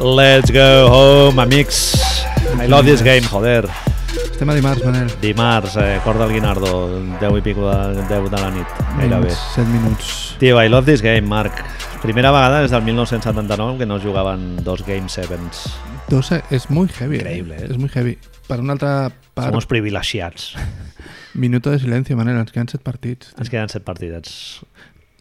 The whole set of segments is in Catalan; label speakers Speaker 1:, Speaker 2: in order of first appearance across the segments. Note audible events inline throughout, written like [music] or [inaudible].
Speaker 1: Let's go home, amics. I love this game, joder.
Speaker 2: Estem a dimarts, Manel.
Speaker 1: Dimarts, eh, cor del Guinardó, 10 i pico de, 10 de la nit, gairebé.
Speaker 2: 7 minuts.
Speaker 1: Tio, I love this game, Marc. Primera vegada des del 1979 que no es jugaven dos Game Sevens.
Speaker 2: 12 es muy heavy.
Speaker 1: Increïble, eh?
Speaker 2: Es muy heavy. Per una altra part,
Speaker 1: Som uns privilegiats.
Speaker 2: minuto de silenci, Manel. Ens queden 7 partits.
Speaker 1: Ens queden set partidets.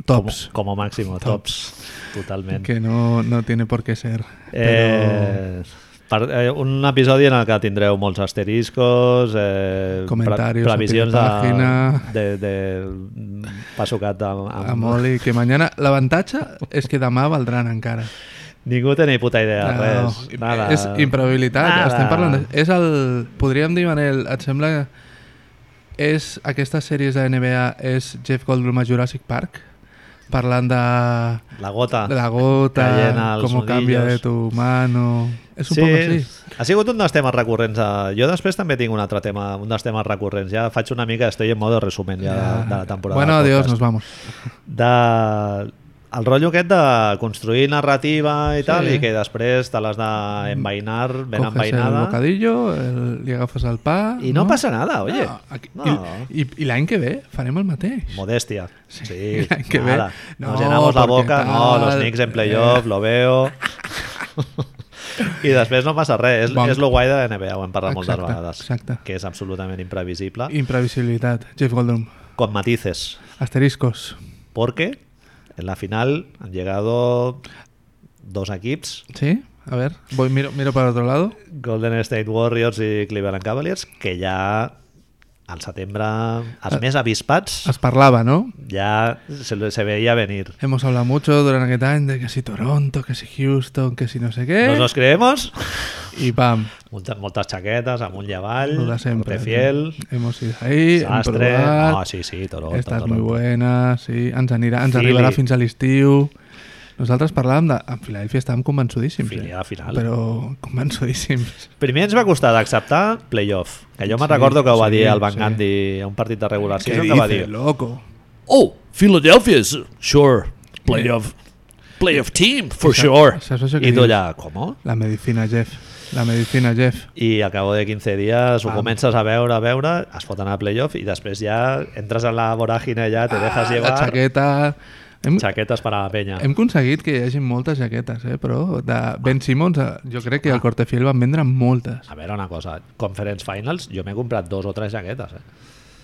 Speaker 2: Tops.
Speaker 1: Com, com a màxim, tops. tops. Totalment.
Speaker 2: Que no, no tiene por qué ser.
Speaker 1: Eh, per, eh, un episodi en el que tindreu molts asteriscos, eh,
Speaker 2: Comentarios a
Speaker 1: previsions
Speaker 2: pie de pàgina.
Speaker 1: de, de, de passocat amb, amb,
Speaker 2: A Molly, que mañana... L'avantatge és que demà valdran
Speaker 1: [laughs]
Speaker 2: encara.
Speaker 1: Ningú té ni puta idea, no, res. Nada.
Speaker 2: És improbabilitat.
Speaker 1: Nada.
Speaker 2: Estem parlant... De... És el... Podríem dir, Manel, et sembla... És aquestes sèries de NBA és Jeff Goldblum a Jurassic Park? Parlant de,
Speaker 1: La gota.
Speaker 2: de la gota,
Speaker 1: Caient als
Speaker 2: com canvia de
Speaker 1: nudillos.
Speaker 2: tu mano... És un sí. poc així.
Speaker 1: Ha sigut un dels temes recurrents. eh, Jo després també tinc un altre tema, un dels temes recurrents. Ja faig una mica, estoy en modo resumen ja, de, de la temporada.
Speaker 2: Bueno,
Speaker 1: del
Speaker 2: adiós,
Speaker 1: podcast.
Speaker 2: nos vamos.
Speaker 1: de el rotllo aquest de construir narrativa i sí. tal, i que després te l'has d'envainar ben
Speaker 2: Coges el
Speaker 1: envainada.
Speaker 2: bocadillo, el, li agafes el pa...
Speaker 1: I no, passa nada, oye.
Speaker 2: No, aquí,
Speaker 1: No.
Speaker 2: I, i, i l'any que ve farem el mateix.
Speaker 1: Modestia.
Speaker 2: [laughs]
Speaker 1: Sí,
Speaker 2: l'any que ve.
Speaker 1: nada. Nos
Speaker 2: No,
Speaker 1: llenamos la
Speaker 2: porque
Speaker 1: boca. No,
Speaker 2: tal. eh.
Speaker 1: los Knicks en playoff, lo veo.
Speaker 2: [laughs]
Speaker 1: I després no passa res. És,
Speaker 2: Bon.
Speaker 1: és lo guai de la NBA, ho hem parlat moltes
Speaker 2: Exacte,
Speaker 1: vegades.
Speaker 2: exacte.
Speaker 1: Que és absolutament imprevisible. I...
Speaker 2: Imprevisibilitat. Jeff Goldblum.
Speaker 1: Con matices.
Speaker 2: Asteriscos.
Speaker 1: Porque en la final han llegado dos equips
Speaker 2: ¿Sí? A ver, voy, miro, miro para otro lado.
Speaker 1: Golden State Warriors i Cleveland Cavaliers, que ja al setembre,
Speaker 2: Eh.
Speaker 1: els més avispats,
Speaker 2: Os parlaba, ¿no?
Speaker 1: ja se, se veia venir.
Speaker 2: Hemos hablado mucho durante aquest any de que si Toronto, que si Houston, que si no sé qué.
Speaker 1: Nos los creemos?
Speaker 2: Y pam,
Speaker 1: Moltes, moltes xaquetes, amunt i avall,
Speaker 2: lo de eh? siempre.
Speaker 1: Corte fiel,
Speaker 2: Hemos ido ahí, hem
Speaker 1: sastre...
Speaker 2: provat,
Speaker 1: No, sí, sí, Toronto.
Speaker 2: estàs
Speaker 1: Toronto.
Speaker 2: muy buena, sí, ens, anirà, ens
Speaker 1: Philly.
Speaker 2: arribarà fins a l'estiu. Nosaltres parlàvem de... En Filadèlfia estàvem convençudíssims. eh?
Speaker 1: Philly a la final.
Speaker 2: Però convençudíssims.
Speaker 1: Primer ens va costar d'acceptar playoff, que jo me'n
Speaker 2: Sí,
Speaker 1: recordo que ho va
Speaker 2: sí,
Speaker 1: dir el Van
Speaker 2: sí.
Speaker 1: Gandhi a un partit de regulació, que va
Speaker 2: dices,
Speaker 1: dir
Speaker 2: loco?
Speaker 3: Oh, Philadelphia's sure playoff playoff team for sure.
Speaker 2: Saps això que
Speaker 1: i tu
Speaker 2: dius?
Speaker 1: allà, com?
Speaker 2: La medicina, Jeff. La medicina, Jeff.
Speaker 1: i al cabo de 15 dies ho
Speaker 2: Pam.
Speaker 1: comences a veure, a veure, es foten a playoff i després ja entres en la voràgine ja, te dejas
Speaker 2: Ah,
Speaker 1: llevar,
Speaker 2: La Em- jaqueta... Hem,
Speaker 1: xaquetes per a la penya.
Speaker 2: hem aconseguit que hi hagi moltes jaquetes, eh? però de Ben Simmons eh, jo crec que
Speaker 1: Ah.
Speaker 2: al Cortefiel van vendre moltes.
Speaker 1: A veure una cosa, Conference Finals jo m'he comprat dos o tres jaquetes, eh?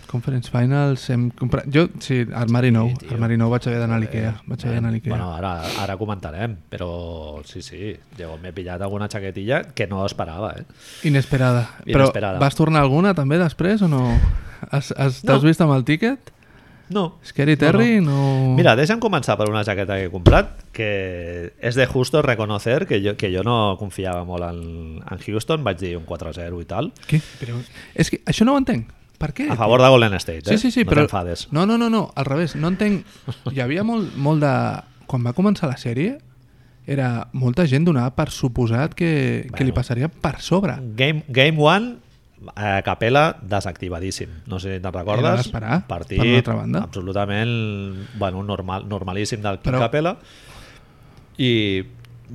Speaker 2: Conference Finals hem comprat... Jo, sí, armari nou.
Speaker 1: tio.
Speaker 2: Armari nou vaig haver d'anar a l'Ikea. Vaig haver d'anar a l'Ikea.
Speaker 1: Bueno, ara, ara comentarem, però sí, sí, jo m'he pillat alguna jaquetilla que no esperava, eh?
Speaker 2: Inesperada. Però
Speaker 1: Inesperada.
Speaker 2: vas tornar alguna també després o no? Has- has- T'has
Speaker 1: No.
Speaker 2: vist amb el tíquet?
Speaker 1: No.
Speaker 2: Scary Terry no... no...
Speaker 1: Mira, deixa'm començar per una jaqueta que he comprat, que és de justo reconocer que jo, que jo no confiava molt en, en Houston, vaig dir un 4-0 i tal,
Speaker 2: Què? Però... És que això no ho entenc. Per què?
Speaker 1: a favor de Golden State,
Speaker 2: Sí,
Speaker 1: eh?
Speaker 2: sí, sí,
Speaker 1: no
Speaker 2: però...
Speaker 1: t'enfades.
Speaker 2: No, no, no, no, al revés. No
Speaker 1: [laughs]
Speaker 2: entenc... Hi havia molt, molt de... Quan va començar la sèrie, era molta gent donava per suposat que, bueno. que li
Speaker 1: Bueno.
Speaker 2: passaria per sobre.
Speaker 1: Game, game One, eh, Capela desactivadíssim. No sé si te'n
Speaker 2: Era
Speaker 1: recordes.
Speaker 2: d'esperar,
Speaker 1: Partit
Speaker 2: per una altra banda.
Speaker 1: absolutament bueno, normal, normalíssim del Quim
Speaker 2: Però-
Speaker 1: Capela. I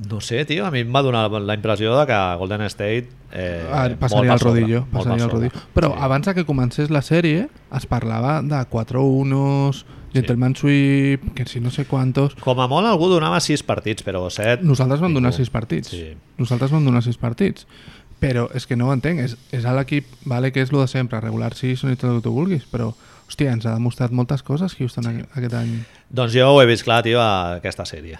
Speaker 1: no sé, tio, a mi em va donar la impressió de que Golden State... Eh,
Speaker 2: Ah,
Speaker 1: molt
Speaker 2: passaria
Speaker 1: per
Speaker 2: el
Speaker 1: sobre,
Speaker 2: rodillo.
Speaker 1: molt per
Speaker 2: Passaria el
Speaker 1: sobre.
Speaker 2: rodillo. Però
Speaker 1: Sí.
Speaker 2: sí. abans de que comencés la sèrie es parlava de 4-1, Gentleman Sweep, que si no sé quantos...
Speaker 1: Com a molt algú donava sis partits, però set...
Speaker 2: Nosaltres vam
Speaker 1: pico.
Speaker 2: donar sis partits.
Speaker 1: Sí.
Speaker 2: Nosaltres vam donar sis partits. Però és que no ho entenc. És, és a l'equip, vale, que és lo de sempre, regular sí, són i tot el que tu vulguis, però, hòstia, ens ha demostrat moltes coses Houston sí. aquest any.
Speaker 1: Doncs jo ho he vist clar, tio, a aquesta sèrie.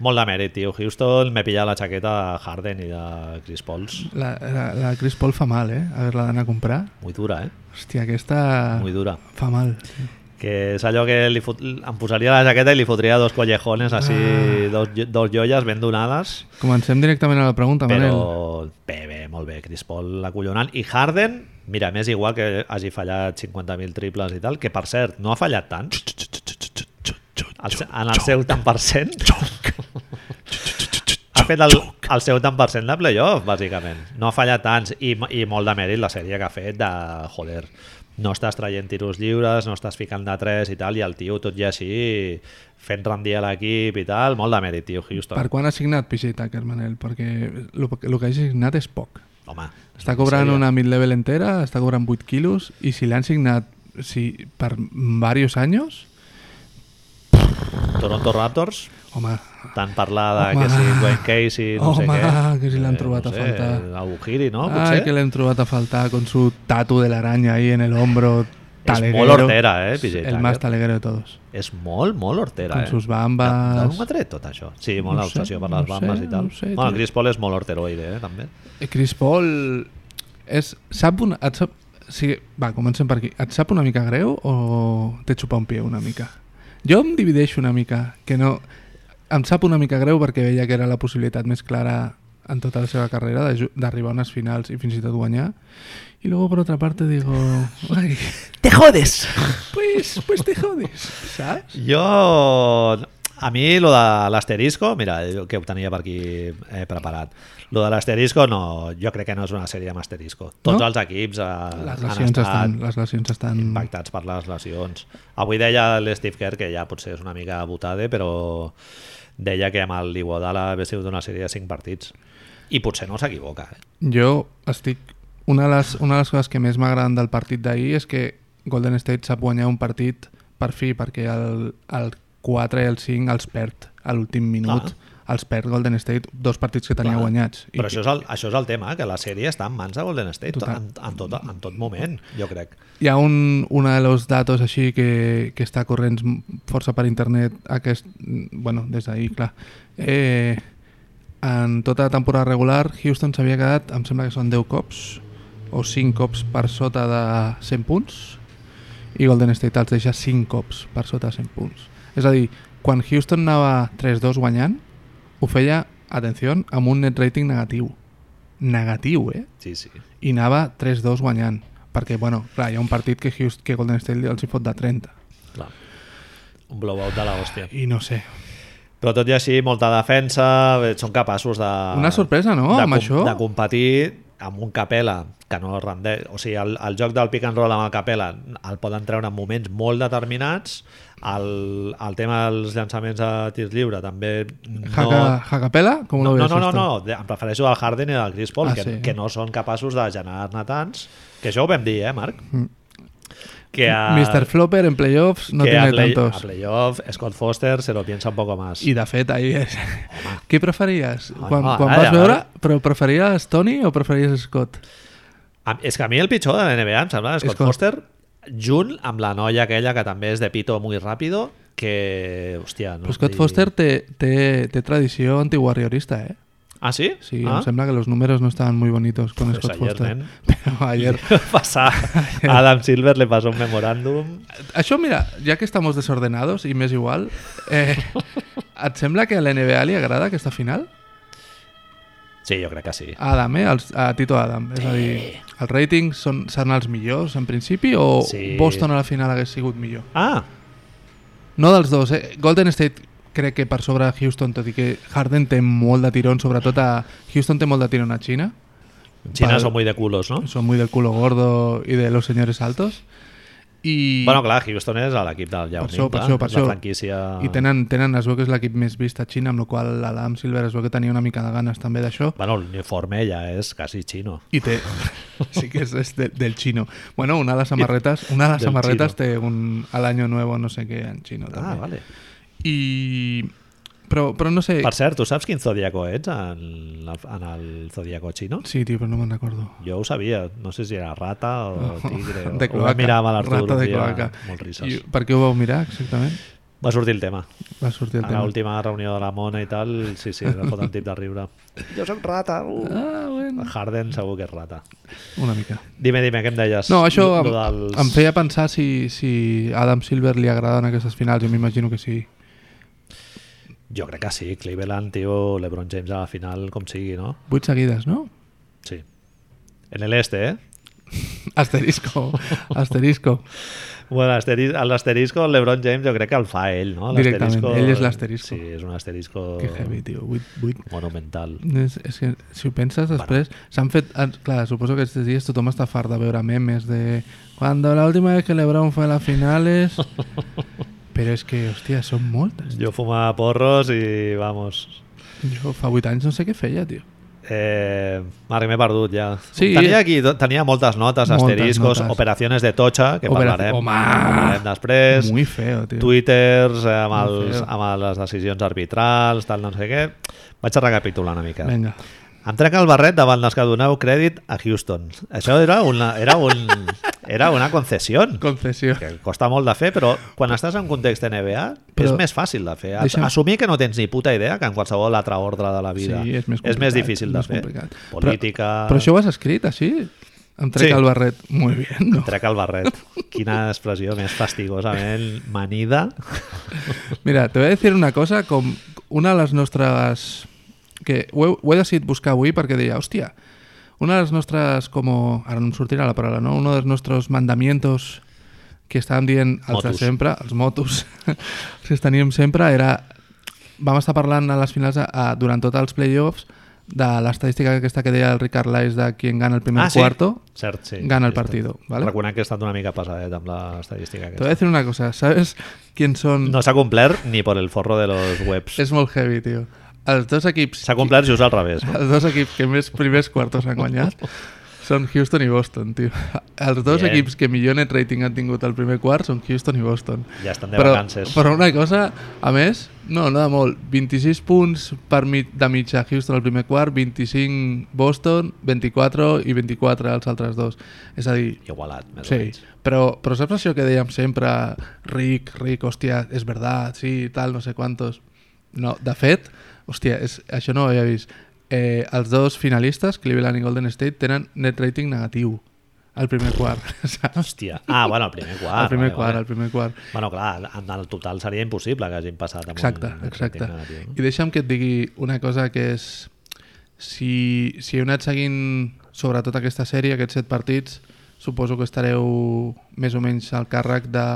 Speaker 1: Molt de mèrit, tio. Houston m'he pillat la jaqueta de Harden i de Chris Pauls.
Speaker 2: La, la, la Chris Paul fa mal, eh? Haver-la d'anar a comprar.
Speaker 1: Muy dura, eh?
Speaker 2: Hòstia, aquesta
Speaker 1: Muy dura.
Speaker 2: fa mal.
Speaker 1: Que és allò que li fot... em posaria la jaqueta i li fotria dos collejones, així, ah. dos, jo- dos joies ben donades.
Speaker 2: Comencem directament a la pregunta, Manel.
Speaker 1: Però bé, bé, molt bé, Chris Paul acollonant. I Harden, mira, m'és igual que hagi fallat 50.000 triples i tal, que per cert, no ha fallat tant. El, se- en el seu tant per cent. Ha ha fet el, el seu tant per cent de playoff, bàsicament. No ha fallat tants i, i molt de mèrit la sèrie que ha fet de, joder, no estàs traient tiros lliures, no estàs ficant de tres i tal, i el tio, tot i així, fent rendir a l'equip i tal, molt de mèrit, tio, Houston.
Speaker 2: Per quan ha signat PJ Tucker, Manel? Perquè el que ha signat és poc.
Speaker 1: Home,
Speaker 2: Està cobrant
Speaker 1: sèrie.
Speaker 2: una mid-level entera, està cobrant 8 quilos, i si l'han signat si, per varios anys,
Speaker 1: Toronto Raptors,
Speaker 2: home,
Speaker 1: tant parlar de
Speaker 2: Home.
Speaker 1: que si Wayne Casey, no sé
Speaker 2: Home,
Speaker 1: què.
Speaker 2: que si l'han
Speaker 1: Eh,
Speaker 2: trobat
Speaker 1: no
Speaker 2: a
Speaker 1: sé,
Speaker 2: faltar.
Speaker 1: Abuhiri, no?
Speaker 2: Ay,
Speaker 1: Potser.
Speaker 2: que le han trobat a faltar con su tatu de la araña ahí en el hombro. Taleguero.
Speaker 1: molt hortera, eh, PJ
Speaker 2: El
Speaker 1: Tucker.
Speaker 2: más taleguero de todos.
Speaker 1: És molt, molt hortera,
Speaker 2: Con
Speaker 1: eh?
Speaker 2: sus bambas.
Speaker 1: D'on m'ha tret tot això? Sí, molt
Speaker 2: No
Speaker 1: no obsessió
Speaker 2: sé,
Speaker 1: per les
Speaker 2: no
Speaker 1: bambes
Speaker 2: sé,
Speaker 1: i tal.
Speaker 2: no sé,
Speaker 1: bueno,
Speaker 2: tio.
Speaker 1: Chris Paul és molt horteroide, eh, també.
Speaker 2: Eh, Chris Paul és, sap una, et sap, sí, va, comencem per aquí. Et sap una mica greu o t'he xupat un pie una mica? Jo em divideixo una mica, que no... Em sap una mica greu perquè veia que era la possibilitat més clara en tota la seva carrera de ju- d'arribar a unes finals i fins i tot guanyar. I luego, per altra parte, digo... Ai,
Speaker 3: Te jodes.
Speaker 2: pues, pues te jodes, saps?
Speaker 1: Jo... A mi, lo de l'asterisco, mira, jo que ho tenia per aquí eh, preparat. Lo de l'asterisco, no, jo crec que no és una sèrie amb asterisco. Tots
Speaker 2: No?
Speaker 1: els equips eh,
Speaker 2: Les
Speaker 1: han
Speaker 2: lesions
Speaker 1: estat
Speaker 2: estan... Les lesions estan...
Speaker 1: impactats per les lesions. Avui deia l'Steve Kerr, que ja potser és una mica botade, però deia que amb el Iguodala havia sigut una sèrie de 5 partits. I potser no s'equivoca. Eh?
Speaker 2: Jo estic... Una de les, una de les coses que més m'agraden del partit d'ahir és que Golden State sap guanyar un partit per fi, perquè el, el 4 i el 5 els perd a l'últim minut. Els perd Golden State, dos partits que tenia
Speaker 1: Clar.
Speaker 2: guanyats.
Speaker 1: Però això és, el, això és el tema, que la sèrie està en mans de Golden State
Speaker 2: Total.
Speaker 1: en, en, tot, en tot moment, jo crec.
Speaker 2: Hi ha un, una de los datos així que, que està corrents força per internet aquest, bueno, des d'ahir, clar. Eh, en tota la temporada regular, Houston s'havia quedat, em sembla que són 10 cops o 5 cops per sota de 100 punts i Golden State els deixa 5 cops per sota de 100 punts. És a dir, quan Houston anava 3-2 guanyant, ho feia, atenció, amb un net rating negatiu. Negatiu, eh?
Speaker 1: Sí, sí.
Speaker 2: i anava 3-2 guanyant perquè, bueno, clar, hi ha un partit que, Houston, que Golden State els hi fot de 30
Speaker 1: Clar. Un blowout de l'hòstia.
Speaker 2: i no sé,
Speaker 1: Però tot i així, molta defensa, eh, són capaços de...
Speaker 2: Una sorpresa, no,
Speaker 1: de,
Speaker 2: amb
Speaker 1: com-
Speaker 2: això?
Speaker 1: De competir amb un capela que no rendeix. O sigui, el, el joc del pick and roll amb el capela el poden treure en moments molt determinats. El, el tema dels llançaments de tir lliure també... No,
Speaker 2: Haka, Hakapela, com
Speaker 1: no,
Speaker 2: ho
Speaker 1: no,
Speaker 2: veus?
Speaker 1: no, no,
Speaker 2: esto?
Speaker 1: no, de- em refereixo al Harden i al Chris Paul,
Speaker 2: Ah,
Speaker 1: que,
Speaker 2: sí.
Speaker 1: que no són capaços de generar-ne tants, que això ho vam dir, eh, Marc? Que a,
Speaker 2: Mr. Flopper en playoffs Mm. no
Speaker 1: que a
Speaker 2: tiene
Speaker 1: play- a
Speaker 2: tantos
Speaker 1: playoff Scott Foster se lo piensa un poco más.
Speaker 2: i de fet, ahir és... [laughs] Què preferies?
Speaker 1: Home,
Speaker 2: quan,
Speaker 1: home,
Speaker 2: quan
Speaker 1: ara,
Speaker 2: vas veure,
Speaker 1: ara.
Speaker 2: però preferies Tony o preferies Scott?
Speaker 1: A- És que a mi el pitjor de la NBA em sembla Scott,
Speaker 2: Scott.
Speaker 1: Scott Foster junt amb la noia aquella que també és de pito muy rápido que, hòstia... No em
Speaker 2: Però Scott
Speaker 1: vull dir-
Speaker 2: Foster té, té, té tradició antiwarriorista, eh?
Speaker 1: Ah, sí?
Speaker 2: Sí,
Speaker 1: ah?
Speaker 2: em sembla que los números no estaban muy bonitos con
Speaker 1: Pues
Speaker 2: Scott
Speaker 1: ayer,
Speaker 2: Foster.
Speaker 1: nen.
Speaker 2: [laughs] Però ayer,
Speaker 1: [laughs]
Speaker 2: [laughs]
Speaker 1: Passar. Adam Silver le passó un memoràndum.
Speaker 2: Això, mira, ja que estamos desordenados i més igual,
Speaker 1: [laughs]
Speaker 2: eh, et sembla que a la NBA li agrada aquesta final?
Speaker 1: Sí, jo crec que sí.
Speaker 2: A Adam, eh? Als, a Tito Adam. És a
Speaker 1: Eh.
Speaker 2: dir, els ratings són, seran els millors en principi o
Speaker 1: Sí.
Speaker 2: Boston a la final hagués sigut millor?
Speaker 1: Ah,
Speaker 2: No dels dos, eh? Golden State crec que per sobre Houston, tot i que Harden té molt de tirón, sobretot a... Houston té molt de tirón a Xina.
Speaker 1: Xina
Speaker 2: Val.
Speaker 1: són muy de culos, no?
Speaker 2: Són muy del culo gordo i de los señores altos. I...
Speaker 1: Bueno, clar, Houston és a l'equip del Yao
Speaker 2: Per
Speaker 1: Ming,
Speaker 2: això, per
Speaker 1: clar,
Speaker 2: això, per
Speaker 1: és la
Speaker 2: això.
Speaker 1: franquícia...
Speaker 2: I tenen, tenen, es veu que és l'equip més vist a Xina, amb la qual cosa l'Adam Silver es veu que tenia una mica de ganes també d'això.
Speaker 1: Bueno, l'uniforme ja és quasi xino. [laughs]
Speaker 2: I té... Sí que és, és de, del xino. Bueno, una de les samarretes, una de les
Speaker 1: Del
Speaker 2: samarretes
Speaker 1: xino.
Speaker 2: té un al año nuevo no sé què en xino
Speaker 1: Ah,
Speaker 2: també.
Speaker 1: vale.
Speaker 2: I... Però, però no sé...
Speaker 1: Per cert, tu saps quin zodiaco ets en, la- en el zodiaco xino?
Speaker 2: Sí, tio, però no me'n recordo.
Speaker 1: Jo ho sabia, no sé si era rata o tigre.
Speaker 2: [laughs] De
Speaker 1: ho va
Speaker 2: cloaca.
Speaker 1: mirar amb l'Artur
Speaker 2: Rata
Speaker 1: un
Speaker 2: de
Speaker 1: dia,
Speaker 2: cloaca.
Speaker 1: molt risses.
Speaker 2: I, per què ho vau mirar, exactament?
Speaker 1: Va sortir el tema.
Speaker 2: Va sortir el
Speaker 1: A
Speaker 2: tema.
Speaker 1: l'última reunió de la Mona i tal, sí, sí, va fotre un tip de riure. Jo sóc rata. Uh.
Speaker 2: Ah, bueno.
Speaker 1: Harden segur que és rata.
Speaker 2: Una mica.
Speaker 1: Dime, dime, què em deies?
Speaker 2: No,
Speaker 1: Lo
Speaker 2: això em,
Speaker 1: dels-
Speaker 2: em feia pensar si, si a Adam Silver li agraden aquestes finals, jo m'imagino que sí.
Speaker 1: Jo crec que sí, Cleveland, tio, LeBron James a la final, com sigui, no?
Speaker 2: Vuit seguides, no?
Speaker 1: Sí. En el este, eh?
Speaker 2: [laughs] Asterisco,
Speaker 1: [laughs]
Speaker 2: asterisco.
Speaker 1: Bueno, l'asteri- l'asterisco, el LeBron James jo crec que el fa ell, no?
Speaker 2: Directament,
Speaker 1: L'asterisco-
Speaker 2: ell és l'asterisco.
Speaker 1: Sí, és un asterisco
Speaker 2: Que heavy, tio. 8, 8.
Speaker 1: monumental.
Speaker 2: És, és que, si ho penses després, s'han fet... ah, Clar, suposo que aquests dies tothom està fart de veure memes de... Cuando la última vez que LeBron fue a las
Speaker 1: [laughs]
Speaker 2: finales... Però és que, hòstia, són moltes.
Speaker 1: Jo fumava porros i, vamos...
Speaker 2: Jo fa 8 anys no sé què feia, tio.
Speaker 1: Eh, Mare, m'he perdut ja.
Speaker 2: Sí.
Speaker 1: Tenia, aquí, tenia moltes notes,
Speaker 2: Moltes
Speaker 1: asteriscos,
Speaker 2: notes.
Speaker 1: operacions de totxa, que
Speaker 2: Operaci-
Speaker 1: parlarem,
Speaker 2: Home!
Speaker 1: parlarem després.
Speaker 2: Muy feo, tio.
Speaker 1: Twitters, eh, amb,
Speaker 2: Molt
Speaker 1: els,
Speaker 2: feo.
Speaker 1: amb les decisions arbitrals, tal, no sé què. Vaig a recapitular una mica.
Speaker 2: Vinga.
Speaker 1: Em trec el barret davant dels que doneu crèdit a Houston. Això era una, era un, era una concessió.
Speaker 2: Concessió.
Speaker 1: que costa molt de fer, però quan estàs en context NBA però,
Speaker 2: Però-
Speaker 1: és més fàcil de fer.
Speaker 2: Deixa'm-
Speaker 1: Deixa'm... Assumir que no tens ni puta idea que en qualsevol altre ordre de la vida
Speaker 2: Sí, és
Speaker 1: és més
Speaker 2: més complicat,
Speaker 1: difícil de
Speaker 2: més
Speaker 1: fer.
Speaker 2: complicat.
Speaker 1: Política...
Speaker 2: Però, però això ho has escrit així? Em trec
Speaker 1: Sí.
Speaker 2: el barret. Muy bien,
Speaker 1: [laughs]
Speaker 2: no?
Speaker 1: Trec el barret. Quina expressió més fastigosament manida.
Speaker 2: Mira, te voy a decir una cosa, com una de les nostres... que ho he, ho he decidit buscar avui perquè deia, hòstia, una de les nostres, com... ara no em sortirà la paraula, no? Uno dels nostres mandamientos que estàvem dient els
Speaker 1: Motus.
Speaker 2: de sempre, els motos, els [laughs] que teníem sempre, era... Vam estar parlant a les finals, a, a, durant tots els playoffs, de l'estadística aquesta que deia el Ricard Lais de qui gana el primer
Speaker 1: Ah, sí.
Speaker 2: quarto,
Speaker 1: Cert, sí.
Speaker 2: gana el
Speaker 1: Sí, sí.
Speaker 2: partido, ¿vale? mm.
Speaker 1: Reconec que he estat una mica pesadet amb l'estadística
Speaker 2: Te voy a
Speaker 1: aquesta.
Speaker 2: decir una cosa, ¿sabes quién son?
Speaker 1: No s'ha complert ni por el forro de los webs.
Speaker 2: És molt heavy, tio. Els dos equips...
Speaker 1: S'ha complert just al revés. No?
Speaker 2: Els dos equips que més primers quartos han guanyat són Houston i Boston, tio. Els dos
Speaker 1: Bien.
Speaker 2: equips que millor net rating han tingut al primer quart són Houston i Boston.
Speaker 1: Ja estan de
Speaker 2: però,
Speaker 1: vacances.
Speaker 2: però una cosa, a més, no, no de molt. 26 punts per mit, de mitja Houston al primer quart, 25 Boston, 24 i 24 als altres dos. És a dir,
Speaker 1: Igualat, més o
Speaker 2: Sí,
Speaker 1: menys.
Speaker 2: però, però saps això que dèiem sempre ric, ric, hòstia, és verdad, sí, tal, no sé quantos no, de fet, hòstia, és, això no ho havia vist eh, els dos finalistes, Cleveland i Golden State tenen net rating negatiu al primer quart, [laughs] saps?
Speaker 1: Hòstia. Ah, bueno, el primer quart.
Speaker 2: al primer
Speaker 1: vale,
Speaker 2: quart,
Speaker 1: vale.
Speaker 2: al primer quart
Speaker 1: Bueno, clar, en el total seria impossible que hagin passat amb
Speaker 2: Exacte,
Speaker 1: un
Speaker 2: exacte.
Speaker 1: rating negatiu.
Speaker 2: I deixa'm que et digui una cosa que és... Si, si heu anat seguint sobretot aquesta sèrie, aquests set partits, suposo que estareu més o menys al càrrec de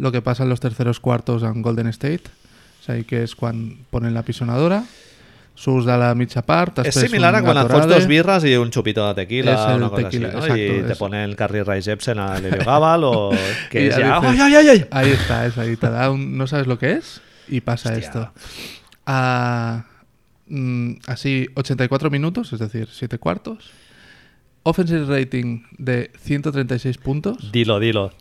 Speaker 2: lo que passa en los terceros quartos en Golden State, és a dir, que és quan ponen la pisonadora, surts de la mitja part,
Speaker 1: És
Speaker 2: després
Speaker 1: similar a
Speaker 2: un
Speaker 1: quan et fots
Speaker 2: aturade.
Speaker 1: dos birres i un xupito de tequila,
Speaker 2: És el
Speaker 1: una cosa
Speaker 2: tequila,
Speaker 1: així, no?
Speaker 2: exacto,
Speaker 1: I te
Speaker 2: és-
Speaker 1: pone el Carrie Ray Jepsen a l'Elio Gabal o...
Speaker 2: [laughs]
Speaker 1: Que
Speaker 2: Y
Speaker 1: és
Speaker 2: ya
Speaker 1: ja...
Speaker 2: dices,
Speaker 1: Ai, ai, ai, ai!
Speaker 2: Ahí está, es ahí. Te da un, no sabes lo que es y pasa
Speaker 1: Hostia.
Speaker 2: esto. Ah, mm, así, 84 minutos, es decir, 7 cuartos. Offensive rating de 136 puntos.
Speaker 1: Dilo, dilo.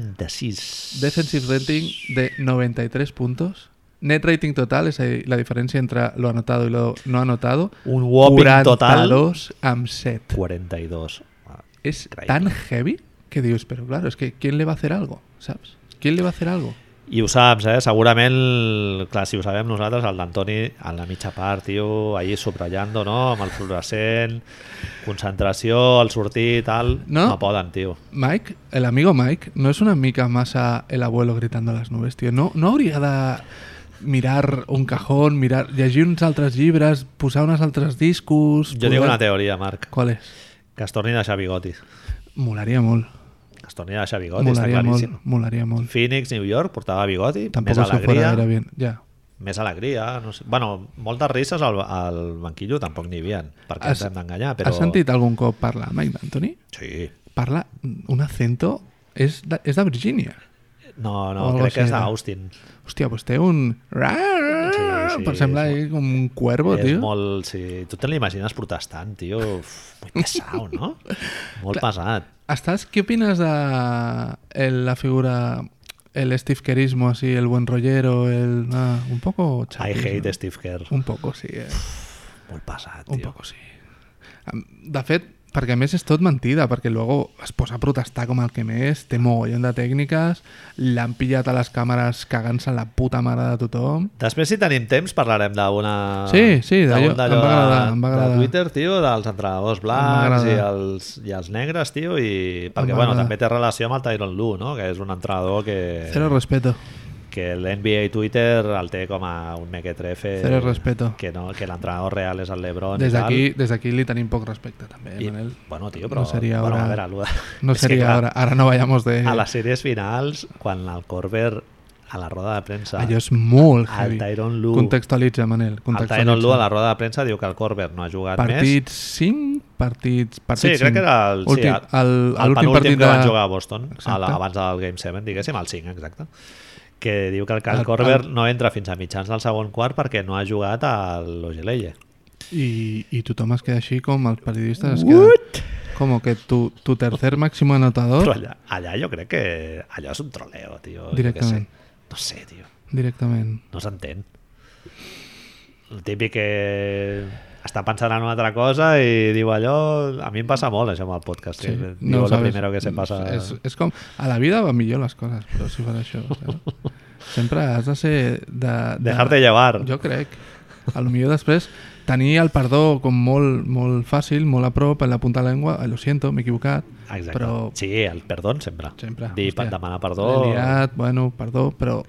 Speaker 1: 136.
Speaker 2: Defensive rating de 93 puntos. Net rating total, es ahí la diferencia entre lo anotado y lo no anotado.
Speaker 1: Un whopping total.
Speaker 2: 42 am set.
Speaker 1: 42. Ah,
Speaker 2: Es
Speaker 1: Increíble.
Speaker 2: tan heavy que dios, pero claro, es que ¿quién le va a hacer algo? ¿Sabes? ¿Quién le va a hacer algo?
Speaker 1: I ho saps, eh? Segurament, clar, si ho sabem nosaltres, el d'Antoni a la mitja part, tio, ahir subratllant, no? Amb el fluorescent, concentració, el sortir, tal...
Speaker 2: No.
Speaker 1: no poden, tio.
Speaker 2: Mike, el amigo Mike, no es una mica más a el abuelo gritando a las nubes, tío. No, no hauria de mirar un cajón, mirar, llegir uns altres llibres, posar unes altres discos...
Speaker 1: Jo tinc
Speaker 2: posar-
Speaker 1: una teoria, Marc,
Speaker 2: Qual és?
Speaker 1: que es torni a deixar bigoti.
Speaker 2: Molaria molt.
Speaker 1: Es torni a deixar bigoti, està
Speaker 2: Molaria molt,
Speaker 1: claríssim.
Speaker 2: molaria molt.
Speaker 1: Phoenix, New York, portava bigoti,
Speaker 2: Tampoc
Speaker 1: més
Speaker 2: això fuera era
Speaker 1: alegria,
Speaker 2: bien. Ja.
Speaker 1: més alegria, no sé. Bueno, moltes risses al, al banquillo tampoc n'hi havia, perquè
Speaker 2: Has-
Speaker 1: ens hem d'enganyar, però...
Speaker 2: Però... Has sentit algun cop parlar Mike d'Anthony?
Speaker 1: Sí.
Speaker 2: Parla un acento... És de, és de Virgínia.
Speaker 1: No,
Speaker 2: O
Speaker 1: no,
Speaker 2: algo
Speaker 1: crec que
Speaker 2: així, eh?
Speaker 1: és
Speaker 2: no?
Speaker 1: d'Austin.
Speaker 2: Hòstia, pues té un...
Speaker 1: Sí, sí,
Speaker 2: per semblar
Speaker 1: és
Speaker 2: com un cuervo,
Speaker 1: és
Speaker 2: tio.
Speaker 1: molt... Sí, tu te l'imagines protestant, tio. Uf, Molt pesat, no? Molt pesat.
Speaker 2: ¿Estás, ¿Qué opinas de el- la figura, el Steve Kerismo, así, el buen rollero, el. ah, un poco
Speaker 1: I
Speaker 2: chapis,
Speaker 1: hate
Speaker 2: ¿no?
Speaker 1: Steve Kerr.
Speaker 2: Un poco sí, eh?
Speaker 1: Molt pesat, tio.
Speaker 2: un poco sí. Am, De fet, perquè a més és tot mentida, perquè luego es posa a protestar com el que més, té mogollon de tècniques, l'han pillat a les càmeres cagant-se en la puta mare de tothom.
Speaker 1: Després, si tenim temps, parlarem d'una...
Speaker 2: Sí, sí, d'allò-
Speaker 1: d'un d'allò
Speaker 2: em va
Speaker 1: de-
Speaker 2: agradar, em va
Speaker 1: de
Speaker 2: agradar.
Speaker 1: Twitter, tio, dels entrenadors blancs
Speaker 2: m'agrada.
Speaker 1: i els, i els negres, tio, i... Perquè, bueno,
Speaker 2: va agradar.
Speaker 1: Eh, també té relació amb el Tyron Lu, no? Que és un entrenador que...
Speaker 2: Cero respeto.
Speaker 1: que l'NBA Twitter el té com a un mequetrefe
Speaker 2: Cero respeto.
Speaker 1: que, no, que l'entrenador real és el Lebron i
Speaker 2: Des
Speaker 1: tal.
Speaker 2: d'aquí des d'aquí li tenim poc respecte, també,
Speaker 1: I,
Speaker 2: Eh, Manel.
Speaker 1: bueno, tio, però...
Speaker 2: No seria
Speaker 1: bueno,
Speaker 2: hora-
Speaker 1: a veure, lo de-
Speaker 2: No eh.
Speaker 1: és que,
Speaker 2: sería
Speaker 1: clar,
Speaker 2: ahora. Ahora no vayamos de...
Speaker 1: A les sèries finals, quan el Corber a la roda de premsa...
Speaker 2: Allò és molt
Speaker 1: el
Speaker 2: heavy.
Speaker 1: Tyron Lue...
Speaker 2: Contextualitza, Manel.
Speaker 1: El
Speaker 2: Contextualitza.
Speaker 1: Tyron Lue a la roda de premsa diu que el Corber no ha jugat més.
Speaker 2: Partits 5, partits, partits
Speaker 1: Sí, crec que era el, sí,
Speaker 2: últim,
Speaker 1: el,
Speaker 2: el,
Speaker 1: el
Speaker 2: l'últim
Speaker 1: penúltim
Speaker 2: partit
Speaker 1: que
Speaker 2: de...
Speaker 1: van jugar a Boston, a
Speaker 2: Exacte.
Speaker 1: la, abans del Game 7, diguéssim, el 5, exacte. Que diu que el
Speaker 2: El-
Speaker 1: Cal Corber
Speaker 2: el-
Speaker 1: no entra fins a mitjans del segon quart perquè no ha jugat a l'Ogeleye.
Speaker 2: I, I tothom es queda així com els periodistes es queden... Com que tu, tu tercer màxim
Speaker 1: Però
Speaker 2: anotador
Speaker 1: allà, allà jo crec que allò és un troleo, tio. Jo
Speaker 2: Directament.
Speaker 1: què sé. No sé, tio.
Speaker 2: directament.
Speaker 1: No s'entén. El típic que està pensant en una altra cosa i diu allò... A mi em passa molt això amb el podcast. Sí, diu
Speaker 2: no ho
Speaker 1: lo
Speaker 2: sabes. Mm,
Speaker 1: primero que se pasa...
Speaker 2: És, és com... A la vida van millor les coses, però si fas això... [laughs] saps? Sempre has de ser... De, de,
Speaker 1: Dejarte llevar.
Speaker 2: Jo crec. A lo millor després tenir el perdó com molt, molt fàcil, molt a prop, en la punta de la llengua, "Ah, lo siento, m'he equivocat,
Speaker 1: Exacte.
Speaker 2: però
Speaker 1: Sí, el perdó sempre.
Speaker 2: sempre...
Speaker 1: Dir,
Speaker 2: hòstia,
Speaker 1: demanar
Speaker 2: l'he
Speaker 1: perdó...
Speaker 2: Liat, bueno, perdó, però...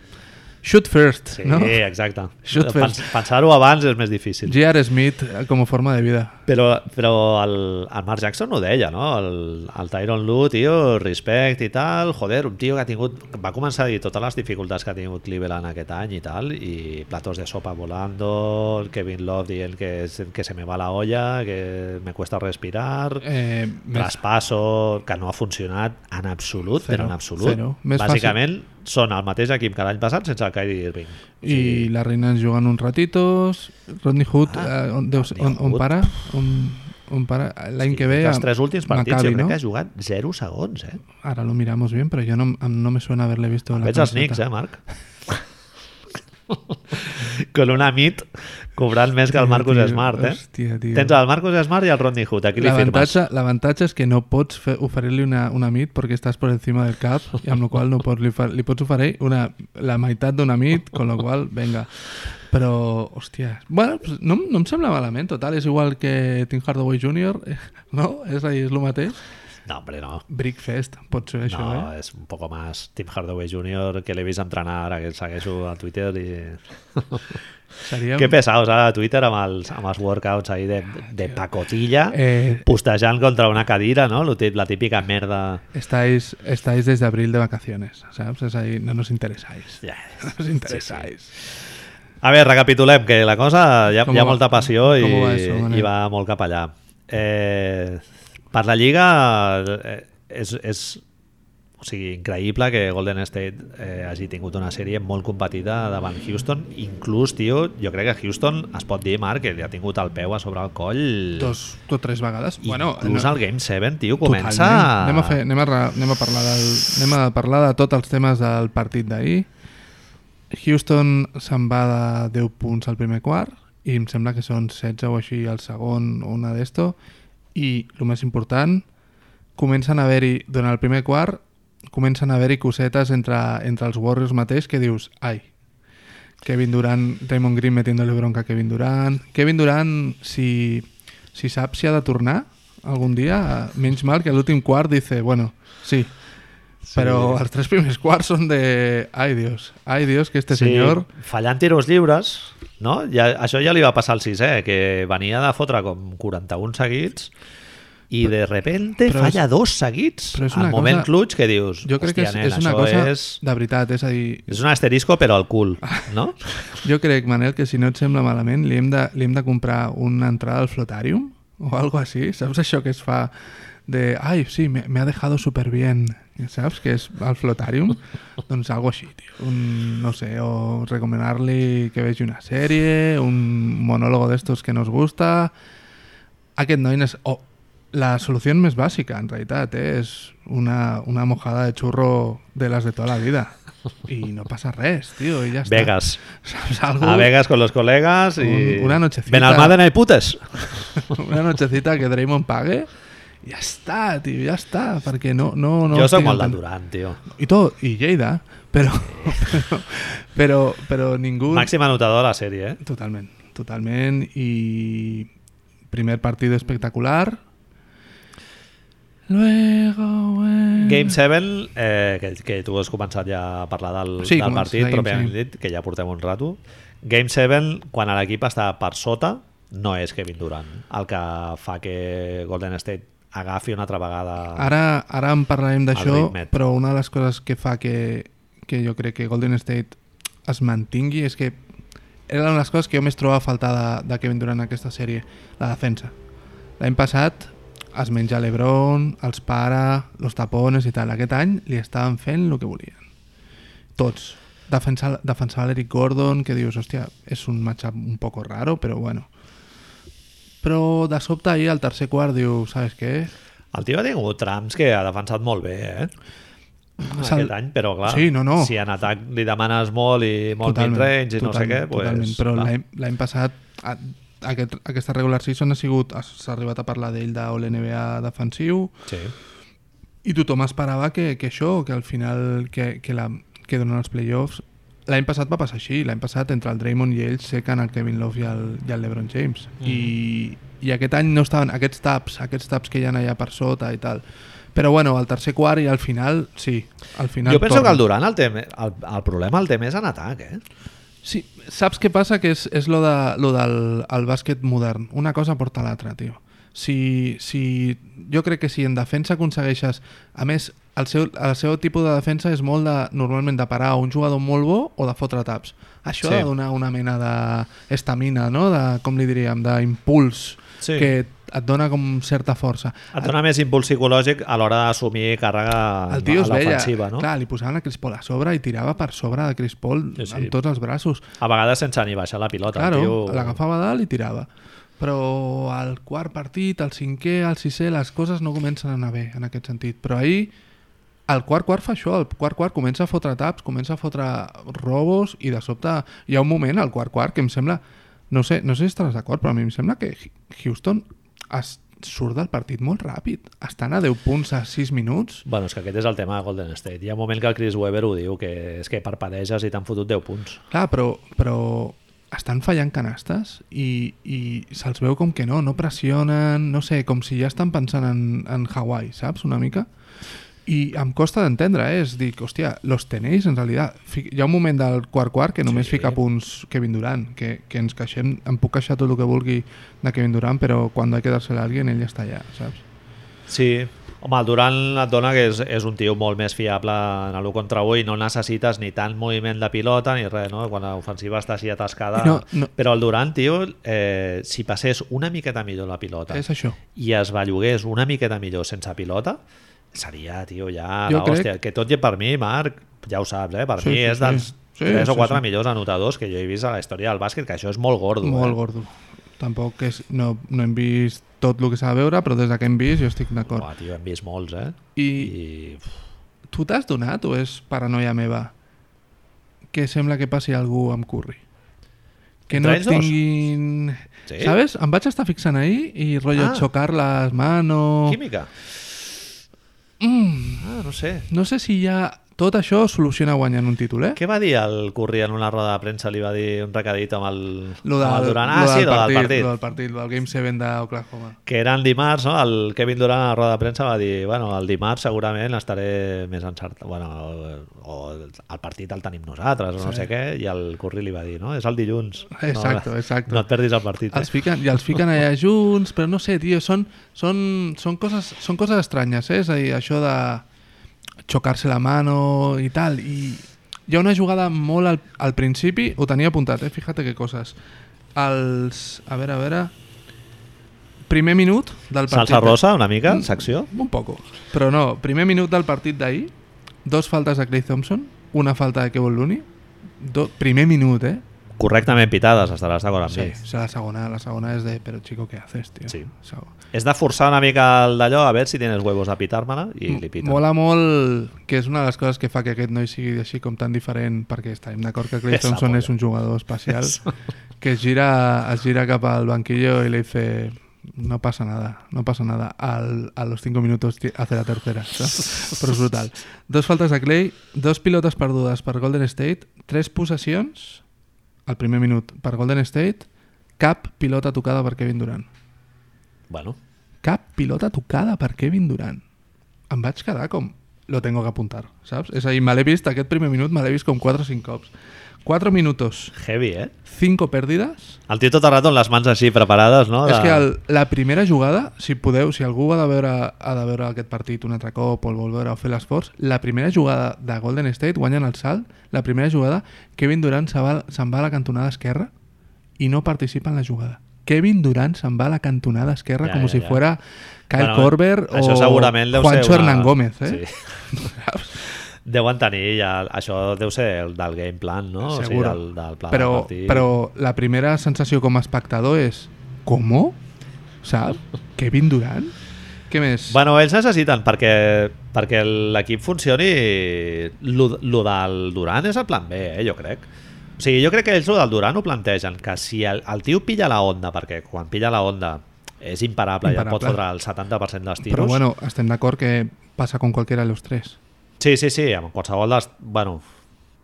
Speaker 2: Shoot first,
Speaker 1: Sí,
Speaker 2: no?
Speaker 1: exacte.
Speaker 2: Shoot
Speaker 1: Pens
Speaker 2: first.
Speaker 1: Pensar-ho abans és més difícil.
Speaker 2: J.R. Smith eh, com a forma de vida.
Speaker 1: Però, però el, el Mark Jackson ho deia, no? El, el Tyron Lue, tio, respect i tal, joder, un tio que ha tingut... Va començar a dir totes les dificultats que ha tingut Cleveland aquest any i tal, i platos de sopa volando, el Kevin Love dient que, es- que se me va la olla, que me cuesta respirar...
Speaker 2: Eh, més-
Speaker 1: traspasso que no ha funcionat en absolut,
Speaker 2: Zero,
Speaker 1: però en absolut.
Speaker 2: zero. Més
Speaker 1: Bàsicament són el mateix equip que l'any passat sense el Kyrie Irving. O sigui,
Speaker 2: I la reina ens jugant uns ratitos, Rodney Hood, ah, on, Déu,
Speaker 1: Rodney
Speaker 2: on, on
Speaker 1: Hood.
Speaker 2: para? On, on para? L'any que ve...
Speaker 1: Els
Speaker 2: a-
Speaker 1: tres últims partits
Speaker 2: Maccabi,
Speaker 1: jo crec
Speaker 2: no?
Speaker 1: que ha jugat 0 segons, eh?
Speaker 2: Ahora lo miramos bien, pero yo no, am- no me suena haberle visto la
Speaker 1: Veig els
Speaker 2: camiseta.
Speaker 1: Knicks, eh, Marc? [laughs] Con una mit cobrant més que el
Speaker 2: Tio,
Speaker 1: Marcus
Speaker 2: tio,
Speaker 1: Smart, eh?
Speaker 2: hòstia, tio.
Speaker 1: Tens el Marcus Smart i el Rodney Hood, aquí li firmes.
Speaker 2: L'avantatge l'avantatge és que no pots fer- oferir-li una, una mit perquè estàs per encima del cap i amb la qual no pots, li, fa- li pots oferir una, la meitat d'una mit, con la qual, venga. Però, hòstia, bueno, pues no, no em sembla malament, total, és igual que Tim Hardaway Jr., eh, [laughs] no? És a dir, és el mateix.
Speaker 1: No, hombre, no.
Speaker 2: Brickfest, pot ser això,
Speaker 1: no,
Speaker 2: eh?
Speaker 1: és un poc més Tim Hardaway Jr. que l'he vist entrenar ara, que el segueixo a Twitter i...
Speaker 2: Seria...
Speaker 1: Que pesaos ara a Twitter amb els, amb els workouts ahí de, de pacotilla,
Speaker 2: Eh,
Speaker 1: postejant contra una cadira, no? Lo tip- La típica merda...
Speaker 2: estáis, estáis desde abril de vacaciones, ¿sabes? Es ahí, no nos interesáis.
Speaker 1: Ja.
Speaker 2: No nos interesáis.
Speaker 1: A veure, recapitulem, que la cosa hi ha,
Speaker 2: Com
Speaker 1: hi ha
Speaker 2: va?
Speaker 1: molta passió i,
Speaker 2: Com va això, Manel?
Speaker 1: i va molt cap allà. Eh, per la Lliga eh, és, és o sigui, increïble que Golden State eh, hagi tingut una sèrie molt competida davant Houston. Inclús, tio, jo crec que Houston es pot dir, Marc, que li ha tingut el peu a sobre el coll.
Speaker 2: dos o tres vegades. bueno,
Speaker 1: Inclús
Speaker 2: no-
Speaker 1: el Game 7, tio,
Speaker 2: totalment.
Speaker 1: comença...
Speaker 2: Anem a, fer, anem, a, ra- anem, a parlar del, anem a parlar de tots els temes del partit d'ahir. Houston se'n va de 10 punts al primer quart i em sembla que són 16 o així al segon o una d'esto i el més important comencen a haver-hi, durant el primer quart comencen a haver-hi cosetes entre, entre els Warriors mateix que dius, ai Kevin Durant, Raymond Green metiéndole bronca a Kevin Durant. Kevin Durant, si, si sap si ha de tornar algun dia, menys mal que l'últim quart dice, bueno, sí, sí. però els tres primers quarts són de... Ai, Dios, ai, Dios, que este sí. senyor...
Speaker 1: Fallant tiros lliures, no? Ja, això ja li va passar al sisè, eh, que venia de fotre com 41 seguits i de repente
Speaker 2: però és-
Speaker 1: falla dos seguits
Speaker 2: però és
Speaker 1: al
Speaker 2: una
Speaker 1: moment
Speaker 2: cosa-
Speaker 1: clutch que dius
Speaker 2: Jo crec que és,
Speaker 1: "Hòstia, nen,
Speaker 2: és una
Speaker 1: això
Speaker 2: cosa
Speaker 1: és,
Speaker 2: de veritat, és a dir,
Speaker 1: és un asterisco però al cul
Speaker 2: [laughs]
Speaker 1: no?
Speaker 2: jo crec, Manel, que si no et sembla malament li hem de, li hem de comprar una entrada al Flotarium o algo així, saps això que es fa de, ai, sí, me, me ha dejado súper bien, saps, que és al Flotarium? doncs algo així, tio. Un, no sé, o recomanar-li que vegi una sèrie, un monólogo d'estos que nos gusta... Aquest noi és... Oh, la solució més bàsica, en realitat, eh? és una, una mojada de churro de les de tota la vida. I no passa res, tio, i ja està.
Speaker 1: Vegas
Speaker 2: ¿Sabes algo?
Speaker 1: a Vegas con los colegas y
Speaker 2: Un- una nochecita.
Speaker 1: Ben Almaden hay putes
Speaker 2: Una nochecita que Draymond pague. Ya está, tío, ya está. Porque no, no, no.
Speaker 1: jo soc
Speaker 2: estic
Speaker 1: molt del Durant
Speaker 2: entenent.
Speaker 1: tio
Speaker 2: Y todo, y Lleida, pero. Pero, pero, pero ningún.
Speaker 1: màxim anotador a la sèrie eh?
Speaker 2: Totalmente, totalmente. Y. Primer partido espectacular. Luego, bueno.
Speaker 1: Game 7, eh, que, que tu has començat ja a parlar del,
Speaker 2: Sí,
Speaker 1: del
Speaker 2: comença
Speaker 1: partit,
Speaker 2: Game
Speaker 1: pròpiament
Speaker 2: Seven.
Speaker 1: dit, que ja portem un rato. Game 7, quan l'equip està per sota, no és Kevin Durant el que fa que Golden State agafi una altra vegada...
Speaker 2: Ara, ara en parlarem d'això,
Speaker 1: ritmet.
Speaker 2: però una de les coses que fa que, que jo crec que Golden State es mantingui és que era una de les coses que jo més trobava a faltar de, de Kevin Durant en aquesta sèrie, la defensa. L'any passat es menja l'Ebron, els para, los tapones i tal. Aquest any li estaven fent el que volien. Tots. Defensa, defensava l'Eric Gordon, que dius, hòstia, és un matchup un poco raro, però bueno. Però de sobte ahir al tercer quart diu, sabes què?
Speaker 1: El tio ha tingut trams que ha defensat molt bé, eh?
Speaker 2: Sal-
Speaker 1: Ah, Aquest any, però clar,
Speaker 2: Mm. Sí, no, no.
Speaker 1: si en atac li demanes molt i molt mid-range i no sé
Speaker 2: totalment,
Speaker 1: què,
Speaker 2: totalment.
Speaker 1: pues,
Speaker 2: però
Speaker 1: clar.
Speaker 2: l'any- l'any passat a, aquest, aquesta regular season ha sigut s'ha arribat a parlar d'ell de l'NBA defensiu
Speaker 1: Sí.
Speaker 2: i tothom esperava que, que això, que al final que, que, la, que donen els playoffs l'any passat va passar així, l'any passat entre el Draymond i ells sequen el Kevin Love i el, i el LeBron James
Speaker 1: Mhm.
Speaker 2: I, i aquest any no estaven aquests taps, aquests taps que hi ha allà per sota i tal però bueno, al tercer quart i al final, sí, al final
Speaker 1: Jo penso
Speaker 2: torna.
Speaker 1: que el Durant el, té, me- el, el problema el té més en atac, eh?
Speaker 2: Sí, saps què passa? Que és, és lo, de, lo del el bàsquet modern. Una cosa porta a l'altra, tio. Si, si, jo crec que si en defensa aconsegueixes... A més, el seu, el seu tipus de defensa és molt de, normalment de parar un jugador molt bo o de fotre taps.
Speaker 1: Sí.
Speaker 2: Això sí. ha de donar una mena d'estamina, no? De, com li diríem, d'impuls
Speaker 1: Sí.
Speaker 2: que et dona com certa força.
Speaker 1: Et dona més impuls psicològic a l'hora d'assumir càrrega
Speaker 2: El tio
Speaker 1: a
Speaker 2: es veia,
Speaker 1: l'ofensiva, no?
Speaker 2: clar, li posaven a Chris Paul a sobre i tirava per sobre de Chris Paul
Speaker 1: Sí, sí.
Speaker 2: amb tots els braços.
Speaker 1: A vegades sense ni baixar la pilota. el
Speaker 2: Claro,
Speaker 1: tio...
Speaker 2: l'agafava a dalt i tirava. Però al quart partit, al cinquè, al sisè, les coses no comencen a anar bé en aquest sentit. Però ahir, el quart quart fa això, el quart quart comença a fotre taps, comença a fotre robos i de sobte hi ha un moment al quart quart que em sembla, no sé, no sé si estaràs d'acord, però a mi em sembla que Hi- Houston es surt del partit molt ràpid. Estan a 10 punts a 6 minuts.
Speaker 1: Bueno, és que aquest és el tema de Golden State. Hi ha un moment que el Chris Webber ho diu, que és que parpadeges i t'han fotut 10 punts.
Speaker 2: Clar, però, però estan fallant canastes i, i se'ls veu com que no, no pressionen, no sé, com si ja estan pensant en, en Hawaii, saps, una mica? I em costa d'entendre, eh? És dir, hòstia, los tenéis, en realitat. Fi- Hi ha un moment del quart-quart que només
Speaker 1: Sí.
Speaker 2: sí. fica punts Kevin Durant, que, que ens queixem, em puc queixar tot el que vulgui de Kevin Durant, però quan ha de quedar-se l'algui, ell està allà, saps?
Speaker 1: Sí. Home, el Durant et dona que és, és un tio molt més fiable en l'1 contra 1 i no necessites ni tant moviment de pilota ni res, no? Quan l'ofensiva està així atascada...
Speaker 2: No, no.
Speaker 1: Però el Durant, tio, eh, si passés una miqueta millor la pilota
Speaker 2: És això.
Speaker 1: i es bellugués una miqueta millor sense pilota, seria, tio, ja
Speaker 2: Jo
Speaker 1: la hòstia.
Speaker 2: crec-
Speaker 1: Que tot i per mi, Marc, ja ho saps, eh? Per
Speaker 2: Sí,
Speaker 1: mi
Speaker 2: sí,
Speaker 1: és
Speaker 2: sí.
Speaker 1: dels
Speaker 2: Sí,
Speaker 1: 3 o
Speaker 2: sí,
Speaker 1: 4
Speaker 2: sí.
Speaker 1: millors anotadors que jo he vist a la història del bàsquet, que això és molt gordo.
Speaker 2: Molt
Speaker 1: eh?
Speaker 2: gordo. Tampoc és... No, no hem vist tot el que s'ha de veure, però des de que hem vist jo estic d'acord.
Speaker 1: Uah, tio, hem vist molts, eh?
Speaker 2: I,
Speaker 1: I... pff,
Speaker 2: Tu t'has donat o és paranoia meva que sembla que passi algú amb Curry? Que no
Speaker 1: Entre ells
Speaker 2: et
Speaker 1: dos?
Speaker 2: tinguin...
Speaker 1: Sí?
Speaker 2: Sabes? Em vaig estar fixant ahir i
Speaker 1: Ah.
Speaker 2: rotllo ah. xocar les manos...
Speaker 1: Química?
Speaker 2: Mm,
Speaker 1: Ah, no sé.
Speaker 2: no sé si ja tot això soluciona guanyant un títol, eh?
Speaker 1: Què va dir el Curry en una roda de premsa? Li va dir un recadit amb el,
Speaker 2: Lo del,
Speaker 1: amb el Durant? Ah,
Speaker 2: lo
Speaker 1: sí,
Speaker 2: del
Speaker 1: lo del partit.
Speaker 2: Lo del partit, lo del Game 7 d'Oklahoma.
Speaker 1: Que era el dimarts, no? El Kevin Durant a la roda de premsa va dir bueno, el dimarts segurament estaré més encertat. Bueno, o el partit el tenim nosaltres, o no
Speaker 2: Sí.
Speaker 1: sé què, i el Curry li va dir, no? És el dilluns.
Speaker 2: Exacto,
Speaker 1: no,
Speaker 2: exacto.
Speaker 1: No et perdis el partit. eh?"
Speaker 2: Els fiquen, I els fiquen allà junts, però no sé, tio, són, són, són, coses, són coses estranyes, eh? És a dir, això de xocar-se la mano i tal, i hi ha una jugada molt al, al principi, ho tenia apuntat, eh? Fíjate que coses. Els... A veure, a veure... Primer minut del partit... Mm.
Speaker 1: Salsa rosa, una mica, secció.
Speaker 2: Un poco. Però no, primer minut del partit d'ahir, dos faltes de Clay Thompson, una falta de Kevin Looney, do, primer minut, eh?
Speaker 1: Correctament pitades, estaràs d'acord amb
Speaker 2: Sí,
Speaker 1: mi.
Speaker 2: o sea, la segona, la segona és de pero chico, ¿qué haces, tío?
Speaker 1: Sí.
Speaker 2: O sea,
Speaker 1: És de forçar una mica el d'allò, a veure si tienes huevos de pitar-me-la, i li pita.
Speaker 2: Mola molt, que és una de les coses que fa que aquest noi sigui així com tan diferent, perquè estarem d'acord que Clay
Speaker 1: Esa
Speaker 2: Thompson
Speaker 1: polla.
Speaker 2: és un jugador espacial, que es gira, es gira cap al banquillo i li dice no pasa nada, no pasa nada. Al, a los 5 minutos ti- hace la tercera. ¿sabes? Però és brutal. Dos faltes a Clay, dos pilotes perdudes per Golden State, tres possessions al primer minut per Golden State, cap pilota tocada per Kevin Durant.
Speaker 1: Bueno,
Speaker 2: cap pilota tocada per Kevin Durant. em vaig quedar com lo tengo que apuntar, saps? És a dir, me l'he vist, aquest primer minut me l'he vist com 4 o 5 cops. 4 minutos,
Speaker 1: Heavy, eh?
Speaker 2: 5 pèrdides,
Speaker 1: El tio tot el rato amb les mans així preparades, no?
Speaker 2: És que el, la primera jugada, si podeu, si algú ha de, veure, ha de veure aquest partit un altre cop o el vol veure o fer l'esforç, la primera jugada de Golden State guanyen el salt, la primera jugada, Kevin Durant se'n va, se'n va a la cantonada esquerra i no participa en la jugada. Kevin Durant se'n va a la cantonada esquerra
Speaker 1: Ja,
Speaker 2: ja, com
Speaker 1: ja,
Speaker 2: si
Speaker 1: ja.
Speaker 2: fuera Kyle
Speaker 1: Bueno,
Speaker 2: Corber o
Speaker 1: això segurament deu ser
Speaker 2: Juancho
Speaker 1: una-
Speaker 2: Hernán Gómez, eh?
Speaker 1: Sí. [laughs]
Speaker 2: Saps?
Speaker 1: Deuen tenir ja... Això deu ser el del game plan, no? O
Speaker 2: Seguro.
Speaker 1: sigui, del, del pla
Speaker 2: però,
Speaker 1: de partit.
Speaker 2: però la primera sensació com a espectador és ¿Cómo?
Speaker 1: [laughs]
Speaker 2: ¿Saps? Kevin Durant? Què més?
Speaker 1: Bueno, ells necessiten perquè, perquè l'equip funcioni lo, lo del Durant és el plan B, eh, jo crec. O sigui, jo crec que ells lo del Durant ho plantegen, que si el, el tio pilla la onda, perquè quan pilla la onda és imparable, ja et pot
Speaker 2: Imparable.
Speaker 1: fotre el 70% dels tiros.
Speaker 2: Però bueno, estem d'acord que passa con qualquera de los tres.
Speaker 1: Sí, sí, sí, amb qualsevol dels... Bueno,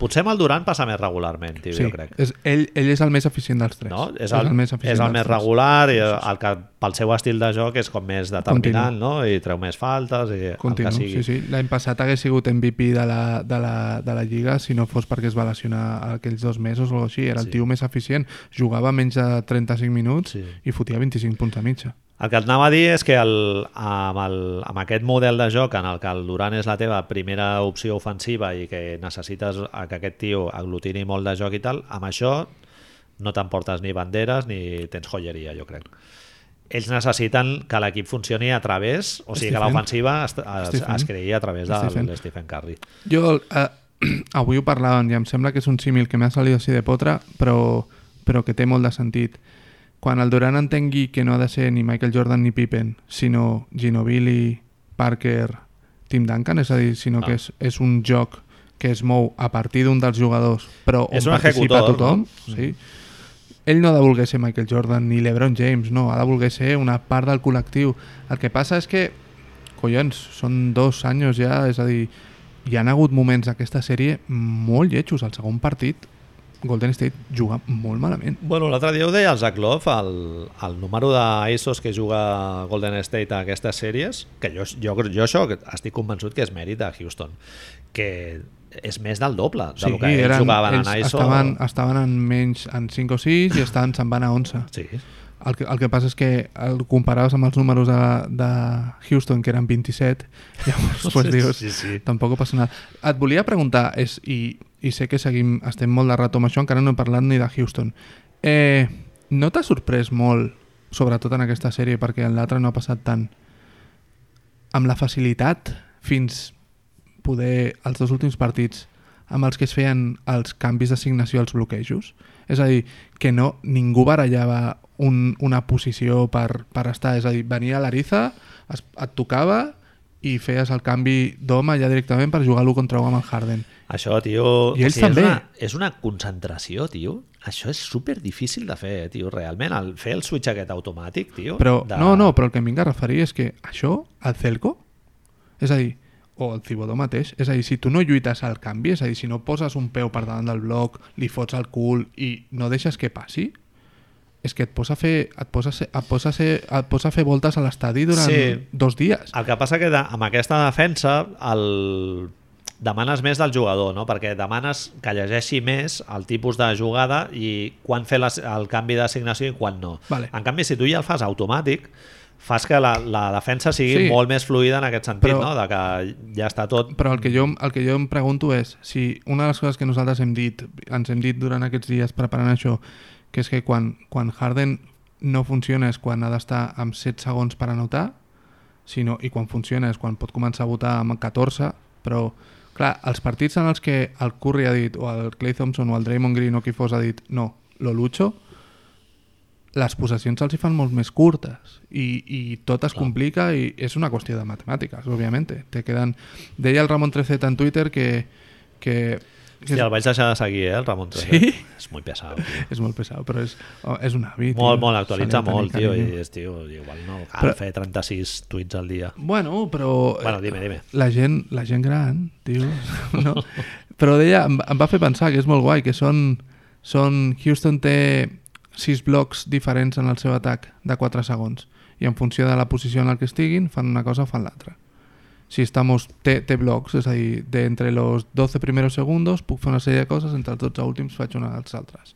Speaker 1: potser amb el Durant passa més regularment, tio, jo crec.
Speaker 2: És, ell, ell és el més eficient dels tres.
Speaker 1: No? És, el, és el més,
Speaker 2: eficient dels tres.
Speaker 1: regular i el que pel seu estil de joc és com més determinant, no? I treu més faltes i
Speaker 2: Continu,
Speaker 1: el que
Speaker 2: sí,
Speaker 1: sigui.
Speaker 2: sí. L'any passat hagués sigut MVP de la, de, la, de la Lliga si no fos perquè es va lesionar aquells dos mesos o alguna cosa així. Era el
Speaker 1: Sí.
Speaker 2: tio més eficient. Jugava menys de 35 minuts
Speaker 1: Sí.
Speaker 2: i fotia 25 punts a mitja.
Speaker 1: El que et anava a dir és que el, amb, el, amb aquest model de joc en el que el Durant és la teva primera opció ofensiva i que necessites a que aquest tio aglutini molt de joc i tal, amb això no t'emportes ni banderes ni tens joieria, jo crec. Ells necessiten que l'equip funcioni a través, o sigui que
Speaker 2: Stephen.
Speaker 1: l'ofensiva es, es,
Speaker 2: Stephen.
Speaker 1: es creï a través de
Speaker 2: Stephen.
Speaker 1: l'Stephen Curry.
Speaker 2: Jo eh, [clears throat] avui ho parlàvem i em sembla que és un símil que m'ha salit així de potra, però, però que té molt de sentit. Quan el Durant entengui que no ha de ser ni Michael Jordan ni Pippen, sinó Ginobili, Parker, Tim Duncan, és a dir, sinó
Speaker 1: Ah.
Speaker 2: que és, és un joc que es mou a partir d'un dels jugadors, però on
Speaker 1: És un
Speaker 2: participa
Speaker 1: ejecutor,
Speaker 2: tothom,
Speaker 1: no? Mm.
Speaker 2: sí. ell no ha de voler ser Michael Jordan ni LeBron James, no, ha de voler ser una part del col·lectiu. El que passa és que collons, són dos anys ja, és a dir, hi han hagut moments d'aquesta sèrie molt lletjos. Al segon partit, Golden State juga molt malament.
Speaker 1: Bueno, l'altre dia ho deia el Zach Love, el, el número d'ISOs que juga Golden State a aquestes sèries, que jo, jo, jo això estic convençut que és mèrit de Houston, que és més del doble de lo que ells
Speaker 2: eren-
Speaker 1: jugaven en
Speaker 2: ells
Speaker 1: ISO.
Speaker 2: estaven, estaven en menys en 5 o 6 i estaven, se'n van a 11.
Speaker 1: Sí,
Speaker 2: El que, el que passa és que el comparaves amb els números de, de Houston, que eren 27, [laughs] llavors pues, dius,
Speaker 1: Sí, sí.
Speaker 2: tampoc passa nada. Et volia preguntar, és, i, i sé que seguim, estem molt de rato amb això, encara no he parlat ni de Houston. Eh, no t'ha sorprès molt, sobretot en aquesta sèrie, perquè en l'altra no ha passat tant, amb la facilitat fins poder els dos últims partits amb els que es feien els canvis d'assignació als bloquejos. És a dir, que no, ningú barallava un, una posició per, per estar. És a dir, venia l'Ariza, es, et tocava i feies el canvi d'home ja directament per jugar l'1 contra 1 amb el Harden.
Speaker 1: això, tio...
Speaker 2: I ells
Speaker 1: és
Speaker 2: també.
Speaker 1: Una, és una concentració, tio. Això és super difícil de fer, eh, tio, realment. El, fer el switch aquest automàtic, tio.
Speaker 2: Però,
Speaker 1: de...
Speaker 2: No, no, però el que em vinc a referir és que això, el Celco, és a dir, o el Cibodó mateix, és a dir, si tu no lluites al canvi, és a dir, si no poses un peu per davant del bloc, li fots al cul i no deixes que passi, és que et posa a fer, et posa a ser, et posa a ser, et posa a fer voltes a l'estadi durant
Speaker 1: Sí.
Speaker 2: sí. dos dies.
Speaker 1: El que passa que de, amb aquesta defensa el demanes més del jugador, no? perquè demanes que llegeixi més el tipus de jugada i quan fer les, el canvi d'assignació i quan no.
Speaker 2: Vale.
Speaker 1: En canvi, si tu ja el fas automàtic, fas que la, la defensa sigui
Speaker 2: Sí.
Speaker 1: molt més fluida en aquest sentit,
Speaker 2: Però-
Speaker 1: no? de que ja està tot...
Speaker 2: Però el que, jo, el que jo em pregunto és si una de les coses que nosaltres hem dit, ens hem dit durant aquests dies preparant això, que és que quan, quan Harden no funciona és quan ha d'estar amb 7 segons per anotar, sinó, i quan funciona és quan pot començar a votar amb 14, però clar, els partits en els que el Curry ha dit, o el Clay Thompson o el Draymond Green o qui fos ha dit, no, lo lucho, les possessions els hi fan molt més curtes i, i tot es complica i és una qüestió de matemàtiques, òbviament. Te queden... Deia el Ramon Trecet en Twitter que, que, que
Speaker 1: Sí, el vaig deixar de seguir, eh, el Ramon Tresor.
Speaker 2: Sí?
Speaker 1: És molt
Speaker 2: [laughs]
Speaker 1: pesat. Tio.
Speaker 2: és molt pesat, però és, oh, és un hàbit.
Speaker 1: Molt,
Speaker 2: tio.
Speaker 1: molt, actualitza
Speaker 2: Se li ha de tenir
Speaker 1: molt, tio,
Speaker 2: carinyo.
Speaker 1: i és, tio, igual no cal
Speaker 2: Però- Eh,
Speaker 1: fer 36 tuits al dia.
Speaker 2: Bueno, però...
Speaker 1: Bueno, dime, dime.
Speaker 2: La gent, la gent gran, tio, no? Però deia, em, em va fer pensar que és molt guai, que són, són... Houston té sis blocs diferents en el seu atac de 4 segons i en funció de la posició en el que estiguin fan una cosa o fan l'altra. si estamos T-blocks, és a dir, de entre los 12 primeros segundos puc fer una sèrie de coses, entre els 12 últims faig una de les altres.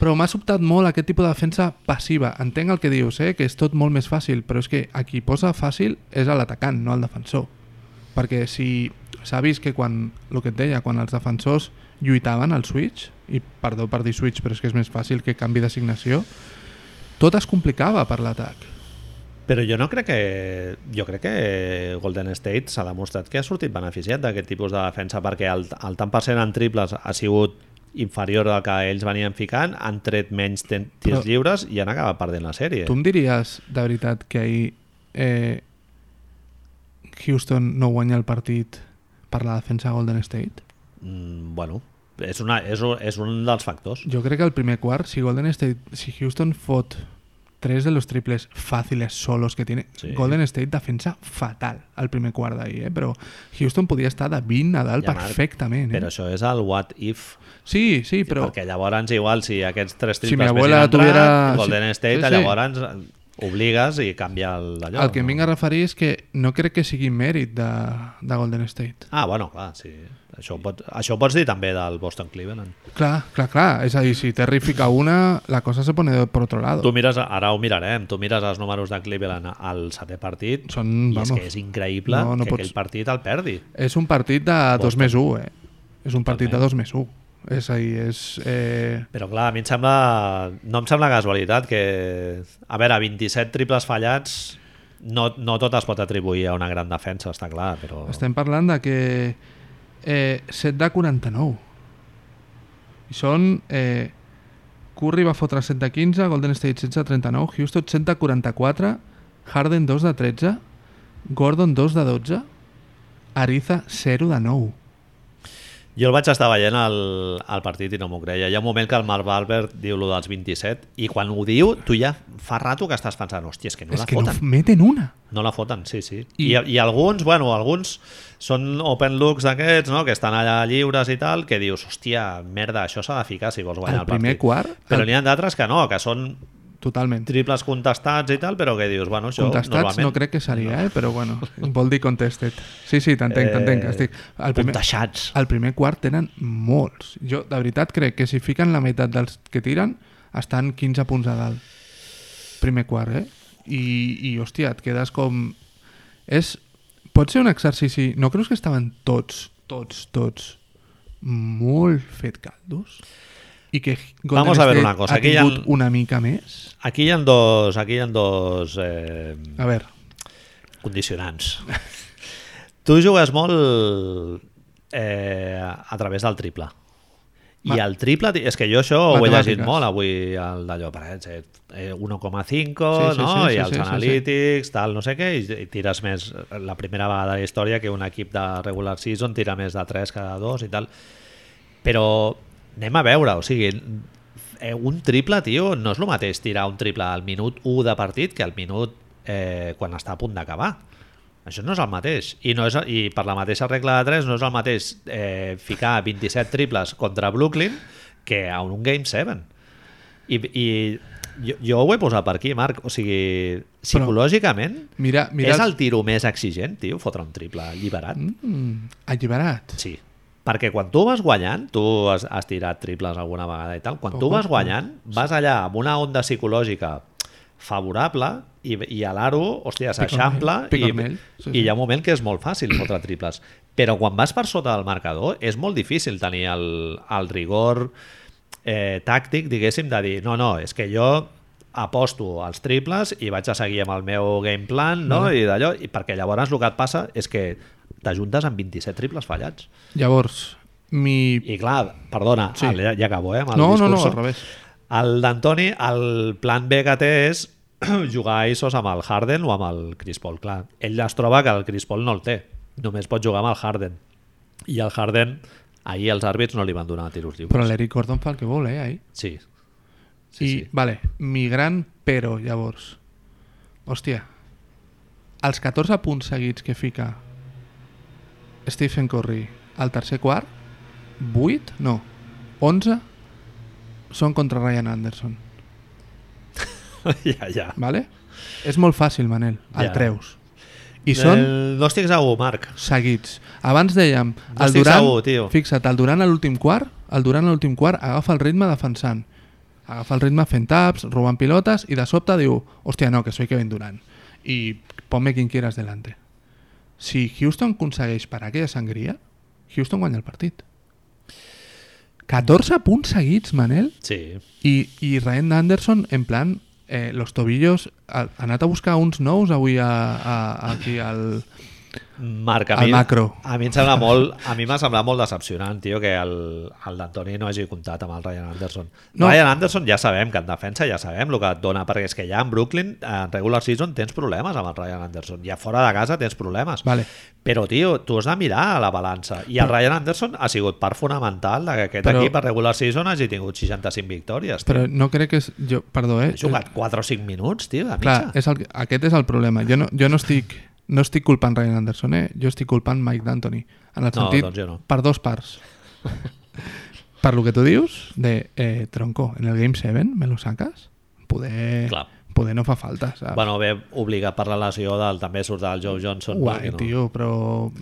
Speaker 2: Però m'ha sobtat molt aquest tipus de defensa passiva. Entenc el que dius, eh? que és tot molt més fàcil, però és que a qui posa fàcil és a l'atacant, no al defensor. Perquè si s'ha vist que quan, el que et deia, quan els defensors lluitaven al switch, i perdó per dir switch, però és que és més fàcil que canvi d'assignació, tot es complicava per l'atac.
Speaker 1: Però jo no crec que... Jo crec que Golden State s'ha demostrat que ha sortit beneficiat d'aquest tipus de defensa perquè el, el tant percent en triples ha sigut inferior al que ells venien ficant, han tret menys ten- tirs
Speaker 2: Però-
Speaker 1: lliures i han acabat perdent la sèrie.
Speaker 2: Tu em diries, de veritat, que ahir eh, Houston no guanya el partit per la defensa de Golden State?
Speaker 1: Mm, bueno, és, una, és, un, és un dels factors.
Speaker 2: Jo crec que el primer quart, si Golden State, si Houston fot tres de los triples fáciles solos que tiene,
Speaker 1: Sí.
Speaker 2: Golden State defensa fatal al primer quart d'ahir, eh? però Houston podia estar de 20 a dalt
Speaker 1: Ja,
Speaker 2: ja,
Speaker 1: Marc,
Speaker 2: perfectament. Eh?
Speaker 1: Però això és el what if,
Speaker 2: Sí, sí, però...
Speaker 1: però... perquè llavors igual si aquests tres
Speaker 2: Si
Speaker 1: triples
Speaker 2: mi
Speaker 1: més
Speaker 2: abuela
Speaker 1: hi han entrat,
Speaker 2: tuviera-
Speaker 1: Golden
Speaker 2: sí,
Speaker 1: State,
Speaker 2: sí, sí.
Speaker 1: llavors obligues i canvia el- allò.
Speaker 2: El que em
Speaker 1: no?
Speaker 2: vinc a referir és que no crec que sigui mèrit de, de Golden State.
Speaker 1: Ah, bueno, clar, sí. Això ho, pot, això ho pots dir també del Boston Cleveland.
Speaker 2: Clar, clar, clar. És a dir, si Terry fica una, la cosa se pone de- por otro lado.
Speaker 1: Tu mires, ara ho mirarem, tu mires els números de Cleveland al setè partit
Speaker 2: Són,
Speaker 1: i és
Speaker 2: vamos,
Speaker 1: que és increïble
Speaker 2: no- no
Speaker 1: que
Speaker 2: pots-
Speaker 1: aquell partit el perdi.
Speaker 2: És un partit de 2
Speaker 1: Boston.
Speaker 2: més 1, eh? És un partit de
Speaker 1: Totalment.
Speaker 2: 2 més 1. És a dir, és... Eh...
Speaker 1: Però clar, a mi em sembla... No em sembla casualitat que... A veure, 27 triples fallats no, no tot es pot atribuir a una gran defensa, està clar, però...
Speaker 2: Estem parlant de que eh, 7 de 49. I són... Eh, Curry va fotre 7 de 15, Golden State 16 de 39, Houston 7 de 44, Harden 2 de 13, Gordon 2 de 12, Ariza 0 de 9.
Speaker 1: Jo el vaig estar veient al, al partit i no m'ho creia. Hi ha un moment que el Marc Valverde diu lo dels 27 i quan ho diu, tu ja fa rato que estàs pensant hòstia, és que no
Speaker 2: és
Speaker 1: la
Speaker 2: que
Speaker 1: foten.
Speaker 2: no meten una.
Speaker 1: No la foten, sí, sí. I,
Speaker 2: I-
Speaker 1: I, i alguns, bueno, alguns són open looks d'aquests, no?, que estan allà lliures i tal, que dius, hòstia, merda, això s'ha de ficar si vols guanyar
Speaker 2: El
Speaker 1: el,
Speaker 2: primer
Speaker 1: partit.
Speaker 2: quart,
Speaker 1: Però
Speaker 2: el-
Speaker 1: n'hi ha d'altres que no, que són
Speaker 2: Totalment.
Speaker 1: triples contestats i tal, però que dius, bueno, això
Speaker 2: Contestats
Speaker 1: normalment...
Speaker 2: no crec que seria, eh? però bueno, vol dir contested. Sí, sí, t'entenc, t'entenc.
Speaker 1: Eh,
Speaker 2: Estic... El primer,
Speaker 1: Contejats.
Speaker 2: el primer quart tenen molts. Jo, de veritat, crec que si fiquen la meitat dels que tiren, estan 15 punts a dalt. Primer quart, eh? I, i hòstia, et quedes com... És... Pot ser un exercici... No creus que estaven tots, tots, tots molt fet caldos? I que Golden
Speaker 1: Vamos a ver
Speaker 2: State
Speaker 1: una cosa,
Speaker 2: ha
Speaker 1: aquí hi ha-
Speaker 2: tingut una mica més?
Speaker 1: Aquí hi ha dos, aquí hi ha dos eh,
Speaker 2: A veure,
Speaker 1: condicionants. tu jugues molt eh, a través del triple. I
Speaker 2: Ma-
Speaker 1: el triple, és que jo això ho he
Speaker 2: Matemàtiques.
Speaker 1: llegit molt avui, el d'allò, per exemple, eh, 1,5,
Speaker 2: Sí, sí,
Speaker 1: no? I
Speaker 2: sí, sí,
Speaker 1: els
Speaker 2: sí, sí, sí.
Speaker 1: analítics, tal, no sé què, i, i tires més, la primera vegada de la història que un equip de regular season tira més de 3 que de 2 i tal. Però anem a veure, o sigui, eh, un triple, tio, no és el mateix tirar un triple al minut 1 de partit que al minut eh, quan està a punt d'acabar. Això no és el mateix. I, no és, I per la mateixa regla de 3 no és el mateix eh, ficar 27 triples contra Brooklyn que a un Game 7. I, i jo, jo ho he posat per aquí, Marc. O sigui, psicològicament
Speaker 2: mira...
Speaker 1: Mira,
Speaker 2: mira
Speaker 1: és el tiro més exigent, tio, fotre un triple alliberat.
Speaker 2: Mm, alliberat.
Speaker 1: Sí. Perquè quan tu vas guanyant, tu has, has tirat triples alguna vegada i tal, quan tu
Speaker 2: Poco,
Speaker 1: vas guanyant, vas allà amb una onda psicològica favorable i, i a l'aro, hòstia,
Speaker 2: Picornell,
Speaker 1: s'eixampla i,
Speaker 2: picornell,
Speaker 1: i
Speaker 2: sí, sí.
Speaker 1: hi ha un moment que és molt fàcil fotre triples. Però quan vas per sota del marcador és molt difícil tenir el, el rigor eh, tàctic, diguéssim, de dir no, no, és que jo aposto als triples i vaig a seguir amb el meu game plan no? i d'allò, i perquè llavors el que et passa és que t'ajuntes amb 27 triples fallats.
Speaker 2: Llavors, mi...
Speaker 1: I clar, perdona,
Speaker 2: Sí.
Speaker 1: sí. el, ja, ja acabo, eh, amb el
Speaker 2: No, no,
Speaker 1: discurso.
Speaker 2: no, al revés.
Speaker 1: El d'Antoni, el plan B que té és [clears throat] jugar a ISOs amb el Harden o amb el Chris Paul. Clar, ell es troba que el Chris Paul no el té. Només pot jugar amb el Harden. I el Harden, ahir els àrbits no li van donar tiros lliures.
Speaker 2: Però l'Eric Gordon fa el que vol, eh, ahir.
Speaker 1: Sí. [laughs]
Speaker 2: Sí,
Speaker 1: Sí,
Speaker 2: I,
Speaker 1: sí.
Speaker 2: vale, mi gran però, llavors. Hòstia, els 14 punts seguits que fica Stephen Curry al tercer quart, 8, no, 11 són contra Ryan Anderson,
Speaker 1: ja, ja.
Speaker 2: vale? És molt fàcil, Manel, el
Speaker 1: Ja.
Speaker 2: treus. I són
Speaker 1: El- No estic segur, Marc.
Speaker 2: seguits. Abans dèiem,
Speaker 1: No
Speaker 2: el
Speaker 1: estic
Speaker 2: Durant,
Speaker 1: segur, tio.
Speaker 2: fixa't, el Durant a l'últim quart, el Durant a l'últim quart agafa el ritme defensant. Agafa el ritme fent taps, robant pilotes i de sobte diu, hòstia, no, que soy Kevin Durant. I ponme quien quieras delante. Si Houston aconsegueix per aquella sangria, Houston guanya el partit. 14 punts seguits, Manel.
Speaker 1: Sí.
Speaker 2: I, i Ryan Anderson, en plan, eh, los tobillos, ha, ha anat a buscar uns nous avui a, a, aquí al...
Speaker 1: Marc, a
Speaker 2: Al
Speaker 1: mi,
Speaker 2: macro.
Speaker 1: a mi em sembla molt, a mi m'ha semblat molt decepcionant, tio, que el, el d'Antoni no hagi comptat amb el Ryan Anderson.
Speaker 2: No.
Speaker 1: No. Ryan Anderson ja sabem que en defensa ja sabem el que et dona, perquè és que ja en Brooklyn, en regular season, tens problemes amb el Ryan Anderson. Ja fora de casa tens problemes.
Speaker 2: Vale.
Speaker 1: Però, tio, tu has de mirar a la balança. I el Ryan Anderson ha sigut part fonamental de que aquest
Speaker 2: Però-
Speaker 1: però, equip a regular season hagi tingut 65 victòries. Tio.
Speaker 2: Però no crec que... És, jo, perdó, eh?
Speaker 1: Ha jugat 4 o 5 minuts, tio, de
Speaker 2: Clar,
Speaker 1: mitja.
Speaker 2: és el, aquest és el problema. Jo no, jo no estic no estic culpant Ryan Anderson, eh? Jo estic culpant Mike D'Antoni. En el
Speaker 1: No,
Speaker 2: sentit,
Speaker 1: doncs jo no.
Speaker 2: per
Speaker 1: [laughs]
Speaker 2: dos parts. per lo que tu dius, de eh, tronco, en el Game 7 me lo sacas? Poder,
Speaker 1: Clar.
Speaker 2: poder no fa falta, saps?
Speaker 1: Bueno, ve obligat per la lesió del també surt del Joe Johnson.
Speaker 2: Guai,
Speaker 1: no?
Speaker 2: tio, però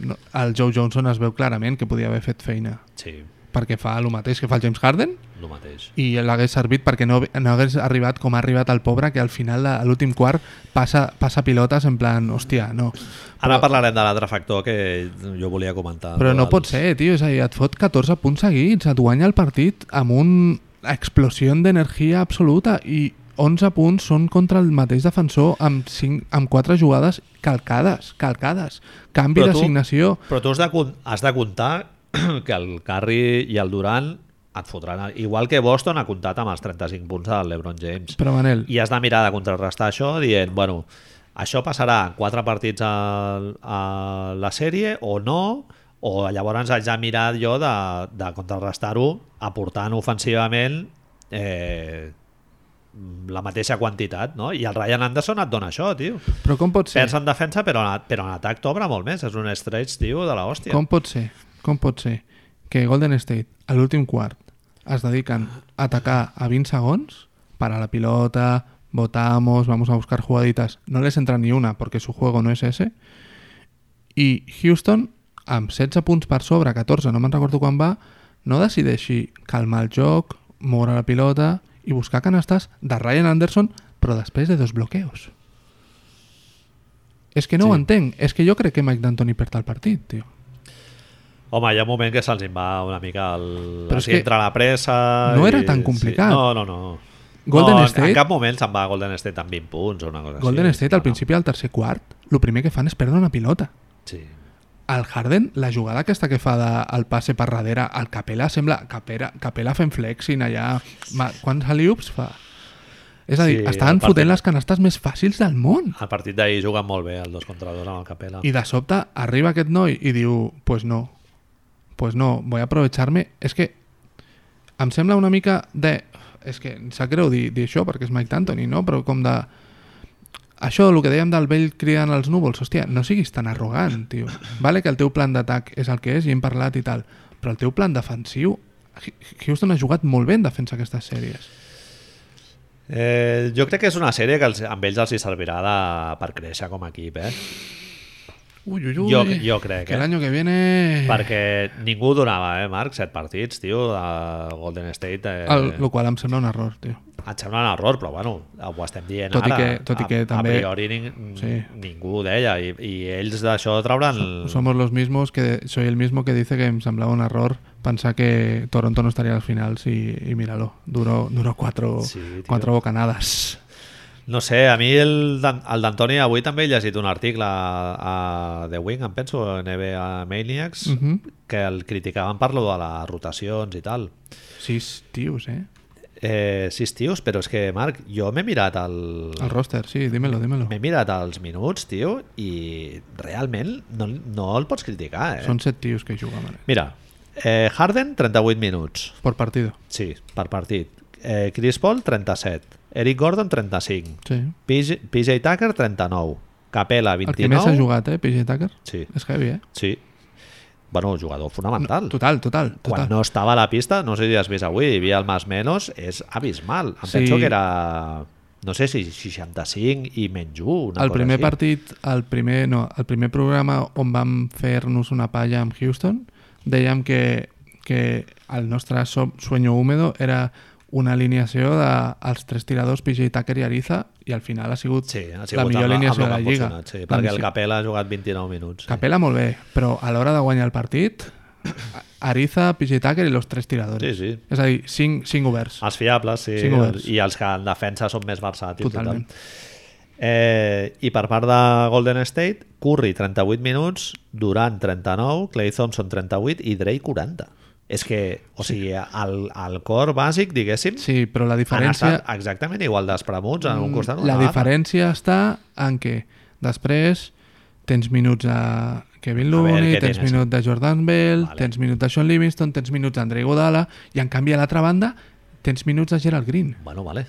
Speaker 2: no, el Joe Johnson es veu clarament que podia haver fet feina
Speaker 1: Sí,
Speaker 2: perquè fa el mateix que fa el James Harden
Speaker 1: el mateix.
Speaker 2: i l'hagués servit perquè no, no hagués arribat com ha arribat el pobre que al final, a l'últim quart, passa, passa pilotes en plan, hòstia, no.
Speaker 1: Ara parlarem de l'altre factor que jo volia comentar.
Speaker 2: Però no
Speaker 1: dels-
Speaker 2: pot ser, tio, és a dir, et fot 14 punts seguits, et guanya el partit amb una explosió d'energia absoluta i 11 punts són contra el mateix defensor amb, 5, amb 4 jugades calcades, calcades. Canvi
Speaker 1: Però tu-
Speaker 2: d'assignació.
Speaker 1: Però tu has de, con- has de comptar [clears throat] que el Curry i el Durant et fotran. Igual que Boston ha comptat amb els 35 punts del LeBron James.
Speaker 2: Però Manel,
Speaker 1: I has de mirar de contrarrestar això dient, bueno, això passarà en quatre partits a, a la sèrie o no, o llavors haig de mirar jo de, de contrarrestar-ho aportant ofensivament eh, la mateixa quantitat, no? I el Ryan Anderson et dona això, tio.
Speaker 2: però com pot
Speaker 1: Sí.
Speaker 2: ser?
Speaker 1: Perds en defensa, però en, però en atac t'obre molt més. És un stretch, tio, de l'hòstia.
Speaker 2: Com pot ser? Com pot ser que Golden State, a l'últim quart, es dediquen a atacar a 20 segons, para la pilota, votamos, vamos a buscar jugaditas, no les entra ni una porque su juego no es ese, i Houston, amb 16 punts per sobre, 14, no me'n recordo quan va, no decideixi calmar el joc, moure la pilota i buscar canastes de Ryan Anderson, però després de dos bloqueos. És que no sí. ho entenc. És que jo crec que Mike D'Antoni perd el partit, tio.
Speaker 1: Home, hi ha un moment que se'ls en va una mica el...
Speaker 2: Però
Speaker 1: Però
Speaker 2: és que
Speaker 1: que entre la pressa...
Speaker 2: no era tan complicat.
Speaker 1: Sí. No, no, no.
Speaker 2: Golden
Speaker 1: no, en-
Speaker 2: State-
Speaker 1: En cap moment se'n va Golden State amb 20 punts o una cosa
Speaker 2: Golden
Speaker 1: així.
Speaker 2: State, al
Speaker 1: No,
Speaker 2: principi del tercer quart, el primer que fan és perdre una pilota.
Speaker 1: No. Sí.
Speaker 2: Al Harden, la jugada aquesta que fa del passe per darrere, al Capella sembla Capella, Capella fent flexing allà. Ma, quants aliups fa? És a dir,
Speaker 1: Sí,
Speaker 2: sí, estaven
Speaker 1: aparte-
Speaker 2: fotent les canastes més fàcils del món.
Speaker 1: El partit d'ahir juguen molt bé, el 2 contra 2 amb el Capela.
Speaker 2: I de sobte arriba aquest noi i diu, pues no, pues no, voy a aprovecharme. És que em sembla una mica de... És que em sap greu dir, dir això perquè és Mike D'Antoni, no? Però com de... Això, el que dèiem del vell criant els núvols, hòstia, no siguis tan arrogant, tio. Vale que el teu plan d'atac és el que és i hem parlat i tal, però el teu plan defensiu... Houston ha jugat molt bé en defensa aquestes sèries.
Speaker 1: Eh, jo crec que és una sèrie que els, amb ells els hi servirà de, per créixer com a equip, eh?
Speaker 2: Ui, ui,
Speaker 1: Jo- jo crec,
Speaker 2: Que
Speaker 1: eh?
Speaker 2: l'any que viene...
Speaker 1: Perquè ningú donava, eh, Marc? Set partits, tio, de Golden State. Eh,
Speaker 2: El, lo qual em sembla un error, tio.
Speaker 1: Em sembla un error, però bueno, ho estem dient
Speaker 2: Tot i
Speaker 1: ara.
Speaker 2: que- tot i que
Speaker 1: a,
Speaker 2: també-
Speaker 1: A priori ning,
Speaker 2: Sí.
Speaker 1: ningú ho deia, i, i ells d'això trauran...
Speaker 2: Somos los mismos que soy el mismo que dice que me semblaba un error pensar que Toronto no estaría al final sí, y míralo, duró, duró cuatro,
Speaker 1: Sí, tío.
Speaker 2: cuatro bocanadas.
Speaker 1: No sé, a mi el, Dan- el d'Antoni avui també he llegit un article a, a The Wing, em penso, NBA Maniacs,
Speaker 2: Mhm.
Speaker 1: que el criticaven per lo de les rotacions i tal.
Speaker 2: Sis tíos, ¿eh?
Speaker 1: Eh, sis tios, però és que, Marc, jo m'he mirat el...
Speaker 2: Al roster, sí, dímelo, dímelo.
Speaker 1: M'he mirat els minuts, tio, i realment no, no el pots criticar, eh?
Speaker 2: Son set tíos que jugaban
Speaker 1: Mira, eh, Harden, 38 minuts.
Speaker 2: por partido.
Speaker 1: Sí, per partit. Eh, Chris Paul, 37. Eric Gordon, 35.
Speaker 2: Sí.
Speaker 1: PJ, PJ Tucker, 39. Capela,
Speaker 2: El que més ha
Speaker 1: 29.
Speaker 2: jugat, eh, PJ Tucker?
Speaker 1: Sí.
Speaker 2: És heavy, eh?
Speaker 1: Sí. Bueno, jugador fonamental. No,
Speaker 2: Total, total,
Speaker 1: Quan
Speaker 2: total.
Speaker 1: no estava a la pista, no sé si has vist avui, hi havia el Más Menos, és abismal. Em
Speaker 2: Sí.
Speaker 1: sí. penso que era no sé si 65 i menys 1.
Speaker 2: El primer partit, el primer, no, el primer programa on vam fer-nos una palla amb Houston, dèiem que, que el nostre so sueño húmedo era una alineació dels de, els tres tiradors PJ Tucker i Ariza i al final ha sigut,
Speaker 1: Sí, ha
Speaker 2: la
Speaker 1: sigut
Speaker 2: millor
Speaker 1: amb,
Speaker 2: alineació de
Speaker 1: amb
Speaker 2: la
Speaker 1: el que han
Speaker 2: Lliga.
Speaker 1: funcionat, Sí,
Speaker 2: La
Speaker 1: perquè
Speaker 2: missió-
Speaker 1: el Capella ha jugat 29 minuts. Sí,
Speaker 2: Capela molt bé, però a l'hora de guanyar el partit, Ariza, PJ Tucker i los tres tiradors.
Speaker 1: sí. sí. Ah,
Speaker 2: És a dir, cinc, cinc oberts.
Speaker 1: Els fiables, sí.
Speaker 2: Cinc oberts.
Speaker 1: I els que en defensa són més versàtils. i tal.
Speaker 2: Totalment.
Speaker 1: Eh, I per part de Golden State, Curry 38 minuts, Durant 39, Clay Thompson 38 i Dre 40. És que, o sigui, el, el cor bàsic, diguéssim,
Speaker 2: Sí, però la
Speaker 1: han
Speaker 2: diferència... Mm,
Speaker 1: estat exactament igual despremuts en un costat o en
Speaker 2: La
Speaker 1: l'altre.
Speaker 2: diferència està en que després tens minuts a
Speaker 1: A
Speaker 2: Kevin
Speaker 1: veure,
Speaker 2: Looney,
Speaker 1: què
Speaker 2: tens
Speaker 1: tens?
Speaker 2: minuts de Jordan Bell,
Speaker 1: Vale.
Speaker 2: vale. tens minuts de Sean Livingston, tens minuts d'Andrei Godala, i en canvi a l'altra banda tens minuts de Gerald Green.
Speaker 1: Bueno, vale.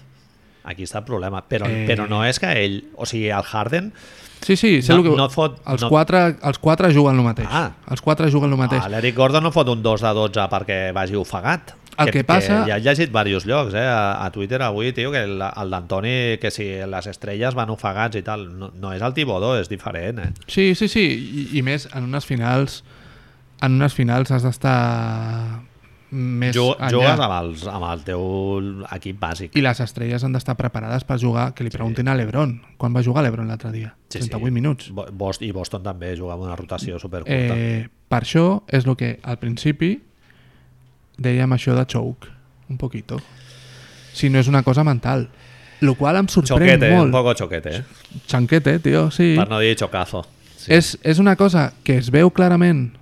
Speaker 1: Aquí està el problema. Però,
Speaker 2: Eh.
Speaker 1: però no és que ell... O sigui, el Harden...
Speaker 2: Sí, sí, sé
Speaker 1: No-
Speaker 2: el que...
Speaker 1: no et fot-
Speaker 2: els,
Speaker 1: no-
Speaker 2: quatre, els quatre juguen el mateix.
Speaker 1: Ah.
Speaker 2: Els quatre juguen el mateix.
Speaker 1: Ah, L'Eric Gordon no fot un 2 de 12 perquè vagi ofegat.
Speaker 2: El que passa-
Speaker 1: Que ja he llegit diversos llocs, eh? A, a Twitter avui, tio, que el, el d'Antoni, que si les estrelles van ofegats i tal, no, no és el Tibodó, és diferent, eh?
Speaker 2: Sí, sí, sí, I, i més en unes finals en unes finals has d'estar més
Speaker 1: Jo,
Speaker 2: enllà.
Speaker 1: jugues amb, els, amb el teu equip bàsic.
Speaker 2: I les estrelles han d'estar preparades per jugar, que li preguntin a l'Ebron, quan va jugar l'Ebron l'altre dia, 38 minuts.
Speaker 1: Bo- Bos- I Boston també juga amb una rotació supercurta.
Speaker 2: Eh, per això és el que al principi dèiem això de choke, un poquito. Si no és una cosa mental. Lo qual em sorprèn
Speaker 1: choquete, un
Speaker 2: molt.
Speaker 1: poco choquete, eh?
Speaker 2: Chanquete, tio, sí.
Speaker 1: Per no dir chocazo. Sí.
Speaker 2: És, és una cosa que es veu clarament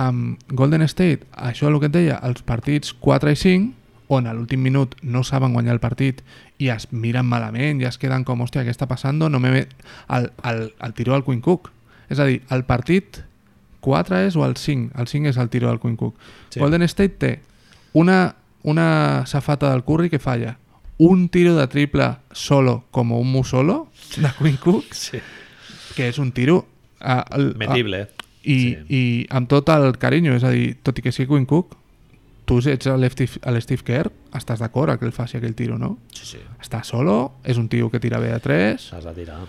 Speaker 2: amb Golden State, això el que et deia, els partits 4 i 5, on a l'últim minut no saben guanyar el partit i es miren malament, ja es queden com, hòstia, què està passant? No me ve... el, el, el tiró al Queen Cook. És a dir, el partit 4 és o el 5? El 5 és el tiró al Queen Cook.
Speaker 1: Sí.
Speaker 2: Sí. Golden State té una, una safata del Curry que falla, un tiro de triple solo, com un mu solo, de Queen Cook,
Speaker 1: Sí.
Speaker 2: que és un tiro a, a,
Speaker 1: Metible.
Speaker 2: Ah, i,
Speaker 1: Sí.
Speaker 2: sí. i amb tot el carinyo, és a dir, tot i que sigui Quinn Cook, tu si ets l'Steve Kerr, estàs d'acord a que el faci aquell tiro, no?
Speaker 1: Sí, sí.
Speaker 2: Està solo, és un tio que tira bé de 3,
Speaker 1: S'has de tirar.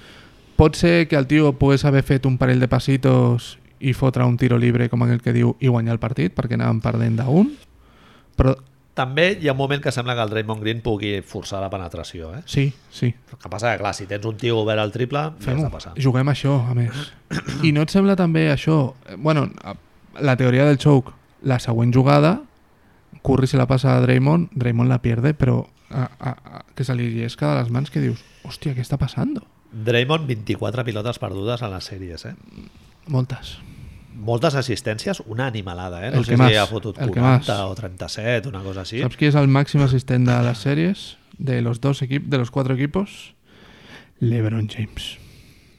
Speaker 2: pot ser que el tio pogués haver fet un parell de passitos i fotre un tiro libre com aquell que diu i guanyar el partit perquè anàvem perdent d'un, però
Speaker 1: També hi ha un moment que sembla que el Draymond Green pugui forçar la penetració, eh?
Speaker 2: sí, sí,
Speaker 1: El que passa que, clar, si tens un tio obert al triple, què
Speaker 2: Fem-ho.
Speaker 1: està passant?
Speaker 2: Juguem això, a més. I no et sembla també això... eh, Bueno, a- la teoria del choke, la següent jugada, Curry se la passa a Draymond, Draymond la pierde, però a, a, a, que se li llesca de les mans que dius, hòstia, què està passant?
Speaker 1: Draymond, 24 pilotes perdudes a les sèries, eh?
Speaker 2: Moltes.
Speaker 1: Moltes assistències, una animalada, eh? No
Speaker 2: El
Speaker 1: sé
Speaker 2: que
Speaker 1: si
Speaker 2: más,
Speaker 1: ha fotut
Speaker 2: el que
Speaker 1: 40
Speaker 2: más.
Speaker 1: o 37, una cosa així.
Speaker 2: Sí. Saps qui és el màxim assistent de les sèries? De los dos equip, de los quatre equipos? LeBron James.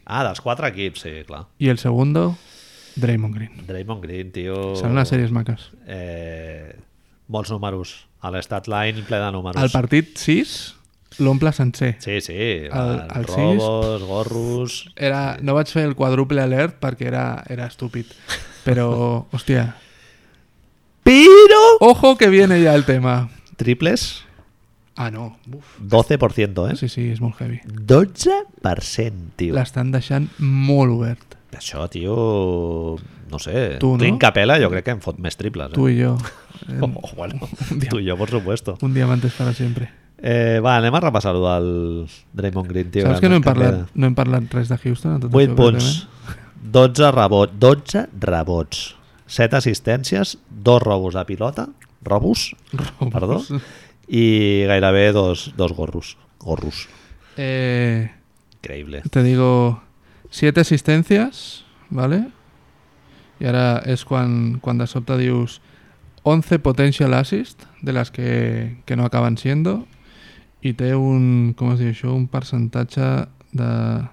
Speaker 1: Ah, dels quatre equips, sí, clar.
Speaker 2: I el segundo, Draymond Green.
Speaker 1: Draymond Green, tio...
Speaker 2: Seran les sèries maques.
Speaker 1: Eh, molts números. A l'estat line ple de números.
Speaker 2: El partit 6 l'omple sencer.
Speaker 1: Sí, sí.
Speaker 2: El-
Speaker 1: van
Speaker 2: el sis.
Speaker 1: robos, gorros...
Speaker 2: Era, no vaig fer el quadruple alert perquè era, era estúpid. Però, [laughs] hòstia...
Speaker 1: Però...
Speaker 2: Ojo que viene ja el tema.
Speaker 1: Triples,
Speaker 2: Ah, no. Uf.
Speaker 1: 12%, eh?
Speaker 2: Sí, sí, és molt heavy.
Speaker 1: 12%, tio.
Speaker 2: L'estan deixant molt obert.
Speaker 1: Això, tio... No sé.
Speaker 2: Tu, no?
Speaker 1: Clint Capella jo crec que em fot més triples. Eh?
Speaker 2: Tu i jo.
Speaker 1: Eh, Oh, bueno,
Speaker 2: [laughs]
Speaker 1: tu i jo, por supuesto.
Speaker 2: Un dia m'entens per sempre.
Speaker 1: Eh, va, anem a repassar-ho del Draymond Green, tio.
Speaker 2: Saps que no hem,
Speaker 1: ens
Speaker 2: parlat,
Speaker 1: queda.
Speaker 2: no hem parlat res de Houston? en Tot
Speaker 1: 8
Speaker 2: això,
Speaker 1: punts,
Speaker 2: pràcticament?
Speaker 1: 12 rebots, 12 rebots, 7 assistències, 2 robos de pilota, robos,
Speaker 2: Robos.
Speaker 1: perdó, i gairebé dos, dos gorros. Gorros.
Speaker 2: Eh,
Speaker 1: Increïble.
Speaker 2: te digo, siete asistencias, ¿vale? Y ahora es cuando quan de sobte dius 11 potential assist de las que, que no acaban siendo y té un, ¿cómo se dice Un porcentaje de...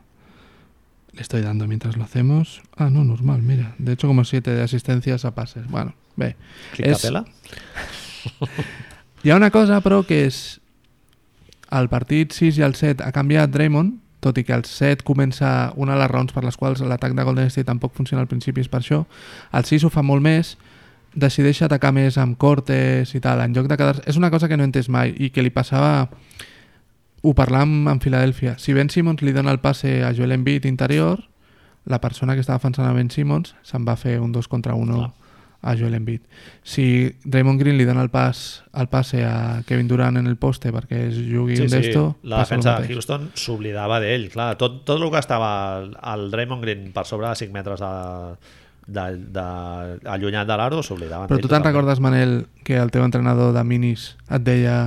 Speaker 2: Le estoy dando mientras lo hacemos. Ah, no, normal, mira. De hecho, como 7 de asistencias a pases. Bueno, ve.
Speaker 1: Clint
Speaker 2: És-
Speaker 1: Capella?
Speaker 2: Hi ha una cosa, però, que és... El partit 6 i el 7 ha canviat Draymond, tot i que el 7 comença una de les raons per les quals l'atac de Golden State tampoc funciona al principi, és per això. El 6 ho fa molt més, decideix atacar més amb cortes i tal, en lloc de quedar... És una cosa que no he entès mai i que li passava Ho parlàvem amb Filadèlfia. Si Ben Simmons li dona el passe a Joel Embiid interior, la persona que estava defensant a Ben Simmons se'n va fer un 2 contra 1
Speaker 1: Clar.
Speaker 2: a Joel Embiid. Si Draymond Green li dona el pas el passe a Kevin Durant en el poste perquè es jugui
Speaker 1: Sí,
Speaker 2: un
Speaker 1: sí,
Speaker 2: d'esto,
Speaker 1: la
Speaker 2: passa el
Speaker 1: defensa de
Speaker 2: mateix.
Speaker 1: Houston s'oblidava d'ell, clar, tot, tot el que estava al- al Draymond Green per sobre de 5 metres de, de, de, allunyat de l'aro s'oblidaven
Speaker 2: Però
Speaker 1: d'ell
Speaker 2: tu te'n
Speaker 1: totalment.
Speaker 2: recordes, Manel, que el teu entrenador de minis et deia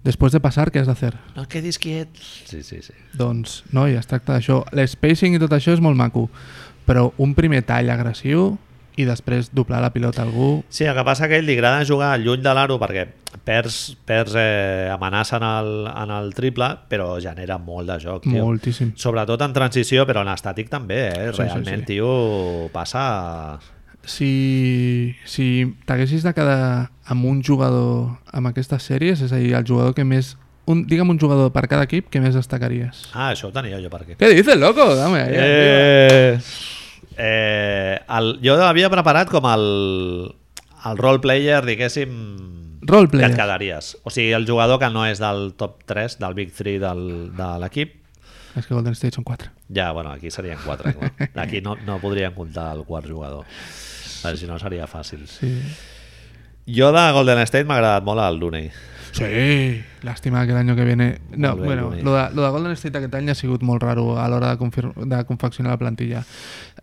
Speaker 2: després de passar, què has de fer?
Speaker 1: No et quedis quiet. Sí, sí, sí.
Speaker 2: Doncs, no, ja es tracta d'això. L'spacing i tot això és molt maco, però un primer tall agressiu i després doblar la pilota a algú...
Speaker 1: Sí, el que passa que a ell li agrada jugar lluny de l'aro perquè perds, perds eh, amenaça en el, en el triple, però genera molt de joc, tio.
Speaker 2: Moltíssim.
Speaker 1: Sobretot en transició, però en estàtic també, eh?
Speaker 2: Sí, sí,
Speaker 1: Realment,
Speaker 2: sí.
Speaker 1: tio, passa...
Speaker 2: Si, si t'haguessis de quedar amb un jugador amb aquestes sèries, és a dir, el jugador que més... Un, digue'm un jugador per cada equip que més destacaries.
Speaker 1: Ah, això ho tenia jo per aquí.
Speaker 2: Què dices, loco? Dame, ahí arriba.
Speaker 1: Eh, eh, el, jo havia preparat com el, el role player, diguéssim,
Speaker 2: Role
Speaker 1: que
Speaker 2: player.
Speaker 1: et quedaries. O sigui, el jugador que no és del top 3, del big 3 del, de l'equip,
Speaker 2: És que Golden State són 4.
Speaker 1: ja, bueno, aquí serien 4. Aquí no, no podríem comptar el quart jugador. Perquè si no seria fàcil.
Speaker 2: Sí.
Speaker 1: Jo de Golden State m'ha agradat molt el Looney.
Speaker 2: Sí. Lástima que el año que viene... No,
Speaker 1: Molt bé,
Speaker 2: bueno,
Speaker 1: Lluís.
Speaker 2: lo de, lo de Golden State aquest any ha sigut molt raro a l'hora de, confir- de confeccionar la plantilla.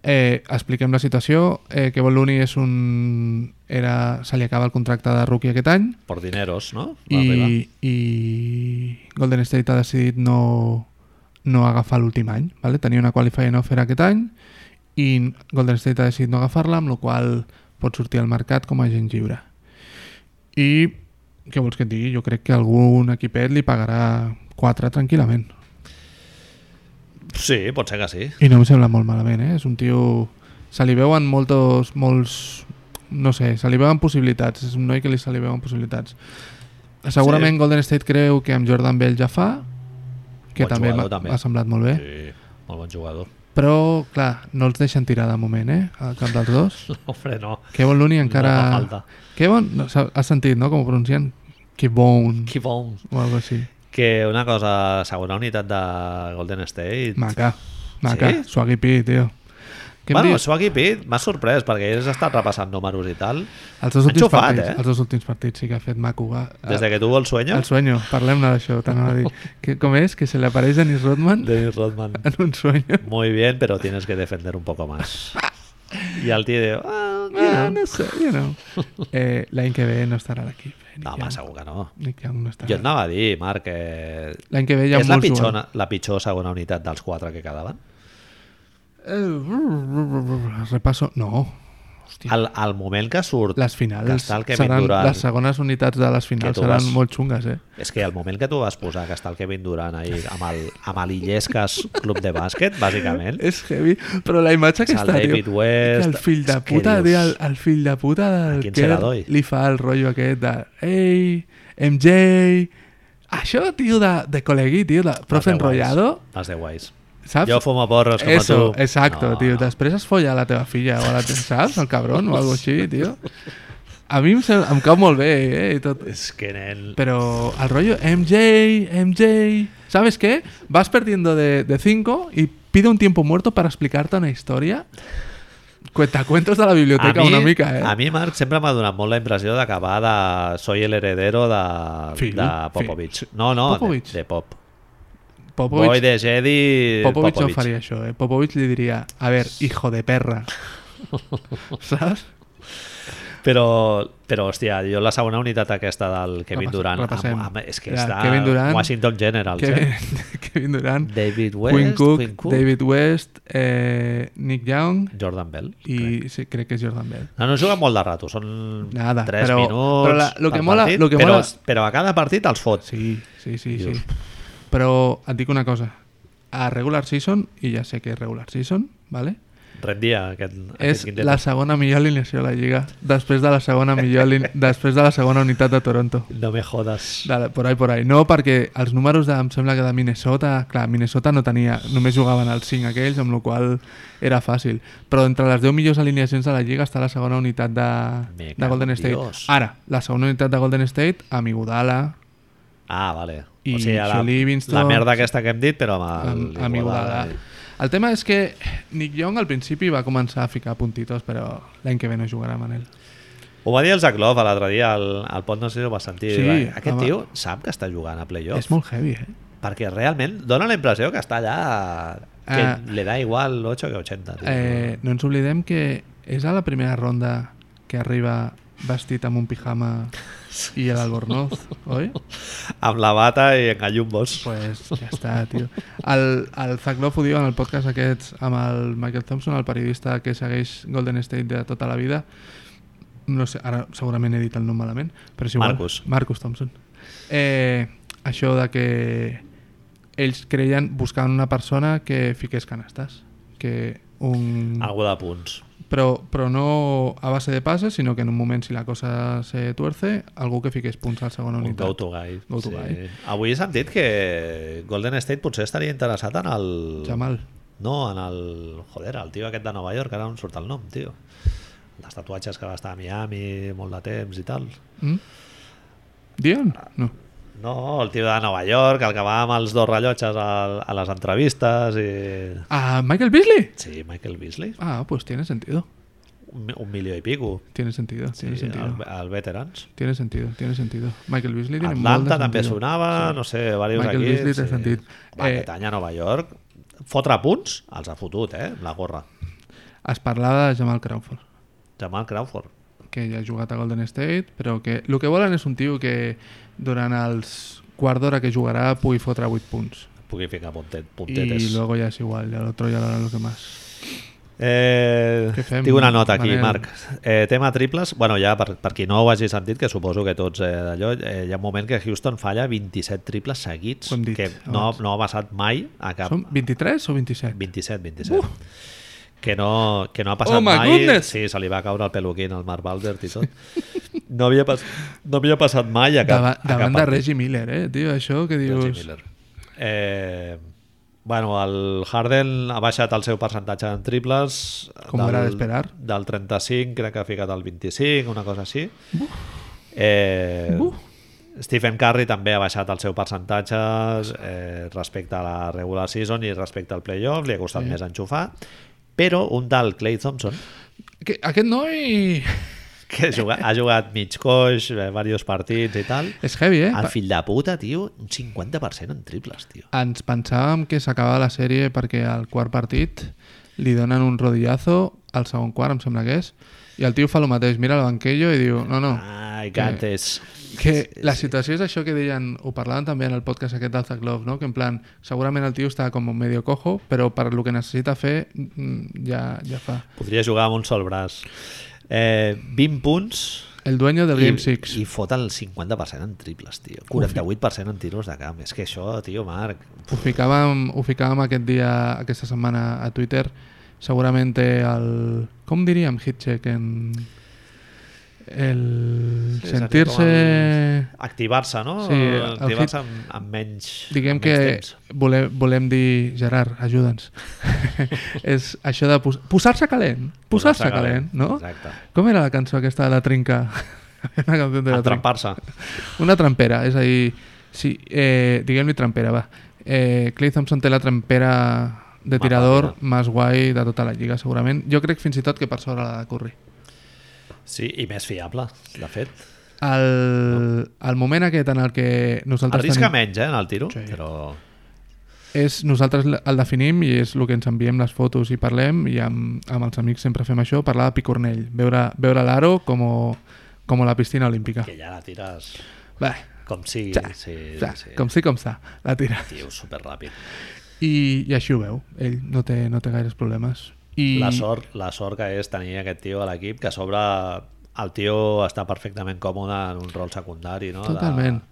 Speaker 2: Eh, expliquem la situació. Eh, que Boluni és un... Era, se li acaba el contracte de rookie aquest any
Speaker 1: Por dineros, no? Va arribar.
Speaker 2: i, i Golden State ha decidit no, no agafar l'últim any. Vale? Tenia una qualifying offer aquest any i Golden State ha decidit no agafar-la, amb la qual cosa pot sortir al mercat com a agent lliure. I què vols que et digui? Jo crec que algun equipet li pagarà 4 tranquil·lament.
Speaker 1: Sí, pot ser que sí.
Speaker 2: I no em sembla molt malament, eh? És un tio... Se li veuen moltos, molts... No sé, se li veuen possibilitats. És un noi que li se li veuen possibilitats. Segurament
Speaker 1: Sí.
Speaker 2: Golden State creu que amb Jordan Bell ja fa, que
Speaker 1: Bon
Speaker 2: també
Speaker 1: jugador,
Speaker 2: m'ha-
Speaker 1: també.
Speaker 2: m'ha semblat molt bé.
Speaker 1: Sí, molt bon jugador. [laughs]
Speaker 2: Però, clar, no els deixen tirar de moment, eh? A cap dels dos.
Speaker 1: [laughs] Hombre, no.
Speaker 2: Kevon Looney
Speaker 1: No fa
Speaker 2: encara...
Speaker 1: falta.
Speaker 2: Kevon, no, s'ha- has sentit, no? Com ho pronuncien? Kevon,
Speaker 1: Keep on.
Speaker 2: o algo així.
Speaker 1: Que una cosa, segona unitat de Golden State...
Speaker 2: Maca, maca.
Speaker 1: Sí?
Speaker 2: Sí? Swaggy P, tio. Què em
Speaker 1: bueno,
Speaker 2: dius?
Speaker 1: Swaggy Pitt m'ha sorprès perquè ells estat repassant números i tal.
Speaker 2: Els dos últims
Speaker 1: Enxufat,
Speaker 2: partits,
Speaker 1: eh?
Speaker 2: els dos últims partits sí que ha fet maco. Va.
Speaker 1: Des de que tuvo el sueño,
Speaker 2: Ah. El sueño, parlem-ne d'això, t'anava a dir.
Speaker 1: [laughs]
Speaker 2: Que, com és? Que se li apareix Dennis Rodman
Speaker 1: Dennis Rodman.
Speaker 2: en un sueño.
Speaker 1: Muy bien, pero tienes que defender un poco
Speaker 2: [laughs]
Speaker 1: más. Y al tío diu, "Ah,
Speaker 2: Ah, no sé, you know. Eh, L'any que ve no estarà a l'equip. Eh?
Speaker 1: no, home, segur que no.
Speaker 2: Nick Young no estarà.
Speaker 1: Jo et anava a dir, Marc, que
Speaker 2: L'any que ve hi ha
Speaker 1: és la
Speaker 2: molts
Speaker 1: pitjor,
Speaker 2: jugadors.
Speaker 1: la pitjor segona unitat dels quatre que quedaven.
Speaker 2: Eh, brr, brr, brr, repasso. Eh, No. Hòstia.
Speaker 1: Al, al moment que surt...
Speaker 2: Les finals
Speaker 1: Que està el Kevin
Speaker 2: seran
Speaker 1: Durant.
Speaker 2: les segones unitats de les finals
Speaker 1: tu
Speaker 2: seran
Speaker 1: vas-
Speaker 2: molt xungues, eh?
Speaker 1: És que al moment que tu vas posar que està el Kevin Durant ahir amb el, amb el Illescas Club de Bàsquet, bàsicament,
Speaker 2: És heavy, però la imatge [laughs] que
Speaker 1: És el
Speaker 2: està, tio,
Speaker 1: David West,
Speaker 2: que el fill de
Speaker 1: és que
Speaker 2: puta,
Speaker 1: dius,
Speaker 2: tio, el, el fill de puta
Speaker 1: ¿a
Speaker 2: del
Speaker 1: quién se la doy?
Speaker 2: li fa el rotllo aquest de ei, MJ... Això, tio, de, de col·legui, tio, de profe
Speaker 1: Els de Ah, guais.
Speaker 2: enrotllado,
Speaker 1: Els de guais.
Speaker 2: saps?
Speaker 1: Jo fumo porros com
Speaker 2: Eso,
Speaker 1: tu.
Speaker 2: exacto,
Speaker 1: No,
Speaker 2: tio.
Speaker 1: no.
Speaker 2: Després es folla la teva filla o la tens, saps? El cabron o alguna així, tio. A mi em, sembla, em cau molt bé, eh, i tot.
Speaker 1: És que nen...
Speaker 2: Pero al rollo MJ, MJ... ¿Sabes qué? Vas perdiendo de 5 y pide un tiempo muerto para explicarte una historia. Cuentacuentos de la biblioteca una mica, eh?
Speaker 1: a mi, Marc, sempre m'ha donat molt la impressió d'acabar de Soy el heredero de,
Speaker 2: Phil,
Speaker 1: de
Speaker 2: Phil.
Speaker 1: Popovich. No, no,
Speaker 2: Popovich.
Speaker 1: De, de Pop.
Speaker 2: Popovich,
Speaker 1: Popovich. Boy de Jedi
Speaker 2: Popovich
Speaker 1: Popovich.
Speaker 2: no faría eso, eh? Popovich le diría, a ver, hijo
Speaker 1: [laughs]
Speaker 2: de perra. ¿Sabes?
Speaker 1: Però, però, hòstia, jo la segona unitat aquesta del Kevin
Speaker 2: Repassa-
Speaker 1: Durant...
Speaker 2: repassem.
Speaker 1: Amb, amb, és que
Speaker 2: Ja,
Speaker 1: està...
Speaker 2: Kevin Durant,
Speaker 1: Washington Generals,
Speaker 2: Kevin,
Speaker 1: eh?
Speaker 2: [laughs] Kevin Durant,
Speaker 1: David West,
Speaker 2: Quinn Cook,
Speaker 1: Quinn Cook,
Speaker 2: David West, eh, Nick Young
Speaker 1: Jordan Bell. crec.
Speaker 2: y sí, creo que es Jordan Bell.
Speaker 1: No, no juguen molt de rato, són
Speaker 2: Nada,
Speaker 1: 3
Speaker 2: però-
Speaker 1: minuts...
Speaker 2: però la- lo que
Speaker 1: per
Speaker 2: mola-
Speaker 1: partit,
Speaker 2: lo que
Speaker 1: però,
Speaker 2: mola-
Speaker 1: però a cada partit els fot.
Speaker 2: Sí, sí, sí,
Speaker 1: Dius.
Speaker 2: sí. Però et dic una cosa. A regular season, i ja sé que és regular season, vale?
Speaker 1: Rendia aquest,
Speaker 2: és
Speaker 1: aquest quintet.
Speaker 2: la segona millor alineació de la Lliga, després de la segona millor alin- després de la segona unitat de Toronto.
Speaker 1: No me jodas.
Speaker 2: De, la- por ahí, por ahí. No, perquè els números de, em sembla que de Minnesota, clar, Minnesota no tenia, només jugaven els 5 aquells, amb la qual era fàcil. Però entre les 10 millors alineacions de la Lliga està la segona unitat
Speaker 1: Me
Speaker 2: de, de
Speaker 1: cago en
Speaker 2: Golden State.
Speaker 1: Dios.
Speaker 2: Ara, la segona unitat de Golden State, amb Iguodala
Speaker 1: Ah, vale.
Speaker 2: i
Speaker 1: o sigui, la,
Speaker 2: Jolie Livingston...
Speaker 1: la merda aquesta que hem dit, però amb,
Speaker 2: amb, amb Igualada. El tema és que Nick Young al principi va començar a ficar puntitos, però l'any que ve no jugarà Manel.
Speaker 1: Ho va dir el Zach Love l'altre dia, al, al pot no sé si ho va sentir.
Speaker 2: Sí,
Speaker 1: Sí, Aquest
Speaker 2: home.
Speaker 1: tio sap que està jugant a playoff,
Speaker 2: És molt heavy, eh?
Speaker 1: perquè realment dona la impressió que està allà que
Speaker 2: Ah.
Speaker 1: le da igual 8 que 80. Tio.
Speaker 2: eh? No ens oblidem que és a la primera ronda que arriba vestit amb un pijama i el albornoz, oi?
Speaker 1: Amb la bata i engallumbos.
Speaker 2: pues ja està, tio. El, el Zach Lowe ho diu en el podcast aquest amb el Michael Thompson, el periodista que segueix Golden State de tota la vida. No sé, ara segurament he dit el nom malament, però és igual.
Speaker 1: Marcus.
Speaker 2: Marcus Thompson. Eh, això de que ells creien buscaven una persona que fiqués canastes, que un...
Speaker 1: Algú de punts.
Speaker 2: Però, però no a base de passes, sinó que en un moment, si la cosa se tuerce, algú que fiqués punts al segon
Speaker 1: Un
Speaker 2: unitat.
Speaker 1: go to guy.
Speaker 2: Go to guy.
Speaker 1: Avui he sentit que Golden State potser estaria interessat en el...
Speaker 2: Jamal.
Speaker 1: No, en el... Joder, el tio aquest de Nova York, ara no em surt el nom, tio. Les tatuatges que va estar a Miami molt de temps i tal.
Speaker 2: Mm? Dion? No.
Speaker 1: No, el tio de Nova York, el que va amb els dos rellotges a, a les entrevistes i...
Speaker 2: ¿A Ah, Michael Beasley?
Speaker 1: Sí, Michael Beasley.
Speaker 2: Ah, pues tiene sentido.
Speaker 1: Un, mi- un milió i pico.
Speaker 2: Tiene sentido, tiene
Speaker 1: Sí,
Speaker 2: sentido.
Speaker 1: el, el Veterans.
Speaker 2: Tiene sentido, tiene sentido. Michael Beasley tiene molt de
Speaker 1: Atlanta també
Speaker 2: sentit.
Speaker 1: sonava, no sé, diversos
Speaker 2: Michael
Speaker 1: equips.
Speaker 2: Beasley té sentit.
Speaker 1: Va,
Speaker 2: Eh,
Speaker 1: eh... Tanya, Nova York, fotre punts, els ha fotut, eh, amb la gorra.
Speaker 2: Es parlava de Jamal Crawford,
Speaker 1: Jamal Crawford.
Speaker 2: que ja ha jugat a Golden State, però que el que volen és un tio que durant els quart d'hora que jugarà pugui fotre 8 punts.
Speaker 1: Pugui ficar puntet, puntetes.
Speaker 2: I luego ya es igual, ya lo otro ya lo hará lo que más.
Speaker 1: Eh,
Speaker 2: Què fem,
Speaker 1: tinc una nota aquí,
Speaker 2: Manel?
Speaker 1: Marc. Eh, tema triples, bueno, ja per, per qui no ho hagi sentit, que suposo que tots eh, d'allò, eh, hi ha un moment que Houston falla 27 triples seguits,
Speaker 2: Ho hem dit
Speaker 1: que no,
Speaker 2: abans.
Speaker 1: no ha passat mai a cap...
Speaker 2: Som 23 o 27?
Speaker 1: 27, 27. Que no, que no ha passat
Speaker 2: Oh my
Speaker 1: mai.
Speaker 2: goodness!
Speaker 1: Sí, se li va caure el peluquín al Mark Baldert i tot. No havia, pas, no havia passat mai a cap...
Speaker 2: Davant,
Speaker 1: a cap
Speaker 2: davant de
Speaker 1: partit.
Speaker 2: Reggie Miller, eh, tio, això que
Speaker 1: Reggie
Speaker 2: dius...
Speaker 1: Miller. Eh, bueno, el Harden ha baixat el seu percentatge en triples
Speaker 2: Com era d'esperar.
Speaker 1: del 35, crec que ha ficat el 25, una cosa així eh,
Speaker 2: Buf.
Speaker 1: Stephen Curry també ha baixat el seu percentatge eh, respecte a la regular season i respecte al playoff, li ha costat
Speaker 2: Sí.
Speaker 1: més enxufar però un tal Clay Thompson
Speaker 2: Que, aquest noi...
Speaker 1: que ha jugat, ha jugat mig coix eh, diversos partits i tal
Speaker 2: És heavy, eh?
Speaker 1: el
Speaker 2: Pa-
Speaker 1: fill de puta, tio, un 50% en triples, tio.
Speaker 2: ens pensàvem que s'acabava la sèrie perquè al quart partit li donen un rodillazo al segon quart, em sembla que és, i el tio fa el mateix, mira el banquillo i diu, no, no,
Speaker 1: Ai, cantes.
Speaker 2: que la situació és això que deien, ho parlaven també en el podcast aquest del Zach Love, no? que en plan, segurament el tio està com medio cojo, però per lo que necessita fer mm, ja, ja fa.
Speaker 1: Podria jugar amb un sol braç. Eh, 20 punts
Speaker 2: El dueño del
Speaker 1: i,
Speaker 2: Game 6.
Speaker 1: i fot el 50% en triples, tio. 48% en tiros de camp. És que això, tio, Marc...
Speaker 2: Ho ficàvem, ho ficàvem aquest dia, aquesta setmana a Twitter. Segurament té el... Com diríem Hitchcock en... El
Speaker 1: Sí,
Speaker 2: sentir-se...
Speaker 1: seria Activar-se, no?
Speaker 2: Sí, el
Speaker 1: Activar-se amb, amb menys
Speaker 2: Diguem
Speaker 1: amb menys
Speaker 2: que
Speaker 1: Temps.
Speaker 2: volem, volem dir, Gerard,
Speaker 1: [laughs]
Speaker 2: ajuda'ns. és això de pos posar-se calent. Posar-se calent, no?
Speaker 1: Exacte.
Speaker 2: Com era la cançó aquesta de la trinca? [laughs] Una cançó de la trinca.
Speaker 1: Entrampar-se.
Speaker 2: Una trampera, és a dir, sí, eh, diguem-li trampera, va. Eh, Clay Thompson té la trampera de
Speaker 1: Más
Speaker 2: tirador
Speaker 1: ràpida.
Speaker 2: més guai de tota la lliga, segurament. Jo crec fins i tot que per sobre la de Curry.
Speaker 1: Sí, i més fiable, de fet.
Speaker 2: El, el moment aquest en el que nosaltres
Speaker 1: Arrisca
Speaker 2: tenim,
Speaker 1: menys, eh, en el tiro,
Speaker 2: Sí.
Speaker 1: però...
Speaker 2: és, nosaltres el definim i és el que ens enviem les fotos i parlem i amb, amb els amics sempre fem això, parlar de picornell, veure, veure l'aro com, com la piscina olímpica.
Speaker 1: Que ja la tires
Speaker 2: Bé,
Speaker 1: com sigui.
Speaker 2: Ja,
Speaker 1: sí,
Speaker 2: ja,
Speaker 1: Eh, sí.
Speaker 2: com sí, com està, la tira.
Speaker 1: Tio, superràpid.
Speaker 2: I, i així ho veu, ell no té, no té gaires problemes. I
Speaker 1: La sort, la sort que és tenir aquest tio a l'equip, que a sobre el tio està perfectament còmode en un rol secundari, no? De-
Speaker 2: Totalment.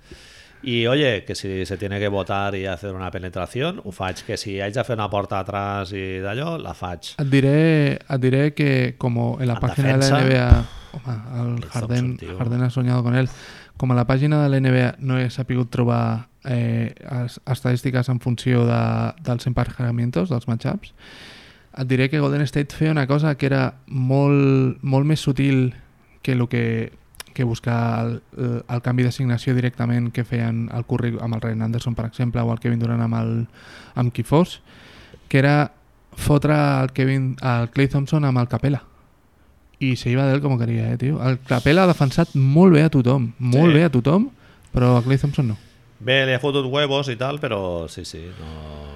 Speaker 1: I, oye, que si se tiene que votar i hacer una penetración, ho faig, que si haig de fer una porta atrás i d'allò, la faig.
Speaker 2: et diré, et diré que com en la
Speaker 1: En
Speaker 2: pàgina
Speaker 1: defensa,
Speaker 2: de la NBA... Home, el
Speaker 1: Clay
Speaker 2: Harden,
Speaker 1: Thompson, tio.
Speaker 2: Harden ha soñado con ell. Com a la pàgina de la NBA no he sabut trobar eh, es, estadístiques en funció de, dels emparejamientos, dels matchups, et diré que Golden State feia una cosa que era molt, molt més sutil que el que, que buscar el, el, el canvi d'assignació directament que feien el curri amb el Ryan Anderson, per exemple, o el Kevin Durant amb, el, amb qui fos, que era fotre el, Kevin, el Clay Thompson amb el Capella. I se iba d'ell com queria, eh, tio. El Capella ha defensat molt bé a tothom,
Speaker 1: Sí.
Speaker 2: molt bé a tothom, però a Clay Thompson no.
Speaker 1: Bé, li ha fotut huevos i tal, però sí, sí, no...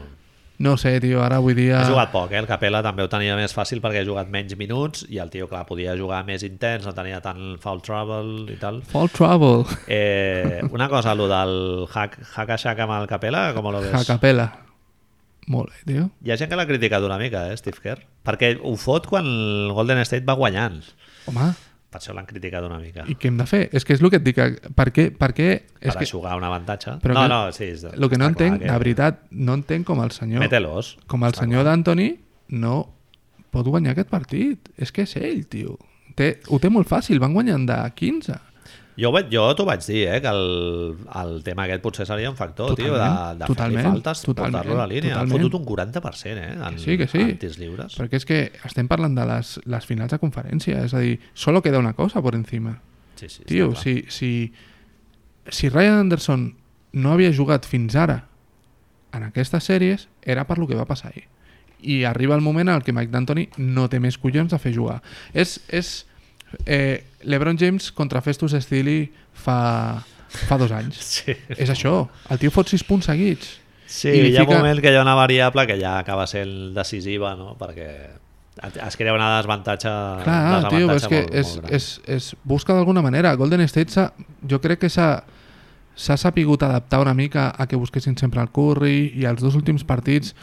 Speaker 2: No sé, tio, ara avui dia...
Speaker 1: Ha jugat poc, eh? El Capella també ho tenia més fàcil perquè ha jugat menys minuts i el tio, clar, podia jugar més intens, no tenia tant foul trouble i tal.
Speaker 2: Fall Trouble,
Speaker 1: Eh, una cosa, lo del hack, hack a shack amb el Capella, com lo
Speaker 2: a
Speaker 1: ves?
Speaker 2: capella. Molt bé, tio.
Speaker 1: Hi ha gent que l'ha criticat una mica, eh, Steve Kerr? Perquè ho fot quan el Golden State va guanyant.
Speaker 2: Home,
Speaker 1: Per això l'han criticat una mica.
Speaker 2: i què hem de fer? És que és el que et dic, eh, per què, per què
Speaker 1: Per
Speaker 2: és que,
Speaker 1: aixugar un avantatge.
Speaker 2: però
Speaker 1: no,
Speaker 2: que-
Speaker 1: no, sí. és-
Speaker 2: el que no
Speaker 1: està clar
Speaker 2: entenc, de veritat, no entenc com el senyor
Speaker 1: Mételos.
Speaker 2: com el senyor d'Anthony no pot guanyar aquest partit. És que és ell, tio. Té, ho té molt fàcil, van guanyant de 15.
Speaker 1: Jo, ho vaig- jo t'ho vaig dir, eh, que el, el tema aquest potser seria un factor, tio, de,
Speaker 2: Totalment,
Speaker 1: de
Speaker 2: totalment,
Speaker 1: fer-li faltes,
Speaker 2: totalment,
Speaker 1: portar-lo a la línia.
Speaker 2: totalment.
Speaker 1: Ha fotut un 40%, eh, en,
Speaker 2: Que sí, que sí.
Speaker 1: en tirs lliures.
Speaker 2: Perquè és que estem parlant de les, les finals de conferència, és a dir, solo queda una cosa per encima.
Speaker 1: Sí, sí,
Speaker 2: Tio,
Speaker 1: està clar.
Speaker 2: si, si, si Ryan Anderson no havia jugat fins ara en aquestes sèries, era per lo que va passar ahir. I arriba el moment en el que Mike D'Antoni no té més collons de fer jugar. És, és eh, LeBron James contra Festus Stili fa, fa dos anys.
Speaker 1: Sí,
Speaker 2: és això. El tio fot sis punts seguits.
Speaker 1: sí
Speaker 2: I li
Speaker 1: hi ha un
Speaker 2: fica-
Speaker 1: moment que hi ha una variable que ja acaba sent decisiva, no?, perquè et- es crea una desavantatge,
Speaker 2: Clar,
Speaker 1: Ah, desavantatge
Speaker 2: tio, però és que
Speaker 1: molt,
Speaker 2: és,
Speaker 1: molt gran.
Speaker 2: és, és, busca d'alguna manera. Golden State s'ha- jo crec que s'ha s'ha sapigut adaptar una mica a que busquessin sempre el Curry i els dos últims partits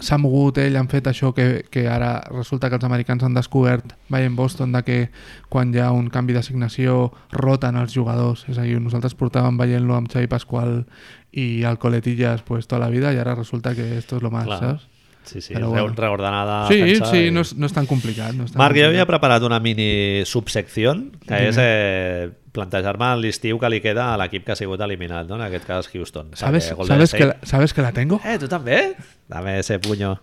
Speaker 2: s'ha mogut ell, han fet això que, que ara resulta que els americans han descobert veient Boston de que quan hi ha un canvi d'assignació roten els jugadors és a dir, nosaltres portàvem veient-lo amb Xavi Pasqual i el Coletillas pues, tota la vida i ara resulta que esto es lo más,
Speaker 1: Clar.
Speaker 2: saps?
Speaker 1: Sí, sí,
Speaker 2: Però
Speaker 1: reu-
Speaker 2: bueno.
Speaker 1: reordenada
Speaker 2: Sí,
Speaker 1: defensa
Speaker 2: sí,
Speaker 1: i-
Speaker 2: no és, no és tan complicat. No és tan
Speaker 1: Marc, jo
Speaker 2: complicat.
Speaker 1: havia preparat una mini subsecció que
Speaker 2: Dime.
Speaker 1: és eh, plantejar-me l'estiu que li queda a l'equip que ha sigut eliminat, no? en aquest cas Houston.
Speaker 2: ¿Sabes,
Speaker 1: Perquè Golden
Speaker 2: ¿sabes, que
Speaker 1: State-
Speaker 2: la, Oh! ¿Sabes que la tengo?
Speaker 1: Eh, tu també? Dame ese puño.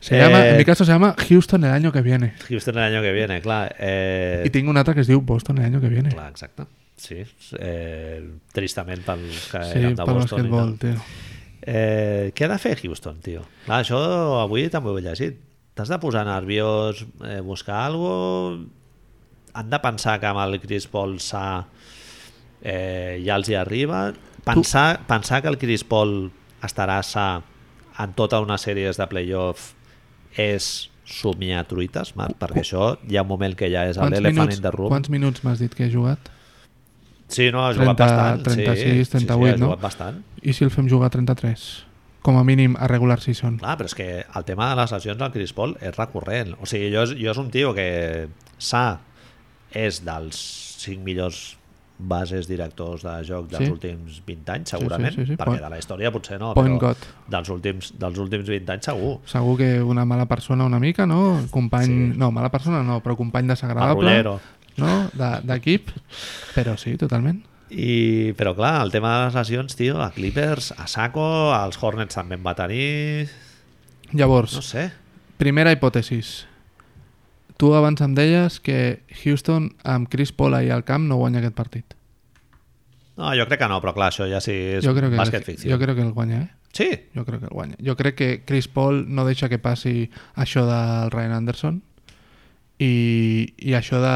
Speaker 2: Se
Speaker 1: Eh,
Speaker 2: llama, en mi caso se llama Houston el año que viene.
Speaker 1: Houston el año que viene, clar. Eh,
Speaker 2: Y tengo un ataque que es diu Boston el año que viene.
Speaker 1: Clar, exacte. Sí, eh, tristament pels que
Speaker 2: sí,
Speaker 1: eren de
Speaker 2: para el
Speaker 1: eh, Boston. i tal.
Speaker 2: basquetbol, tío.
Speaker 1: Eh, què ha de fer Houston, tio? Clar, això avui també ho he llegit. T'has de posar nerviós, eh, buscar alguna cosa... Han de pensar que amb el Chris Paul s'ha... Eh, ja els hi arriba. Pensar, pensar que el Chris Paul estarà sa en tota una sèrie de playoff és somiar truites, Marc, perquè això hi ha un moment que ja és
Speaker 2: Quants
Speaker 1: l'elefant
Speaker 2: minuts,
Speaker 1: in the room.
Speaker 2: quants minuts m'has dit que he jugat?
Speaker 1: Sí, no, ha jugat
Speaker 2: 30,
Speaker 1: bastant.
Speaker 2: 36,
Speaker 1: sí,
Speaker 2: 38,
Speaker 1: sí, sí, ha
Speaker 2: no?
Speaker 1: jugat bastant.
Speaker 2: I si el fem jugar a 33? Com a mínim a regular season.
Speaker 1: Clar, però és que el tema de les lesions del Chris Paul és recurrent. O sigui, jo, és- jo és un tio que sa és dels 5 millors bases directors de joc dels
Speaker 2: Sí.
Speaker 1: últims 20 anys, segurament,
Speaker 2: sí, sí, sí.
Speaker 1: perquè
Speaker 2: Point-
Speaker 1: de la història potser no,
Speaker 2: Point
Speaker 1: però
Speaker 2: God.
Speaker 1: dels últims, dels últims 20 anys segur.
Speaker 2: Segur que una mala persona una mica, no? Company...
Speaker 1: Sí.
Speaker 2: No, mala persona no, però company desagradable.
Speaker 1: Marrullero.
Speaker 2: No? De- D'equip. però sí, totalment.
Speaker 1: I, però clar, el tema de les lesions, tio, a Clippers, a Saco, als Hornets també en va tenir...
Speaker 2: Llavors,
Speaker 1: No sé.
Speaker 2: Primera hipòtesis. Tu abans em deies que Houston amb Chris Paul ahir al camp no guanya aquest partit.
Speaker 1: No, jo crec que no, però clar, això ja sí és
Speaker 2: jo crec que,
Speaker 1: bàsquet ficció.
Speaker 2: Jo crec que el guanya, eh?
Speaker 1: Sí,
Speaker 2: Jo crec que el guanya. Jo crec que Chris Paul no deixa que passi això del Ryan Anderson i, i això de...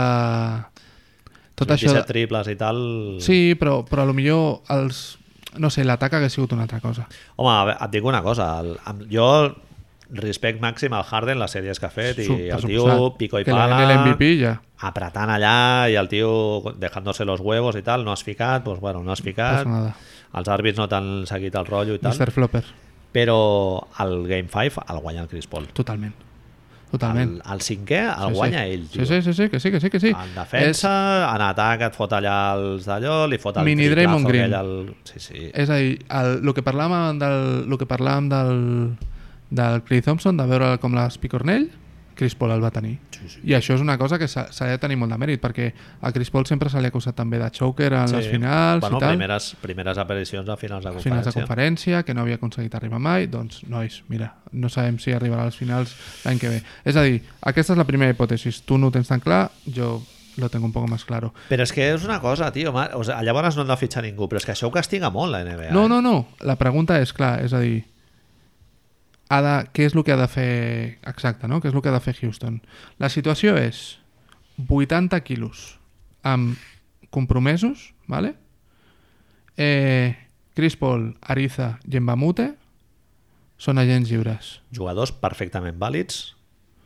Speaker 2: Tot això...
Speaker 1: 27
Speaker 2: De...
Speaker 1: triples i tal...
Speaker 2: Sí, però, però a lo millor els... No sé, l'atac hagués sigut una altra cosa.
Speaker 1: Home, a ve- et dic una cosa, el, amb, jo respect màxim al Harden, les sèries que ha fet, i
Speaker 2: Su-
Speaker 1: el
Speaker 2: per
Speaker 1: Eh, tio
Speaker 2: suposat.
Speaker 1: pico i
Speaker 2: Que li den el
Speaker 1: pala,
Speaker 2: MVP ja.
Speaker 1: apretant allà, i el tio dejándose los huevos i tal, no has ficat, doncs bueno, no has ficat,
Speaker 2: Passa nada.
Speaker 1: els àrbits no t'han seguit el rotllo i tal,
Speaker 2: Mr. Flopper.
Speaker 1: però el Game 5 el guanya el Chris Paul.
Speaker 2: Totalment. Totalment.
Speaker 1: El, el cinquè el
Speaker 2: Sí, sí.
Speaker 1: guanya ell, tio.
Speaker 2: Sí, sí, sí, sí, que sí, que sí, que sí.
Speaker 1: En defensa, en atac, et fot allà els d'allò, li fot el
Speaker 2: Mini
Speaker 1: triplazo
Speaker 2: Draymond Green.
Speaker 1: aquell al- Sí, sí.
Speaker 2: És, és a dir, el, el que parlàvem del, el que parlàvem del, del Clay Thompson, de veure com les Picornell, Chris Paul el va tenir.
Speaker 1: Sí, sí.
Speaker 2: I això és una cosa que s'ha s'ha de tenir molt de mèrit, perquè a Chris Paul sempre se li ha acusat també de choker en sí. les finals
Speaker 1: bueno,
Speaker 2: i tal.
Speaker 1: Primeres, primeres aparicions a finals de
Speaker 2: A
Speaker 1: conferència.
Speaker 2: finals de conferència, que no havia aconseguit arribar mai, doncs, nois, mira, no sabem si arribarà a les finals l'any que ve. És a dir, aquesta és la primera hipòtesi. Tu no ho tens tan clar, jo lo tengo un poco más claro.
Speaker 1: Però és que és una cosa, tio. ma- O sigui, llavors no han de fitxar ningú, però és que això ho castiga molt la NBA.
Speaker 2: No,
Speaker 1: eh?
Speaker 2: no, no. La pregunta és, clar, és a dir, ha de, què és el que ha de fer... Exacte, no? Què és el que ha de fer Houston? La situació és 80 quilos amb compromesos, vale? Eh, Chris Paul, Ariza i Embamute són agents lliures.
Speaker 1: Jugadors perfectament vàlids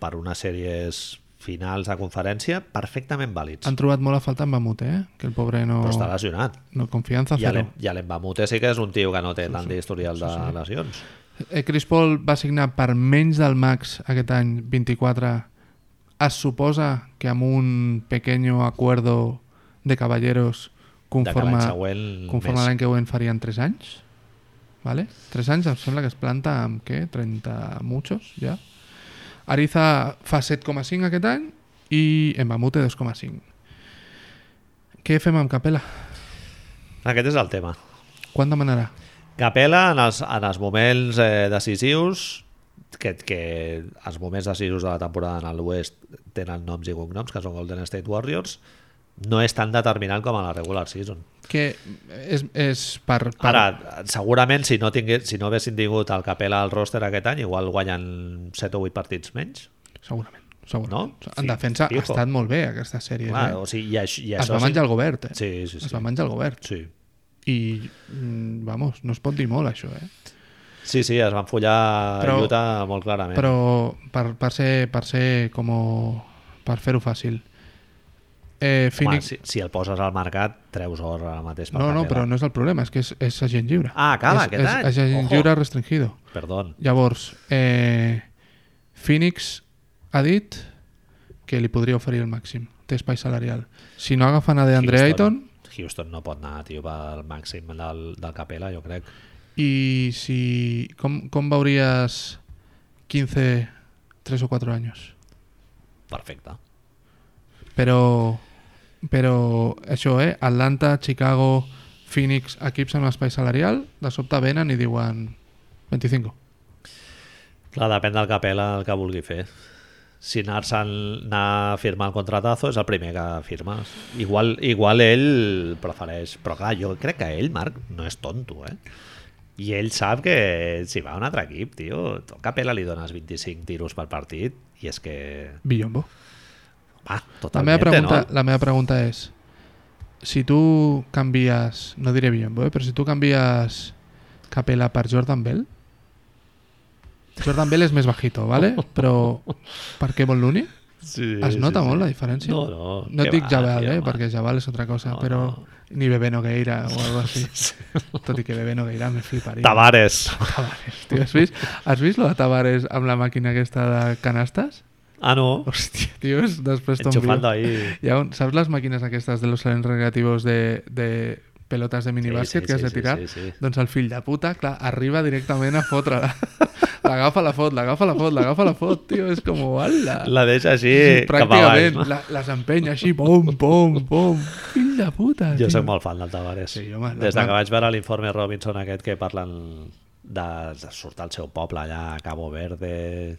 Speaker 1: per unes sèries finals de conferència perfectament vàlids.
Speaker 2: Han trobat molt a faltar Embamute, eh? Que el pobre no...
Speaker 1: Però està lesionat.
Speaker 2: No, confiança
Speaker 1: I a
Speaker 2: zero.
Speaker 1: l'Em- I a l'Embamute sí que és un tio que no té tant d'historial de lesions.
Speaker 2: Eh, Chris Paul va signar per menys del max aquest any, 24. Es suposa que amb un pequeño acuerdo de caballeros
Speaker 1: De que
Speaker 2: conforme,
Speaker 1: l'any següent...
Speaker 2: conforme l'any que següent farien 3 anys. Vale? 3 anys em sembla que es planta amb què? 30 muchos ja. Ariza fa 7,5 aquest any i Embamute 2,5. Què fem amb Capella?
Speaker 1: més. Aquest és el tema.
Speaker 2: Quan demanarà?
Speaker 1: Capela en els, en els moments eh, decisius que, que els moments decisius de la temporada en l'Oest tenen noms i cognoms que són Golden State Warriors no és tan determinant com a la regular season
Speaker 2: Que és, és per, per...
Speaker 1: ara, segurament si no, tingués, si no haguessin tingut el Capela al roster aquest any igual guanyen 7 o 8 partits menys
Speaker 2: Segurament. segurament.
Speaker 1: No?
Speaker 2: No? En
Speaker 1: Sí,
Speaker 2: defensa
Speaker 1: fijo.
Speaker 2: ha estat molt bé aquesta sèrie.
Speaker 1: Clar,
Speaker 2: eh?
Speaker 1: o sigui, i, això, i
Speaker 2: es
Speaker 1: això
Speaker 2: va menjar el govern, eh?
Speaker 1: sí, sí, sí,
Speaker 2: Es va menjar el govern.
Speaker 1: sí.
Speaker 2: I, mm, vamos, no es pot dir molt, això, eh?
Speaker 1: sí, sí, es van follar Però...
Speaker 2: Però-
Speaker 1: Utah molt clarament
Speaker 2: Però per, per ser, per ser com... per fer-ho fàcil. Eh,
Speaker 1: Home,
Speaker 2: Phoenix...
Speaker 1: si, si el poses al mercat treus or ara mateix per
Speaker 2: no, no,
Speaker 1: Capela.
Speaker 2: però no és el problema, és que és, és agent lliure.
Speaker 1: Ah, acaba
Speaker 2: és,
Speaker 1: aquest
Speaker 2: és,
Speaker 1: any.
Speaker 2: És agent
Speaker 1: Ojo.
Speaker 2: lliure restringido.
Speaker 1: Perdón.
Speaker 2: Llavors, eh, Phoenix ha dit que li podria oferir el màxim. Té espai salarial. Si no agafen a DeAndre Ayton,
Speaker 1: Houston no pot anar, tio, pel màxim del, del Capela, jo crec.
Speaker 2: Y si. ¿Cómo, cómo veuries 15, 3 o 4 años?
Speaker 1: Perfecte.
Speaker 2: Pero. Pero això, eh? Atlanta, Chicago, Phoenix, equips amb espai salarial, de sobte venen i diuen 25.
Speaker 1: Clar, depèn del Capela el que vulgui fer. Si anar-se'n anar a firmar el contratazo és el primer que firma. Igual, igual ell prefereix... Però clar, jo crec que ell, Marc, no és tonto, eh? I ell sap que si va a un altre equip, tio, tu al Capela li dones 25 tiros per partit i és que...
Speaker 2: Billombo.
Speaker 1: Va,
Speaker 2: La
Speaker 1: totalment,
Speaker 2: meva, pregunta,
Speaker 1: no?
Speaker 2: la meva pregunta és si tu canvies, no diré Billombo, eh? però si tu canvies Capella per Jordan Bell Jordan Bell és més bajito, ¿vale? però per Kevon Looney
Speaker 1: Sí,
Speaker 2: Es nota molt la diferència?
Speaker 1: No, no.
Speaker 2: No et
Speaker 1: què
Speaker 2: dic
Speaker 1: va,
Speaker 2: Jabal,
Speaker 1: tio,
Speaker 2: eh?
Speaker 1: home.
Speaker 2: Perquè Jabal és otra cosa,
Speaker 1: No,
Speaker 2: però
Speaker 1: no.
Speaker 2: ni Bebé Nogueira o algo
Speaker 1: [laughs]
Speaker 2: así. Tot i que Bebé Nogueira me fliparia.
Speaker 1: Tavares.
Speaker 2: Tavares, tio, has vist? Has vist lo de Tavares amb la màquina aquesta de canastes?
Speaker 1: Ah, no.
Speaker 2: Hòstia, tio, és- després
Speaker 1: Enchufando
Speaker 2: t'envio.
Speaker 1: ahí.
Speaker 2: Hi ha un, saps les màquines aquestes de los salones recreativos de, de pelotes de minibàsquet
Speaker 1: sí,
Speaker 2: que has
Speaker 1: sí,
Speaker 2: de
Speaker 1: sí,
Speaker 2: tirar?
Speaker 1: sí, sí.
Speaker 2: Doncs el fill de puta, clar, arriba directament a fotre-la. [laughs] L'agafa, la fot, l'agafa, la fot, l'agafa, la fot, tio, és com, uala.
Speaker 1: La deixa així cap avall.
Speaker 2: Pràcticament,
Speaker 1: No?
Speaker 2: la, les empenya així, pom, pom,
Speaker 1: [laughs]
Speaker 2: pom. Fill de puta,
Speaker 1: Jo
Speaker 2: tio.
Speaker 1: sóc molt fan del Tavares.
Speaker 2: Sí, home,
Speaker 1: Des de
Speaker 2: la-
Speaker 1: que vaig veure l'informe Robinson aquest que parlen de, de sortir al seu poble allà a Cabo Verde,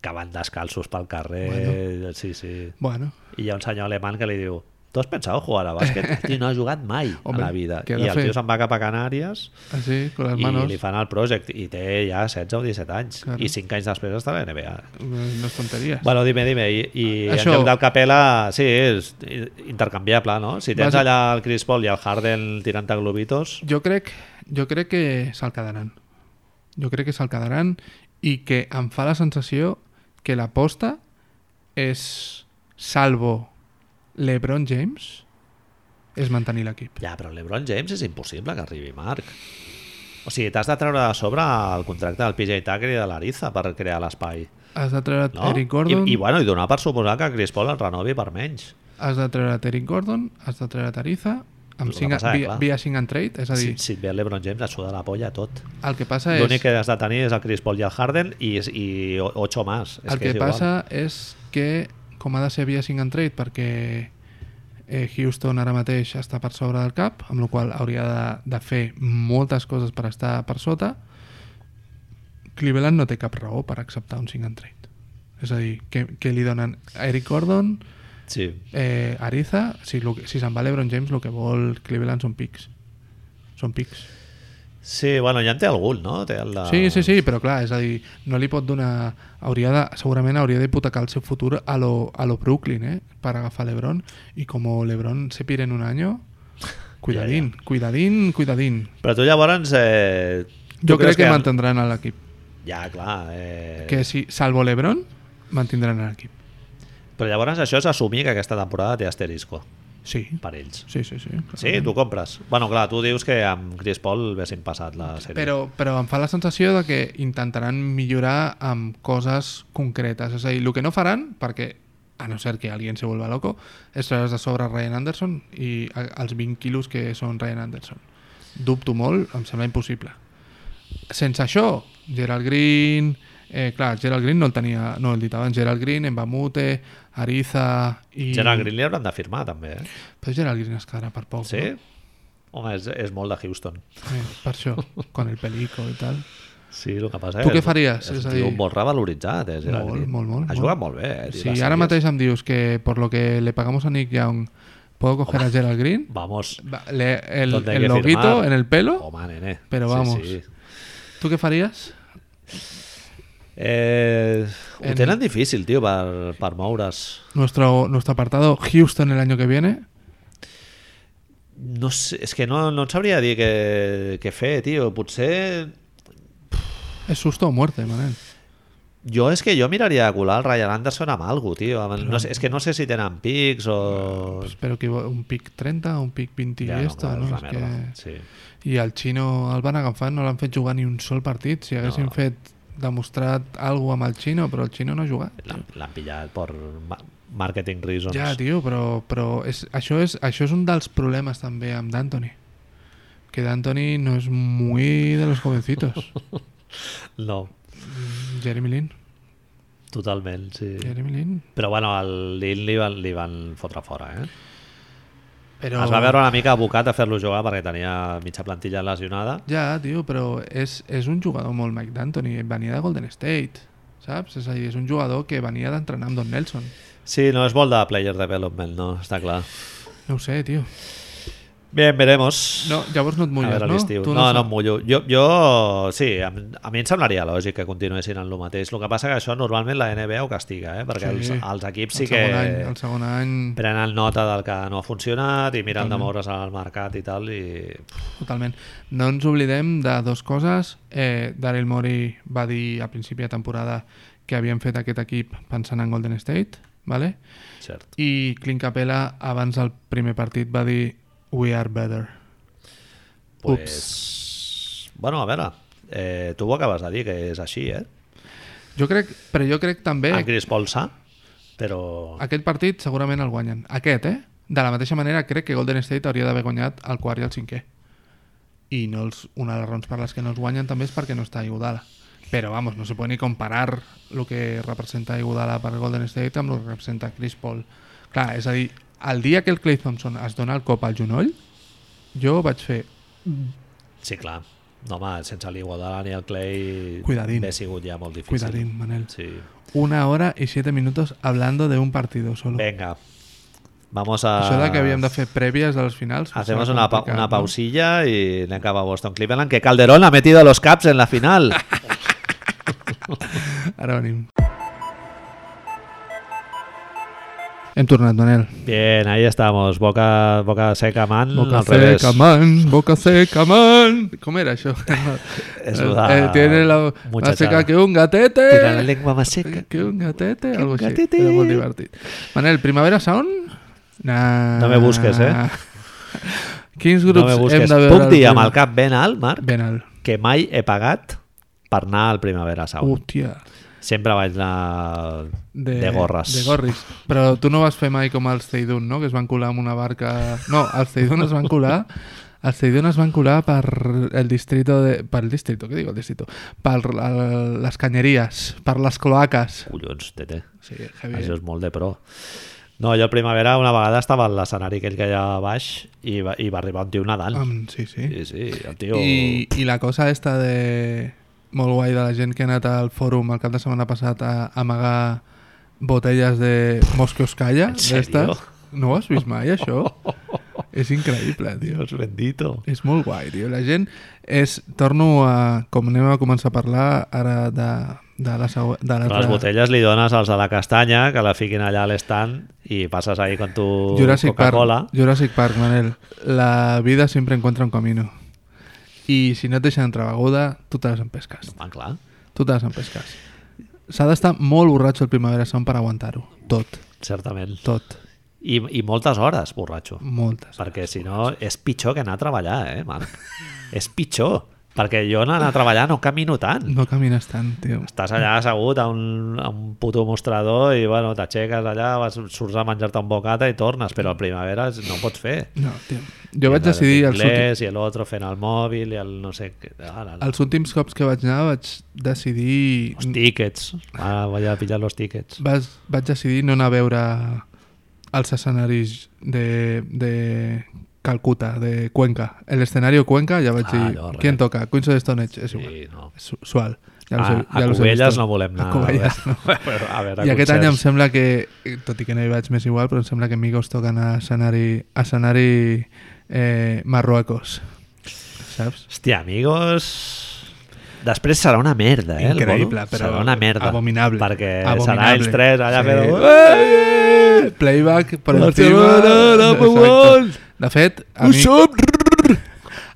Speaker 1: que van descalços pel carrer... Bueno. Sí, sí.
Speaker 2: Bueno,
Speaker 1: I hi ha un senyor alemany que li diu tu has pensat jugar a
Speaker 2: [laughs]
Speaker 1: bàsquet? Tio, no ha jugat mai
Speaker 2: Home,
Speaker 1: a la vida.
Speaker 2: què ha
Speaker 1: I
Speaker 2: de
Speaker 1: el
Speaker 2: fer?
Speaker 1: tio se'n va cap a Canàries
Speaker 2: así, con las
Speaker 1: i
Speaker 2: manos,
Speaker 1: li fan el project i té ja 16 o 17 anys.
Speaker 2: Claro.
Speaker 1: I 5 anys després està a la NBA.
Speaker 2: eh, no es tonterías.
Speaker 1: Bueno, dime, dime. I, i Això...
Speaker 2: Això-
Speaker 1: en lloc del Capela, sí, és intercanviable, no? Si tens
Speaker 2: Basi-
Speaker 1: allà el Chris Paul i el Harden tirant a globitos...
Speaker 2: Jo crec, jo crec que se'l quedaran. Jo crec que se'l quedaran i que em fa la sensació que l'aposta és, salvo LeBron James, és mantenir l'equip.
Speaker 1: Ja, però l'Ebron James és impossible que arribi, Marc. O sigui, t'has de treure de sobre el contracte del PJ Tucker i de l'Ariza per crear l'espai,
Speaker 2: Has de treure't
Speaker 1: no?
Speaker 2: Eric Gordon,
Speaker 1: I, I, bueno, i donar per suposar que Chris Paul el renovi per menys.
Speaker 2: has de treure't Eric Gordon, has de treure't Ariza,
Speaker 1: El
Speaker 2: amb
Speaker 1: que
Speaker 2: cinc,
Speaker 1: passa,
Speaker 2: via,
Speaker 1: clar.
Speaker 2: via sing and trade, és a
Speaker 1: Si,
Speaker 2: dir,
Speaker 1: si et ve l'Ebron James, et suda la polla tot.
Speaker 2: el que passa és...
Speaker 1: L'únic que has de tenir és el Chris Paul i el Harden i, i 8 més. És
Speaker 2: El que,
Speaker 1: és igual.
Speaker 2: passa és que, com ha de ser via sing and trade, perquè eh, Houston ara mateix està per sobre del cap, amb la qual cosa hauria de, de fer moltes coses per estar per sota, Cleveland no té cap raó per acceptar un sing and trade. És a dir, que, que li donen a Eric Gordon,
Speaker 1: Sí.
Speaker 2: Eh, Ariza, si, lo que- si se'n va l'Ebron James, el que vol Cleveland són pics. Són pics.
Speaker 1: Sí, bueno, ja en té algun, no? Té el de...
Speaker 2: Sí, sí,
Speaker 1: Em,
Speaker 2: sí, però clar, és a dir, no li pot donar... Hauria de, segurament hauria d'hipotecar el seu futur a lo, a lo Brooklyn, eh? Per agafar l'Ebron. I com l'Ebron se pire en un any, cuidadín, cuidadín, cuidadín.
Speaker 1: Però tu llavors... Eh, tu
Speaker 2: Jo crec
Speaker 1: creus
Speaker 2: que,
Speaker 1: en-
Speaker 2: mantindran a l'equip.
Speaker 1: Ja, clar. Eh...
Speaker 2: Que si, salvo l'Ebron, mantindran a l'equip.
Speaker 1: Però llavors això és assumir que aquesta temporada té asterisco
Speaker 2: Sí.
Speaker 1: per ells.
Speaker 2: Sí, sí, sí.
Speaker 1: Sí, tu compres. Bueno, clar, tu dius que amb Chris Paul haguessin passat la sèrie.
Speaker 2: Però, però em fa la sensació de que intentaran millorar amb coses concretes. És a dir, el que no faran, perquè a no ser que algú se vuelva loco, és treure's de sobre Ryan Anderson i a- els 20 quilos que són Ryan Anderson. Dubto molt, em sembla impossible. Sense això, Gerald Green... Eh, clar, Gerald Green no el tenia... No, el dit abans. Gerald Green, Embamute, Ariza... I...
Speaker 1: Gerald Green li hauran de firmar, també. Eh?
Speaker 2: Però Gerald Green es quedarà per poc,
Speaker 1: Sí?
Speaker 2: no?
Speaker 1: Home, és, és molt de Houston.
Speaker 2: Eh, per
Speaker 1: [laughs]
Speaker 2: això, con el pelico i tal.
Speaker 1: Sí, el que passa
Speaker 2: Tu
Speaker 1: és-
Speaker 2: què faries?
Speaker 1: És
Speaker 2: És
Speaker 1: un
Speaker 2: a
Speaker 1: tio
Speaker 2: dir-
Speaker 1: molt revaloritzat, eh, Gerald
Speaker 2: Molt,
Speaker 1: Green.
Speaker 2: molt, molt,
Speaker 1: Ha
Speaker 2: molt.
Speaker 1: jugat molt bé, eh? tio,
Speaker 2: Si
Speaker 1: les
Speaker 2: ahora
Speaker 1: sèries.
Speaker 2: matéis a em dius que por lo que le pagamos a Nick Young puedo coger a Gerald Green,
Speaker 1: Vamos.
Speaker 2: va- le- el,
Speaker 1: Donde hay
Speaker 2: el
Speaker 1: que
Speaker 2: loguito
Speaker 1: firmar.
Speaker 2: en el pelo,
Speaker 1: Home, nene.
Speaker 2: Però
Speaker 1: Sí,
Speaker 2: vamos.
Speaker 1: sí.
Speaker 2: ¿tú qué farías?
Speaker 1: Eh, ho
Speaker 2: En-
Speaker 1: tenen difícil, tio, per, per moure's.
Speaker 2: Nuestro, nuestro apartado Houston el año que viene.
Speaker 1: No sé, és que no, no et sabria dir què, què fer, tio. Potser...
Speaker 2: Es susto o muerte, Manel.
Speaker 1: Jo és que jo miraria de colar el Ryan Anderson amb algú, tio. Amb- No, sé- és que no sé si tenen pics o...
Speaker 2: Espero que igual un pick 30, un pick 20 y esto.
Speaker 1: clar,
Speaker 2: ¿no?
Speaker 1: és una
Speaker 2: És que-
Speaker 1: merda. Sí.
Speaker 2: I el xino el van agafar, no l'han fet jugar ni un sol partit. Si haguessin
Speaker 1: No.
Speaker 2: fet demostrat alguna amb el xino, però el xino no ha jugat.
Speaker 1: L'han l'han pillat per ma- marketing reasons.
Speaker 2: Ja, tio, però, però és, això, és, això és un dels problemes també amb D'Antoni. Que D'Antoni no és muy de los jovencitos.
Speaker 1: No,
Speaker 2: Jeremy Lin.
Speaker 1: totalment, sí.
Speaker 2: Jeremy Lin.
Speaker 1: Però bueno, el Lin li van, li van fotre fora, eh?
Speaker 2: Però...
Speaker 1: No. Es va veure una mica abocat a fer-lo jugar perquè tenia mitja plantilla lesionada.
Speaker 2: Ja, tio, però és, és un jugador molt Mike D'Antoni. Venia de Golden State, saps? És a dir, és un jugador que venia d'entrenar amb Don Nelson.
Speaker 1: Sí, no, és molt de player development, no? Està clar.
Speaker 2: No ho sé, tio.
Speaker 1: Bien, veremos.
Speaker 2: No, llavors no et
Speaker 1: a
Speaker 2: mulles,
Speaker 1: veure,
Speaker 2: no?
Speaker 1: l'estiu.
Speaker 2: Tu
Speaker 1: No, no,
Speaker 2: saps.
Speaker 1: no em mullo. Jo, jo sí, a, mi- a mi em semblaria lògic que continuessin en el mateix. El que passa que això normalment la NBA ho castiga, eh? perquè
Speaker 2: Sí.
Speaker 1: sí. els, els equips sí
Speaker 2: el
Speaker 1: que
Speaker 2: segon Any, el segon any,
Speaker 1: prenen nota del que no ha funcionat i miren de moure's al mercat i tal. I...
Speaker 2: Totalment. No ens oblidem de dues coses. Eh, Daryl Morey va dir a principi de temporada que havien fet aquest equip pensant en Golden State, ¿vale?
Speaker 1: Cert.
Speaker 2: i Clint Capella abans del primer partit va dir We are better.
Speaker 1: Pues... Bueno, a veure, eh, tu ho acabes de dir, que és així, eh?
Speaker 2: Jo crec, però jo crec també
Speaker 1: En Chris Paul sa, però...
Speaker 2: aquest partit segurament el guanyen. Aquest, eh? De la mateixa manera crec que Golden State hauria d'haver guanyat el quart i el cinquè. I no els, una de les raons per les que no els guanyen també és perquè no està Iguodala. Però, vamos, no se puede ni comparar el que representa Iguodala per Golden State amb el que representa Chris Paul. Clar, és a dir, el dia que el Clay Thompson es dona el cop al genoll, jo vaig fer...
Speaker 1: Sí, clar. No, home, sense l'Iguodala ni el Clay...
Speaker 2: Cuidadín.
Speaker 1: Hauria sigut ja molt difícil.
Speaker 2: Cuidadín, Manel.
Speaker 1: Sí.
Speaker 2: Una hora y siete minutos hablando de un partido solo.
Speaker 1: Venga. Vamos a...
Speaker 2: Això de que havíem de fer prèvies de les finals... em
Speaker 1: Hacemos
Speaker 2: sembla
Speaker 1: una, pa-
Speaker 2: complicat,
Speaker 1: una
Speaker 2: no?
Speaker 1: pausilla y le acaba Boston Cleveland, que Calderón ha metido a los Caps en la
Speaker 2: [laughs]
Speaker 1: final.
Speaker 2: Ara venim. Hem tornat, Manel.
Speaker 1: Bien, ahí estamos. Boca, boca seca, man.
Speaker 2: Boca
Speaker 1: al revés.
Speaker 2: seca, man, boca seca, man. Com era això?
Speaker 1: [laughs] Es
Speaker 2: Eh,
Speaker 1: una
Speaker 2: eh, tiene la,
Speaker 1: muchachada.
Speaker 2: más seca que Eh, un
Speaker 1: Tiene la
Speaker 2: gatete.
Speaker 1: lengua más seca.
Speaker 2: Que un gatete, algo així.
Speaker 1: gatete.
Speaker 2: Era molt divertit. Manel, Primavera Sound? Nah. [laughs]
Speaker 1: No me busques, eh?
Speaker 2: Quins
Speaker 1: No
Speaker 2: grups
Speaker 1: me
Speaker 2: hem
Speaker 1: busques.
Speaker 2: de veure?
Speaker 1: Puc
Speaker 2: al
Speaker 1: dir amb
Speaker 2: primer?
Speaker 1: el cap ben alt, Marc,
Speaker 2: Ben alt.
Speaker 1: que mai he pagat per anar al Primavera Sound.
Speaker 2: Hòstia.
Speaker 1: Sempre vaig anar de,
Speaker 2: De,
Speaker 1: gorres.
Speaker 2: De gorris. Però tu no vas fer mai com els Ceidun, no? Que es van colar amb una barca... No, els Ceidun es van colar... Els Ceidun es van colar per el distrito de... Per el distrito, què dic el distrito? Per el, les canyeries, per les cloaques.
Speaker 1: Collons, tete.
Speaker 2: Sí,
Speaker 1: Això
Speaker 2: heavy.
Speaker 1: és molt de pro. No, jo al Primavera una vegada estava en l'escenari aquell que hi ha a baix i va, i va arribar un tio nedant.
Speaker 2: Um, sí, sí.
Speaker 1: Sí, sí, el tio...
Speaker 2: I, I la cosa esta de... Molt guai de la gent que ha anat al fòrum el cap de setmana passat a amagar botellas de Moscoscaya,
Speaker 1: serio?
Speaker 2: d'estes. No ho has vist mai,
Speaker 1: [laughs]
Speaker 2: això? és increïble, tio.
Speaker 1: Dios bendito.
Speaker 2: És molt guai, tio. La gent és... Torno a... Com anem a començar a parlar ara de, de la següent... De
Speaker 1: Però les
Speaker 2: l'altra-
Speaker 1: botelles li dones als de la castanya, que la fiquin allà a l'estand i passes ahí con tu
Speaker 2: Jurassic
Speaker 1: Coca-Cola.
Speaker 2: Park, Jurassic Park, Manel. La vida siempre encuentra un camino. I si no et deixen entrar beguda, tu te les empesques.
Speaker 1: Ah, clar.
Speaker 2: Tu te les empesques. S'ha d'estar molt borratxo el Primavera Sound per aguantar-ho. Tot,
Speaker 1: Certament.
Speaker 2: tot.
Speaker 1: I, I moltes hores, borratxo.
Speaker 2: Moltes.
Speaker 1: Perquè si no, és pitjor que anar a treballar, eh, Marc? és pitjor. Perquè jo anar a treballar no camino tant.
Speaker 2: No camines tant, tio.
Speaker 1: Estàs allà assegut a un, a un puto mostrador i bueno, t'aixeques allà, vas, surts a menjar-te un bocata i tornes, però a primavera no ho pots fer.
Speaker 2: No, tio. Jo vaig decidir els, últims,
Speaker 1: Inglés, I l'altre fent el mòbil i el no sé què... Ah, Ara, el...
Speaker 2: els últims cops que vaig anar vaig decidir...
Speaker 1: Els tíquets. Va, vaig a pillar els tíquets.
Speaker 2: Vaig, vaig decidir no anar a veure els escenaris de, de Calcuta, de Cuenca. El escenario Cuenca, ja vaig
Speaker 1: Ah,
Speaker 2: dir...
Speaker 1: no, res.
Speaker 2: ¿Quién toca? Queens of the Stone Age. És igual.
Speaker 1: Sí, no.
Speaker 2: Su- Sual. Ja
Speaker 1: Ah,
Speaker 2: us he- ja
Speaker 1: a
Speaker 2: us he
Speaker 1: Cubelles
Speaker 2: vist.
Speaker 1: no volem anar.
Speaker 2: A Cubelles no.
Speaker 1: [laughs] a veure,
Speaker 2: I
Speaker 1: concerts.
Speaker 2: aquest any em sembla que, eh, tot i que no hi vaig més igual, però em sembla que Migos toquen a escenari, a escenari eh, Marruecos. Saps?
Speaker 1: Hòstia, amigos... Després serà una merda, eh? el
Speaker 2: Increïble,
Speaker 1: bolo.
Speaker 2: però
Speaker 1: serà una merda.
Speaker 2: abominable.
Speaker 1: Perquè serà
Speaker 2: Abominable.
Speaker 1: els tres allà
Speaker 2: Sí. Eh!
Speaker 1: fent... "Ué!"
Speaker 2: Playback per encima...
Speaker 3: Barcelona, number one!
Speaker 2: Exacte. De fet,
Speaker 3: Ho
Speaker 2: amic,
Speaker 3: som!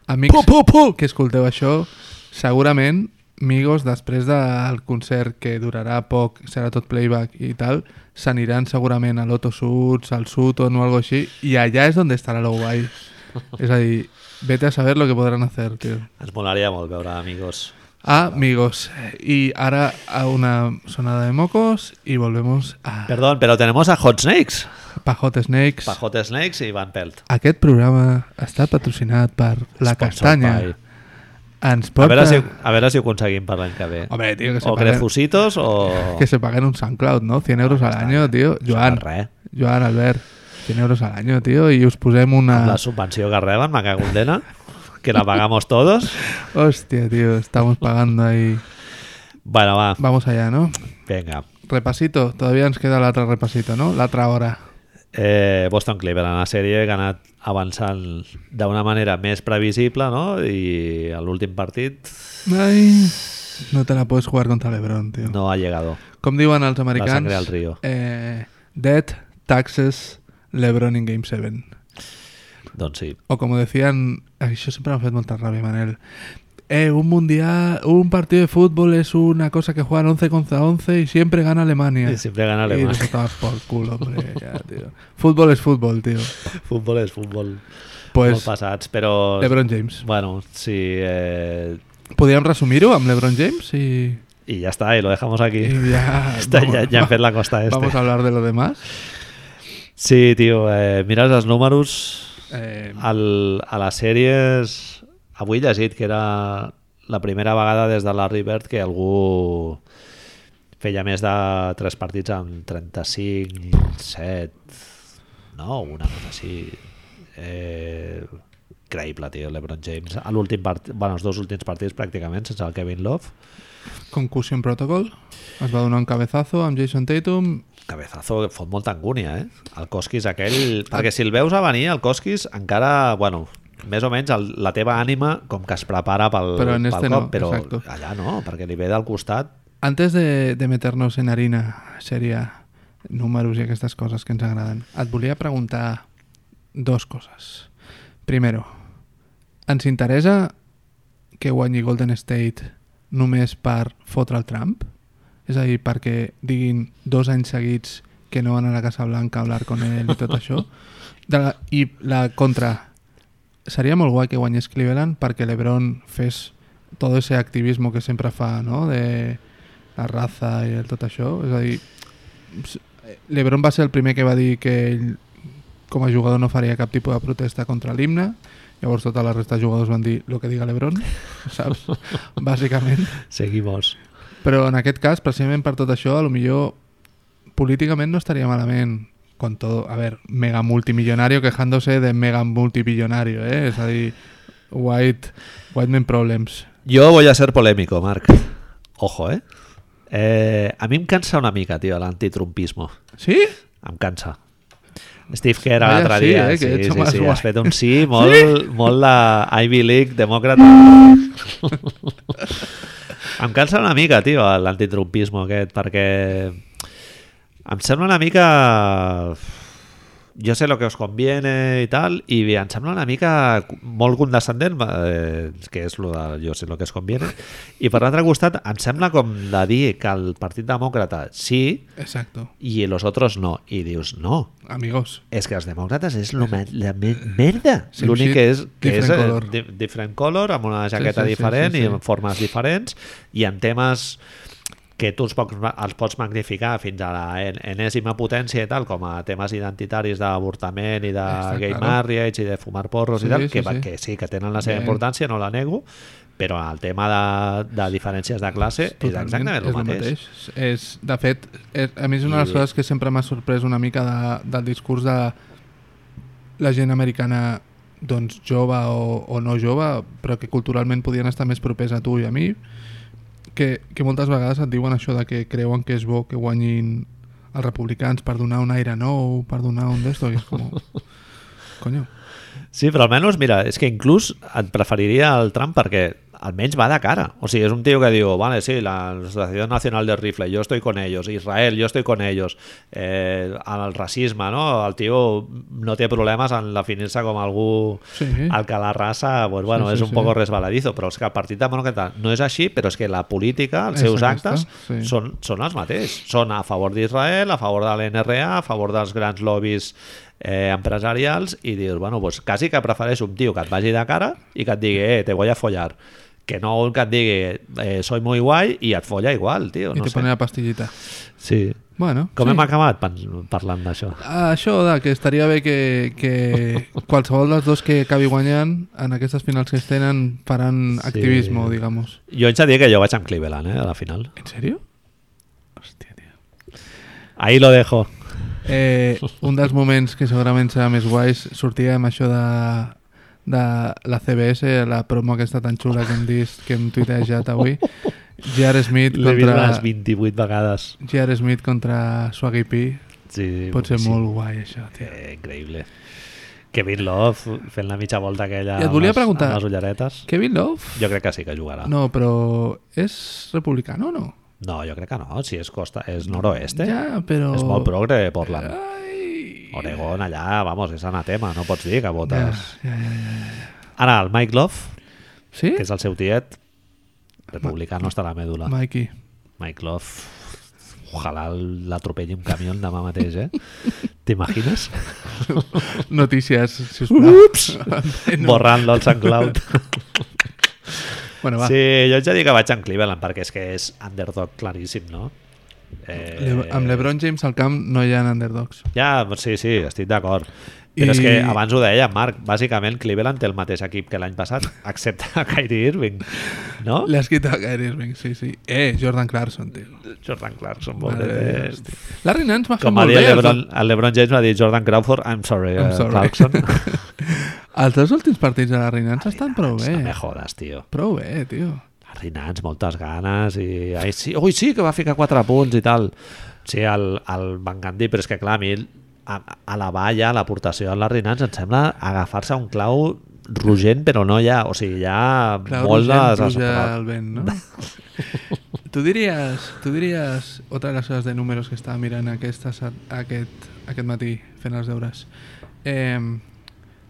Speaker 2: amics
Speaker 3: Po, po, po!
Speaker 2: que escolteu això, segurament Migos, després del concert que durarà poc, serà tot playback i tal, s'aniran segurament a l'Oto Sud, al Sutton o algo així, i allà és on estarà lo guai. És a dir, vete a saber lo que podran hacer, tio.
Speaker 1: Ens molaria molt veure amigos.
Speaker 2: Ah, Migos. Y ahora a una sonada de mocos y volvemos a
Speaker 1: Perdón, pero tenemos a Hot Snakes.
Speaker 2: Pajot Snakes.
Speaker 1: Pa Hot Snakes i Van Pelt.
Speaker 2: Aquest programa està patrocinat per La
Speaker 1: Sponsored
Speaker 2: Castanya.
Speaker 1: by-
Speaker 2: Ens
Speaker 1: A
Speaker 2: porta...
Speaker 1: veure, si, a veure si ho aconseguim per l'any que ve.
Speaker 2: Hombre, tio, que se
Speaker 1: o
Speaker 2: paguen-
Speaker 1: Grefusitos o...
Speaker 2: Que se paguen un SoundCloud, ¿no? 100 euros al año, tío. Joan,
Speaker 1: Res.
Speaker 2: Joan, Albert, 100 euros al año, tío. I us posem
Speaker 1: Amb
Speaker 2: una...
Speaker 1: la subvenció que reben, me cago en dena, que la pagamos todos.
Speaker 2: Hòstia, tío, estamos pagando ahí.
Speaker 1: Bueno, va,
Speaker 2: Vamos allá, ¿no?
Speaker 1: venga.
Speaker 2: Repasito, todavía nos queda l'altre repasito, ¿no? L'altra hora.
Speaker 1: Eh, Boston Cleveland, la sèrie que ha anat avançant d'una manera més previsible, no? I a l'últim partit
Speaker 2: Ai, no te la puedes jugar contra LeBron, tío.
Speaker 1: no ha llegado.
Speaker 2: Com diuen els
Speaker 1: La
Speaker 2: americans,
Speaker 1: sangre al río.
Speaker 2: eh, Dead, Taxes, LeBron in Game 7.
Speaker 1: Doncs sí.
Speaker 2: O com decían, això sempre m'ha fet molta ràbia, Manel, eh, un mundial, un partido de fútbol es una cosa que juegan 11 contra 11 y siempre gana Alemania.
Speaker 1: I sempre gana [laughs]
Speaker 2: Y
Speaker 1: Alemanya.
Speaker 2: nos estaba por culo, hombre, ya, tío. Fútbol es fútbol, tío.
Speaker 1: Futbol és futbol. molt
Speaker 2: Pues
Speaker 1: passats, però...
Speaker 2: LeBron James.
Speaker 1: Bueno, sí... Eh,
Speaker 2: Podríem resumir-ho amb LeBron James y,
Speaker 1: y ya está, y lo dejamos aquí.
Speaker 2: y ya...
Speaker 1: Está, [laughs] ya, ya en la costa este.
Speaker 2: Vamos a hablar de lo demás.
Speaker 1: Sí, tío, eh, miras els números
Speaker 2: Eh,
Speaker 1: Ah. al, a les sèries... Avui he llegit que era la primera vegada des de Larry Bird que algú feia més de 3 partits amb 35, 7, no, una cosa així. Eh, creïble, tio, LeBron James. A l'últim partit, bueno, els dos últims partits pràcticament, sense el Kevin Love.
Speaker 2: Concussion Protocol. Es va donar un cabezazo amb Jason Tatum
Speaker 1: Cabezazo que fot molta angúnia, eh? El Cosquis aquell... Perquè si el veus a venir, el Cosquis encara, bueno, més o menys el, la teva ànima com que es prepara pel,
Speaker 2: Però en
Speaker 1: pel
Speaker 2: este
Speaker 1: cop,
Speaker 2: no,
Speaker 1: però
Speaker 2: exacto.
Speaker 1: allà no, perquè li ve del costat.
Speaker 2: Antes de, de meter-nos en harina, seria números i aquestes coses que ens agraden, et volia preguntar dos coses. Primero, ens interessa que guanyi Golden State només per fotre el Trump? És a dir, perquè diguin dos anys seguits que no van a la Casa Blanca a hablar con ell i tot això? De la, I la contra, seria molt guai que guanyés Cleveland perquè LeBron fes tot ese activismo que sempre fa, no? De la raza i el tot això. És a dir, s- eh, LeBron va ser el primer que va dir que ell com a jugador no faria cap tipus de protesta contra l'himne. Llavors tota la resta de jugadors van dir lo que diga LeBron, [laughs] saps? Bàsicament.
Speaker 1: Seguimos.
Speaker 2: Però en aquest cas, precisament per tot això, a lo millor políticament no estaria malament con todo, a ver, mega multimillonario quejándose de mega multimillonario, eh? És a dir, white, white man problems.
Speaker 1: Jo voy a ser polémico, Marc. Ojo, eh? Eh, a mi em cansa una mica, tio, l'antitrumpisme.
Speaker 2: Sí?
Speaker 1: Em cansa. Steve Kerr
Speaker 2: Vaya
Speaker 1: l'altre
Speaker 2: sí,
Speaker 1: dia,
Speaker 2: eh, que
Speaker 1: sí,
Speaker 2: ets
Speaker 1: sí,
Speaker 2: home
Speaker 1: sí,
Speaker 2: suave.
Speaker 1: has fet un
Speaker 2: [laughs]
Speaker 1: sí molt, molt la Ivy League demòcrata. em cansa una mica, tio, l'antitrumpisme aquest, perquè em sembla una mica... Jo sé lo que us conviene i tal, i em sembla una mica molt condescendent, eh, que és lo de jo sé lo que us conviene, i per l'altre costat em sembla com de dir que el Partit Demòcrata sí
Speaker 2: Exacto.
Speaker 1: i els altres no, i dius no,
Speaker 2: Amigos.
Speaker 1: és que els demòcrates és lo, me- la me merda.
Speaker 2: Eh, Sí,
Speaker 1: L'únic
Speaker 2: sí,
Speaker 1: que és que
Speaker 2: different
Speaker 1: és eh,
Speaker 2: color.
Speaker 1: di different color, amb una jaqueta
Speaker 2: sí, sí,
Speaker 1: diferent
Speaker 2: sí, sí.
Speaker 1: i amb formes diferents i en temes que tu els pots, ma- els pots magnificar fins a la en- enèsima potència i tal, com a temes identitaris d'avortament i de
Speaker 2: Està
Speaker 1: gay
Speaker 2: claro.
Speaker 1: marriage i de fumar porros
Speaker 2: Sí,
Speaker 1: i tal,
Speaker 2: sí,
Speaker 1: que, va-
Speaker 2: sí.
Speaker 1: que sí, que tenen la seva
Speaker 2: Bien.
Speaker 1: importància, no la nego, però el tema de, de diferències de classe és exactament el mateix.
Speaker 2: mateix. És, de fet, és, a mi és una de les
Speaker 1: I-
Speaker 2: coses que sempre m'ha sorprès una mica de, del discurs de la gent americana doncs jove o, o no jove, però que culturalment podien estar més propers a tu i a mi, que, que moltes vegades et diuen això de que creuen que és bo que guanyin els republicans per donar un aire nou, per donar un d'esto, i és
Speaker 1: [laughs]
Speaker 2: com... Coño.
Speaker 1: Sí, però almenys, mira, és que inclús et preferiria el Trump perquè almenys va de cara. O sigui, és un tio que diu, vale, sí, la Sociedad Nacional del Rifle, yo estoy con ellos, Israel, yo estoy con ellos, eh, el racisme, no? El tio no té problemes en definir-se com algú
Speaker 2: Sí.
Speaker 1: al que la raça, pues, bueno,
Speaker 2: Sí, sí,
Speaker 1: és un
Speaker 2: sí.
Speaker 1: poc resbaladizo, però és que el partit demòcrata no és així, però és que la política, els
Speaker 2: És
Speaker 1: seus
Speaker 2: aquesta,
Speaker 1: actes,
Speaker 2: sí.
Speaker 1: són són, són els mateixos. Són a favor d'Israel, a favor de l'NRA, a favor dels grans lobbies eh, empresarials i dius, bueno, pues quasi que prefereix un tio que et vagi de cara i que et digui, eh, te voy a follar. Que no un que et digui, eh, soy muy guai i et folla igual, tio.
Speaker 2: I
Speaker 1: No
Speaker 2: te
Speaker 1: sé.
Speaker 2: pone la pastillita.
Speaker 1: Sí.
Speaker 2: Bueno,
Speaker 1: Com
Speaker 2: sí.
Speaker 1: hem acabat pan- parlant d'això?
Speaker 2: Ah, Això de que estaria bé que,
Speaker 1: [laughs]
Speaker 2: que qualsevol dels dos que acabi guanyant en aquestes finals que es tenen faran
Speaker 1: Sí.
Speaker 2: activisme, digamos.
Speaker 1: Jo haig de dir que jo vaig amb Cleveland, eh, a la final.
Speaker 2: ¿En serio? Hòstia, tio.
Speaker 1: Ahí lo dejo.
Speaker 2: Eh, un dels moments que segurament serà més guais sortia amb això de, de la CBS, la promo aquesta tan xula que hem vist, que hem tuitejat avui. J.R. Smith
Speaker 1: L'he vist
Speaker 2: contra...
Speaker 1: les 28 vegades.
Speaker 2: J.R. Smith contra Swaggy P.
Speaker 1: Sí,
Speaker 2: Pot ser
Speaker 1: sí.
Speaker 2: molt guai, això, tio.
Speaker 1: Eh, increïble. Kevin Love fent la mitja volta aquella
Speaker 2: I et
Speaker 1: amb
Speaker 2: volia
Speaker 1: les-
Speaker 2: preguntar-
Speaker 1: amb les ulleretes.
Speaker 2: Kevin Love?
Speaker 1: Jo crec que sí que jugarà. No,
Speaker 2: No, però és republicano o no?
Speaker 1: no jo crec que no. Si és, costa, és noroeste, ja,
Speaker 2: Ja, però...
Speaker 1: és molt progre, Portland.
Speaker 2: Ai...
Speaker 1: Oregon allà, vamos, és anatema, no pots dir que
Speaker 2: Ja,
Speaker 1: votes.
Speaker 2: ja, ja, ja.
Speaker 1: Ara, el Mike Love,
Speaker 2: Sí?
Speaker 1: que és el seu tiet, republicà no està a la mèdula.
Speaker 2: Mikey.
Speaker 1: Mike Love, ojalà l'atropelli un camió demà mateix, eh? T'imagines?
Speaker 2: Notícies, sisplau.
Speaker 1: Uh-huh.
Speaker 2: Ups! [laughs]
Speaker 1: Borrant l'All Sant Cloud.
Speaker 2: Bueno, va.
Speaker 1: Sí, jo haig de dir que vaig amb Cleveland perquè és que és underdog claríssim, no? Eh,
Speaker 2: Le amb l'Ebron James al camp no hi ha underdogs.
Speaker 1: Ja, sí, sí, estic d'acord. Però I... és
Speaker 2: I-
Speaker 1: que abans ho deia, Marc, bàsicament Cleveland té el mateix equip que l'any
Speaker 2: [laughs]
Speaker 1: passat, excepte a Kyrie Irving, no?
Speaker 2: L'ha escrit a Kyrie Irving, sí, sí. Eh, Jordan Clarkson, tio.
Speaker 1: Jordan Clarkson,
Speaker 2: Mare de Déu,
Speaker 1: pobret.
Speaker 2: hòstia. Larry Nance m'ha fet
Speaker 1: Com va
Speaker 2: molt
Speaker 1: dir
Speaker 2: bé.
Speaker 1: el
Speaker 2: els
Speaker 1: LeBron, el LeBron James va dir Jordan Crawford, I'm sorry,
Speaker 2: I'm
Speaker 1: I'm
Speaker 2: sorry.
Speaker 1: sorry. Clarkson.
Speaker 2: [laughs] dos- Els dos últims partits de Larry Nance estan prou
Speaker 1: [laughs] No me
Speaker 2: bé.
Speaker 1: jodes, tio.
Speaker 2: Prou bé, tio.
Speaker 1: Rinans, moltes ganes i... Ai, sí, ui, sí, que va ficar 4 punts i tal. Sí, el, el Van Gandhi, però és que clar, a mi a, a la valla, l'aportació de la Rinans em sembla agafar-se un clau rugent, però no ja, o sigui, ja
Speaker 2: Clar,
Speaker 1: molt de
Speaker 2: Rogent pluja
Speaker 1: desesperat.
Speaker 2: al vent, ¿no? tú dirías, tú dirías, otra de las horas de números que estaba mirando aquesta, sa- aquest, aquest matí fent els deures, em,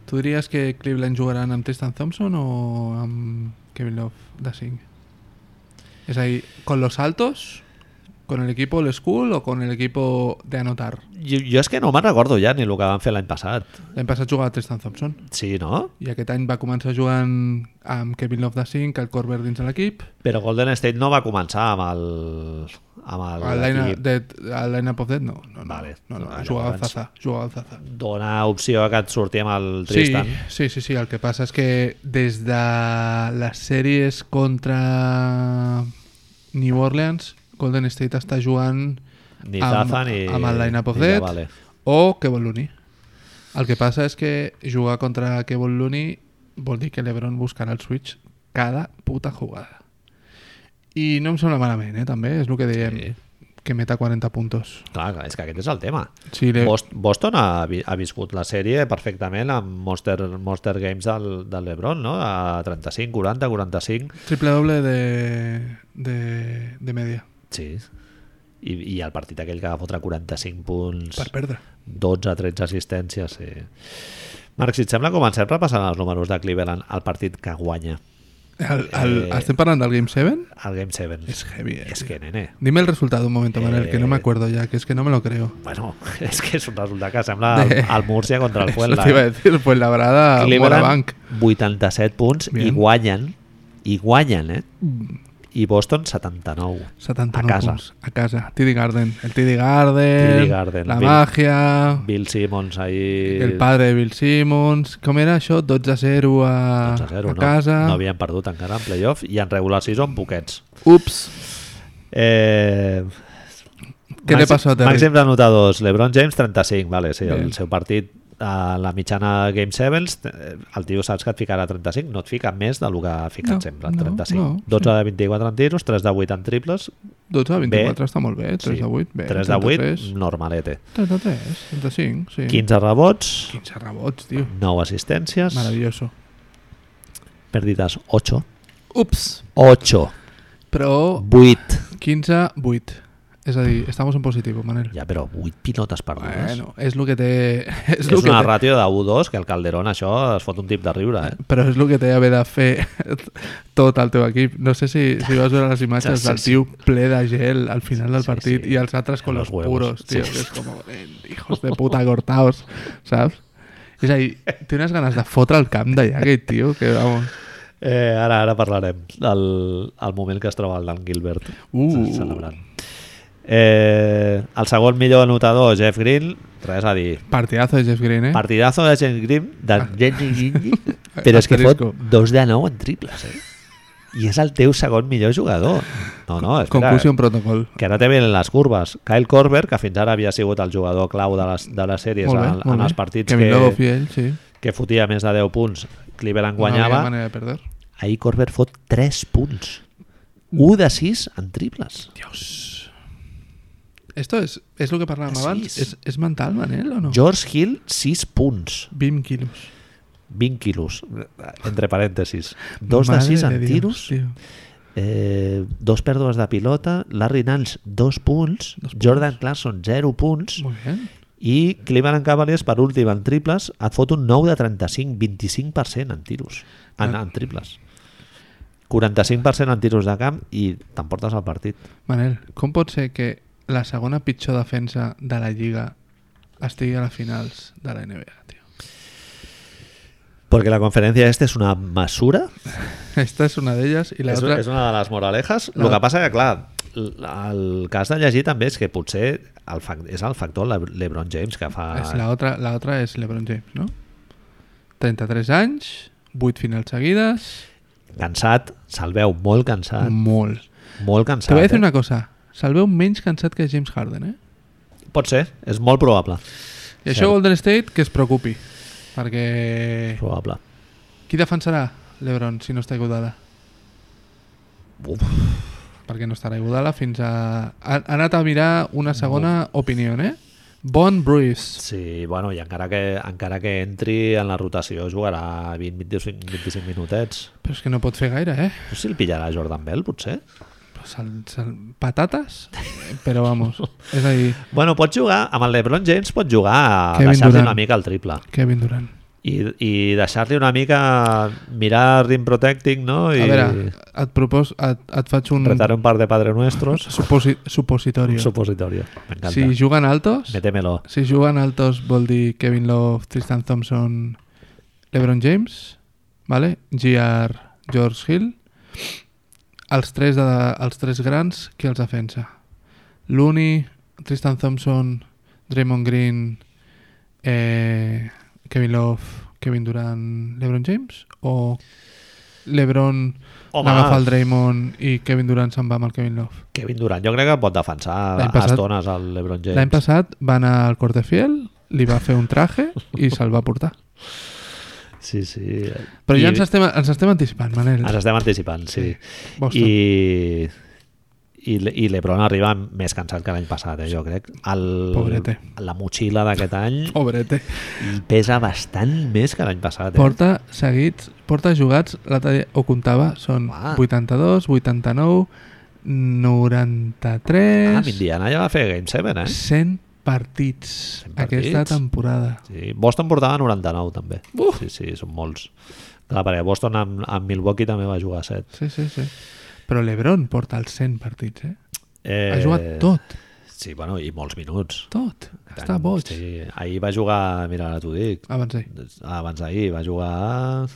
Speaker 2: tu diries que Cleveland jugaran amb Tristan Thompson o amb Kevin Love de 5? Es ahí, ¿con los altos? ¿Con el equipo old school o con el equipo de anotar?
Speaker 1: Jo, jo és que no me'n recordo ja ni el que van fer l'any passat.
Speaker 2: L'any passat jugava Tristan Thompson
Speaker 1: Sí, no?
Speaker 2: i aquest any va començar jugant amb Kevin Love de 5, el Corber dins de l'equip
Speaker 1: Però Golden State no va començar amb el... Amb el,
Speaker 2: El line,
Speaker 1: equip.
Speaker 2: de, el line up of Death no. no, no
Speaker 1: Vale.
Speaker 2: No, no,
Speaker 1: Ah,
Speaker 2: jugava al
Speaker 1: llavors.
Speaker 2: Zaza. Jugava al Zaza.
Speaker 1: Dona opció a que et sortia amb el
Speaker 2: Sí,
Speaker 1: Tristan.
Speaker 2: sí, sí, sí, el que passa és que des de les sèries contra New Orleans, Golden State està jugant
Speaker 1: Ni
Speaker 2: amb,
Speaker 1: Zaza ni...
Speaker 2: amb el line-up of
Speaker 1: ni
Speaker 2: Death
Speaker 1: Javale.
Speaker 2: o Kevon Looney. El que passa és que jugar contra Kevon Looney vol dir que l'Ebron buscarà el switch cada puta jugada. I no em sembla malament, eh, també, és el que dèiem, que meta 40 puntos.
Speaker 1: Clar, clar, és que aquest és el tema.
Speaker 2: Sí, le...
Speaker 1: Bos- Boston ha, vi- ha viscut la sèrie perfectament amb Monster, Monster Games del, del LeBron, no? A 35, 40, 45...
Speaker 2: triple doble de, de, de media
Speaker 1: Sí. I, I el partit aquell que va fotre 45 punts...
Speaker 2: per perdre.
Speaker 1: 12, 13 assistències. Sí. Marc, si et sembla, comencem repassant els números de Cleveland al partit que guanya
Speaker 2: El, el,
Speaker 1: Eh.
Speaker 2: Estem parlant del Game 7?
Speaker 1: al Game 7.
Speaker 2: És heavy, eh?
Speaker 1: És que, nene,
Speaker 2: Dime el resultado un momento, Manuel, que no me
Speaker 1: Eh.
Speaker 2: acuerdo ya, que es que no me lo creo.
Speaker 1: bueno, [laughs] és que és un resultat que
Speaker 2: [laughs]
Speaker 1: sembla el,
Speaker 2: De-
Speaker 1: el Múrcia contra el eh?
Speaker 2: Eso te iba a
Speaker 1: Fuenla.
Speaker 2: decir, pues la brada
Speaker 1: Cleveland,
Speaker 2: Bank.
Speaker 1: 87 Ah, punts i
Speaker 2: Bien. Mm.
Speaker 1: guanyen, i guanyen, eh? I Boston, 79.
Speaker 2: 79
Speaker 1: A casa.
Speaker 2: punts. A casa. TD Garden. El TD Garden.
Speaker 1: TD Garden.
Speaker 2: La
Speaker 1: Bill-
Speaker 2: magia.
Speaker 1: Bill Simmons ahir...
Speaker 2: El padre de Bill Simmons. Com era això? 12-0 a,
Speaker 1: 12 a 0,
Speaker 2: a
Speaker 1: no,
Speaker 2: casa.
Speaker 1: no havien perdut encara en playoff i en regular season poquets.
Speaker 2: Ups.
Speaker 1: Eh,
Speaker 2: Què li passó a Terry?
Speaker 1: Màxims anotadors, LeBron James 35, vale, sí,
Speaker 2: Bé.
Speaker 1: el seu partit a la mitjana Game 7 el tio saps que et ficarà 35 no et fica més del que ha ficat
Speaker 2: No,
Speaker 1: sempre
Speaker 2: no,
Speaker 1: 35,
Speaker 2: no, sí.
Speaker 1: 12 de 24 en tiros 3 de 8 en triples
Speaker 2: 12 a 24
Speaker 1: Bé.
Speaker 2: està molt bé. 3 de 8. Bé.
Speaker 1: 3 de 8,
Speaker 2: 33.
Speaker 1: normalete
Speaker 2: 33. 35, sí.
Speaker 1: 15 rebots,
Speaker 2: 15 rebots, tio.
Speaker 1: 9 assistències
Speaker 2: Maravilloso.
Speaker 1: pèrdides 8
Speaker 2: Ups.
Speaker 1: 8,
Speaker 2: Però
Speaker 1: 8
Speaker 2: 15-8. És a dir, estamos en positivo, Manel.
Speaker 1: ja però 8 pilotes perdudes
Speaker 2: Bueno, és el que té... [laughs] És,
Speaker 1: és,
Speaker 2: lo que
Speaker 1: una
Speaker 2: té-
Speaker 1: ràtio de 1-2 que el Calderón això es fot un tip de riure eh?
Speaker 2: Però és el que té haver de fer [laughs] tot el teu equip. No sé si, si vas veure les imatges
Speaker 1: Sí,
Speaker 2: del
Speaker 1: sí.
Speaker 2: tio ple de gel al final del
Speaker 1: Sí,
Speaker 2: partit
Speaker 1: sí.
Speaker 2: i els altres con
Speaker 1: En
Speaker 2: los,
Speaker 1: los huevos.
Speaker 2: puros, tio.
Speaker 1: Sí.
Speaker 2: que És com, eh, hijos de puta, cortaos, saps? És a dir, té unes ganes de fotre el camp d'allà, aquest tio, que vamos...
Speaker 1: Eh, ara, ara parlarem del el moment que es troba el Dan Gilbert
Speaker 2: Uh.
Speaker 1: celebrant. Eh, el segon millor anotador, Jeff Green, res a dir.
Speaker 2: Partidazo de Jeff Green, eh?
Speaker 1: Partidazo de Jeff Green, de Jeff [laughs] Green, però és que fot
Speaker 2: Asterisco.
Speaker 1: 2 de 9 en triples, eh? I és el teu segon millor jugador. No, no, espera,
Speaker 2: Conclusion protocol.
Speaker 1: que ara te venen les curves. Kyle Korver, que fins ara havia sigut el jugador clau de les, de les sèries
Speaker 2: Molt bé,
Speaker 1: en,
Speaker 2: molt
Speaker 1: en
Speaker 2: bé.
Speaker 1: els partits
Speaker 2: Kevin Love
Speaker 1: que,
Speaker 2: i ell, sí.
Speaker 1: que fotia més de 10 punts, Cleveland
Speaker 2: No
Speaker 1: guanyava.
Speaker 2: hi havia manera de perder.
Speaker 1: Ahir Corbett fot 3 punts. 1 de 6 en triples.
Speaker 2: Esto es, es lo que parlàvem
Speaker 1: Así
Speaker 2: abans.
Speaker 1: es.
Speaker 2: És, és mental, Manel, o no?
Speaker 1: George Hill, 6 punts.
Speaker 2: 20 quilos.
Speaker 1: 20 quilos, entre parèntesis. 2 de
Speaker 2: Madre
Speaker 1: 6 en
Speaker 2: Dios,
Speaker 1: tiros,
Speaker 2: tio.
Speaker 1: eh, dos pèrdues de pilota, Larry Nance, 2 punts,
Speaker 2: Dos punts.
Speaker 1: Jordan Clarkson, 0 punts,
Speaker 2: Molt bé.
Speaker 1: i Cleveland Cavaliers, per últim, en triples, et fot un 9 de 35, 25% en tiros,
Speaker 2: Ah.
Speaker 1: en, en triples. 45% en tiros de camp i t'emportes el partit.
Speaker 2: Manel, com pot ser que la segona pitjor defensa de la Lliga estigui a les finals de la NBA, tio? [laughs]
Speaker 1: Porque la conferencia este es una basura
Speaker 2: Esta és una d'elles i la
Speaker 1: és,
Speaker 2: otra...
Speaker 1: és una de les moralejas.
Speaker 2: La-
Speaker 1: El que passa que, clar, l- el cas de llegir també és que potser el fac, és el factor Le- LeBron James que fa...
Speaker 2: És la, otra, la otra és LeBron James, no? 33 anys, 8 finals seguides,
Speaker 1: Cansat, se'l veu molt cansat,
Speaker 2: molt.
Speaker 1: molt
Speaker 2: Mm. Te voy a
Speaker 1: cansat.
Speaker 2: decir
Speaker 1: Eh?
Speaker 2: una cosa, se'l veu menys cansat que James Harden, eh?
Speaker 1: Pot ser, és molt probable.
Speaker 2: I això
Speaker 1: Cert.
Speaker 2: Golden State que es preocupi, perquè
Speaker 1: probable.
Speaker 2: qui defensarà LeBron si no està Iguodala?
Speaker 1: Uf,
Speaker 2: perquè no estarà Iguodala fins a... Ha, ha anat a mirar una segona opinió, eh? Bon Bruce.
Speaker 1: sí, bueno, i encara que, encara que entri en la rotació jugarà 20, 25, 25 minutets.
Speaker 2: Però és que no pot fer gaire, eh?
Speaker 1: No sé si el pillarà Jordan Bell, potser.
Speaker 2: Sal, sal, patates? Però vamos, és a dir,
Speaker 1: Bueno, pot jugar, amb el LeBron James pot jugar a
Speaker 2: Kevin
Speaker 1: deixar-li
Speaker 2: Durant.
Speaker 1: una mica el triple.
Speaker 2: Kevin Durant.
Speaker 1: I, i deixar-li una mica mirar Rim Protecting, no? I
Speaker 2: A veure, et, propos, et, et faig un
Speaker 1: retar un par de Padre Nuestros.
Speaker 2: suposi, supositori.
Speaker 1: Supositorio. M'encanta.
Speaker 2: Si
Speaker 1: Sí,
Speaker 2: juguen altos,
Speaker 1: Metémelo.
Speaker 2: si juguen altos vol dir Kevin Love, Tristan Thompson, LeBron James, vale? GR, George Hill, els tres, de, els tres grans, qui els defensa? Looney, Tristan Thompson, Draymond Green, eh, Kevin Love, Kevin Durant, LeBron James? O LeBron
Speaker 1: Home.
Speaker 2: agafa el Draymond i Kevin Durant se'n va amb el Kevin Love?
Speaker 1: Kevin Durant, jo crec que pot defensar
Speaker 2: L'any
Speaker 1: a
Speaker 2: passat-
Speaker 1: estones al LeBron James.
Speaker 2: L'any passat va anar al Cortefiel, li va fer un traje i se'l va portar.
Speaker 1: Sí, sí.
Speaker 2: Però ja
Speaker 1: I-
Speaker 2: ens estem, ens estem anticipant, Manel.
Speaker 1: Ens estem anticipant, sí.
Speaker 2: Boston.
Speaker 1: I, i, Le- i l'Ebron arriba més cansat que l'any passat, eh, jo crec. El,
Speaker 2: Pobrete. Oh.
Speaker 1: La motxilla d'aquest any
Speaker 2: Pobrete.
Speaker 1: pesa bastant més que l'any passat. Eh?
Speaker 2: Porta seguits, porta jugats, l'altre dia ho comptava, són
Speaker 1: Uah.
Speaker 2: 82, 89, 93,
Speaker 1: Ah, amb Indiana ja va fer Game 7, eh?
Speaker 2: 100 partits
Speaker 1: 100
Speaker 2: aquesta
Speaker 1: partits.
Speaker 2: temporada.
Speaker 1: Sí. Boston portava 99, també. Uf. Sí, sí, són molts. Clar, perquè Boston amb, amb Milwaukee també va jugar 7.
Speaker 2: Sí, sí, sí. Però l'Ebron porta els 100 partits, eh?
Speaker 1: Eh,
Speaker 2: Ha jugat tot,
Speaker 1: Sí, bueno, i molts minuts.
Speaker 2: tot. Està boig. Sí.
Speaker 1: Sí, ahir va jugar, mira, ara t'ho dic,
Speaker 2: Abans eh, d'ahir.
Speaker 1: abans d'ahir va jugar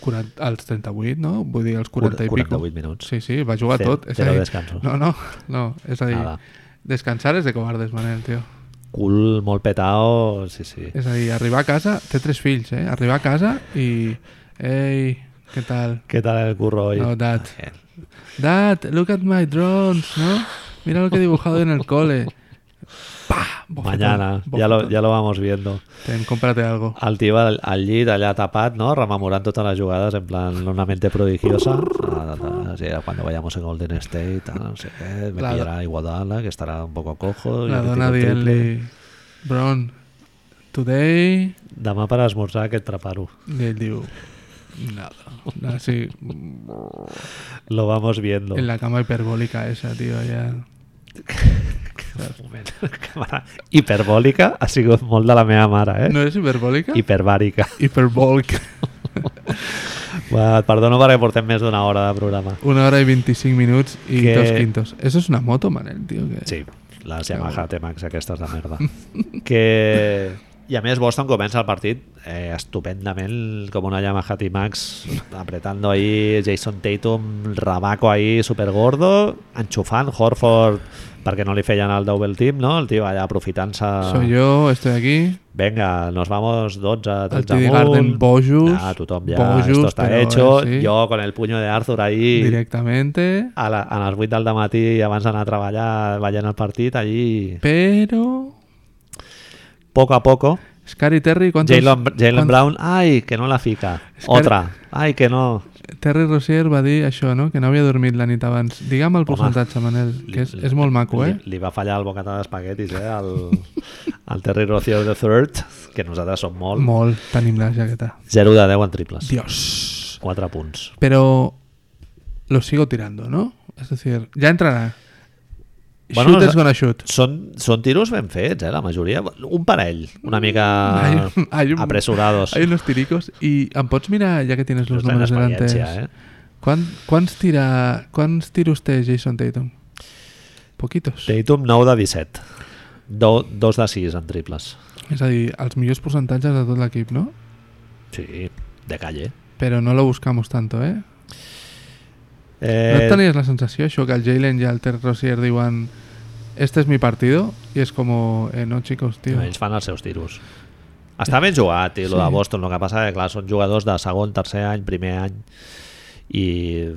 Speaker 2: 40 als 38, no? Vull dir, als 40 i pico.
Speaker 1: 48 minuts.
Speaker 2: Sí, sí, va jugar
Speaker 1: Cero-
Speaker 2: tot. És
Speaker 1: cero
Speaker 2: a dir,
Speaker 1: descansos.
Speaker 2: No, no, no, és a dir,
Speaker 1: Nada.
Speaker 2: descansar és de covardes, Manel, tio.
Speaker 1: Cul molt petao, sí, sí.
Speaker 2: És a dir, arribar a casa, té tres fills, eh? Arribar a casa i... Ei, què tal?
Speaker 1: Què tal el curro hoy?
Speaker 2: No, dad. Dad, look at my drones, no? Mira lo que he dibujado en el cole. Pa! Bofetón,
Speaker 1: Mañana, ya lo, Ah,
Speaker 2: bofetón.
Speaker 1: ya lo vamos viendo.
Speaker 2: Ten, cómprate algo.
Speaker 1: El tio al, al llit allà tapat, no? rememorant totes les jugades en plan una mente prodigiosa. Ah, ah, sí, cuando vayamos en Golden State, ah, no sé què, me
Speaker 2: La-
Speaker 1: pillará Iguodala, que estará un poco cojo. i
Speaker 2: La
Speaker 1: jo que
Speaker 2: dona
Speaker 1: tinc un triple.
Speaker 2: dient-li... Bron, today...
Speaker 1: Demà per esmorzar aquest traparo.
Speaker 2: I ell diu...
Speaker 1: [laughs]
Speaker 2: Nada. Así,
Speaker 1: Lo vamos viendo.
Speaker 2: en la cama hiperbólica esa, tío, ya...
Speaker 1: [laughs] Un moment. [laughs] Càmera hiperbòlica ha sigut molt de la meva mare, eh?
Speaker 2: ¿No es hiperbólica?
Speaker 1: Hiperbàrica.
Speaker 2: Hiperbólica.
Speaker 1: Va, et perdono perquè portem més d'una hora de programa.
Speaker 2: Una hora y 25 minutos y
Speaker 1: Que-
Speaker 2: dos quintos. Eso es una moto, Manel, tío. Que...
Speaker 1: Sí, les Yamaha T-Max aquestes de
Speaker 2: [laughs]
Speaker 1: merda. que... I a més Boston comença el partit eh, estupendament com una Yamaha T-Max apretando ahí Jason Tatum, Rabaco ahí supergordo, enxufant Horford perquè no li feien el double team, no? El tio allà aprofitant-se...
Speaker 2: Soy yo, estoy aquí.
Speaker 1: Venga, nos vamos 12,
Speaker 2: El
Speaker 1: 13
Speaker 2: TD Garden, Bojus.
Speaker 1: Ah, tothom ja,
Speaker 2: Bojus,
Speaker 1: esto está
Speaker 2: però, eh,
Speaker 1: hecho.
Speaker 2: sí.
Speaker 1: Jo con el puño de Arthur ahí...
Speaker 2: Directamente.
Speaker 1: a, la, a les 8 del matí abans d'anar a treballar veient el partit allí
Speaker 2: Pero...
Speaker 1: poco a poco
Speaker 2: Scary Terry, ¿cuántos?
Speaker 1: Jalen Jalen
Speaker 2: cuán-
Speaker 1: Brown ai que no la fica
Speaker 2: que-
Speaker 1: otra ai que no
Speaker 2: Terry Rozier va dir això, no? Que no havia dormit la nit abans. Digue'm el percentatge, Manel, que és, és molt maco, eh?
Speaker 1: li, li va fallar el bocata d'espaguetis eh? el, el Terry Rozier the third que nosaltres som molt,
Speaker 2: Molt, tenim la jaqueta.
Speaker 1: 0 de 10 en triples
Speaker 2: Dios.
Speaker 1: 4 punts
Speaker 2: Pero lo sigo tirando, ¿no? Es decir, ya entrará.
Speaker 1: Bueno,
Speaker 2: shoot
Speaker 1: no-
Speaker 2: is gonna shoot.
Speaker 1: són, són tiros ben fets, eh, la majoria. Un parell, una mica
Speaker 2: Hay un- hay un-
Speaker 1: apressurados.
Speaker 2: Hay unos tiricos y em pots mirar, ya que tienes los
Speaker 1: Això és
Speaker 2: números delante.
Speaker 1: experiència, eh?
Speaker 2: ¿Cuán- ¿Cuántos tira, cuántos tira usted, Jason Tatum? Poquitos.
Speaker 1: eh. Tatum 9 de 17. Do, 2 de 6 en triples.
Speaker 2: Es a dir, els millors percentatges de tot l'equip, no?
Speaker 1: Sí, de calle.
Speaker 2: Pero no lo buscamos tanto, eh? No
Speaker 1: Eh,
Speaker 2: et tenies la sensació, això, que el Jalen i el Terry Rozier diuen este es mi partido y es como, eh, no, chicos, tío.
Speaker 1: no, ells fan els seus tiros. Està ben jugat, i el
Speaker 2: Sí.
Speaker 1: de Boston, el que passa que clar, són jugadors de segon, tercer any, primer any, i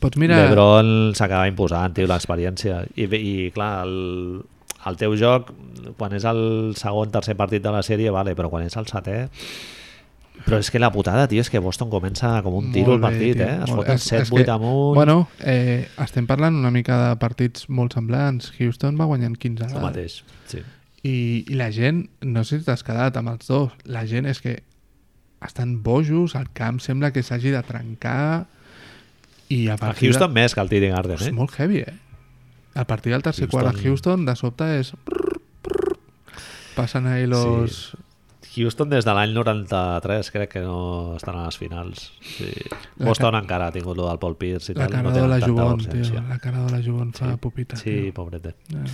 Speaker 2: Pots
Speaker 1: Mira.
Speaker 2: mirar...
Speaker 1: l'Ebron s'acaba imposant, tio, l'experiència. I, bé, I clar, el, el teu joc, quan és el segon, tercer partit de la sèrie, vale, però quan és el setè... Però és que la putada, tio, és que Boston comença com un tiro
Speaker 2: Molt
Speaker 1: el partit,
Speaker 2: tio,
Speaker 1: eh? Es
Speaker 2: molt-
Speaker 1: foten
Speaker 2: és- és
Speaker 1: 7-8
Speaker 2: que,
Speaker 1: amunt...
Speaker 2: Bueno, eh, estem parlant una mica de partits molt semblants. Houston va guanyant 15
Speaker 1: el
Speaker 2: a
Speaker 1: mateix, sí.
Speaker 2: i, i la gent, no sé si t'has quedat amb els dos, la gent és que estan bojos, el camp sembla que s'hagi de trencar i a
Speaker 1: A
Speaker 2: partir
Speaker 1: Houston més que el TD Garden,
Speaker 2: de... És
Speaker 1: eh?
Speaker 2: molt heavy, eh? A partir del tercer
Speaker 1: Houston-
Speaker 2: quart de Houston, de sobte és... prrr, prrr, Passen ahí los...
Speaker 1: Houston des de l'any 93 crec que no estan a les finals. Sí.
Speaker 2: La
Speaker 1: Boston encara ha tingut el del Paul Pierce i
Speaker 2: La
Speaker 1: tal.
Speaker 2: cara
Speaker 1: no
Speaker 2: de
Speaker 1: tenen
Speaker 2: la
Speaker 1: tanta
Speaker 2: Jubon, tio.
Speaker 1: urgència.
Speaker 2: La cara de la Jubon fa pupita.
Speaker 1: Sí,
Speaker 2: tio.
Speaker 1: pobrete.
Speaker 2: Eh.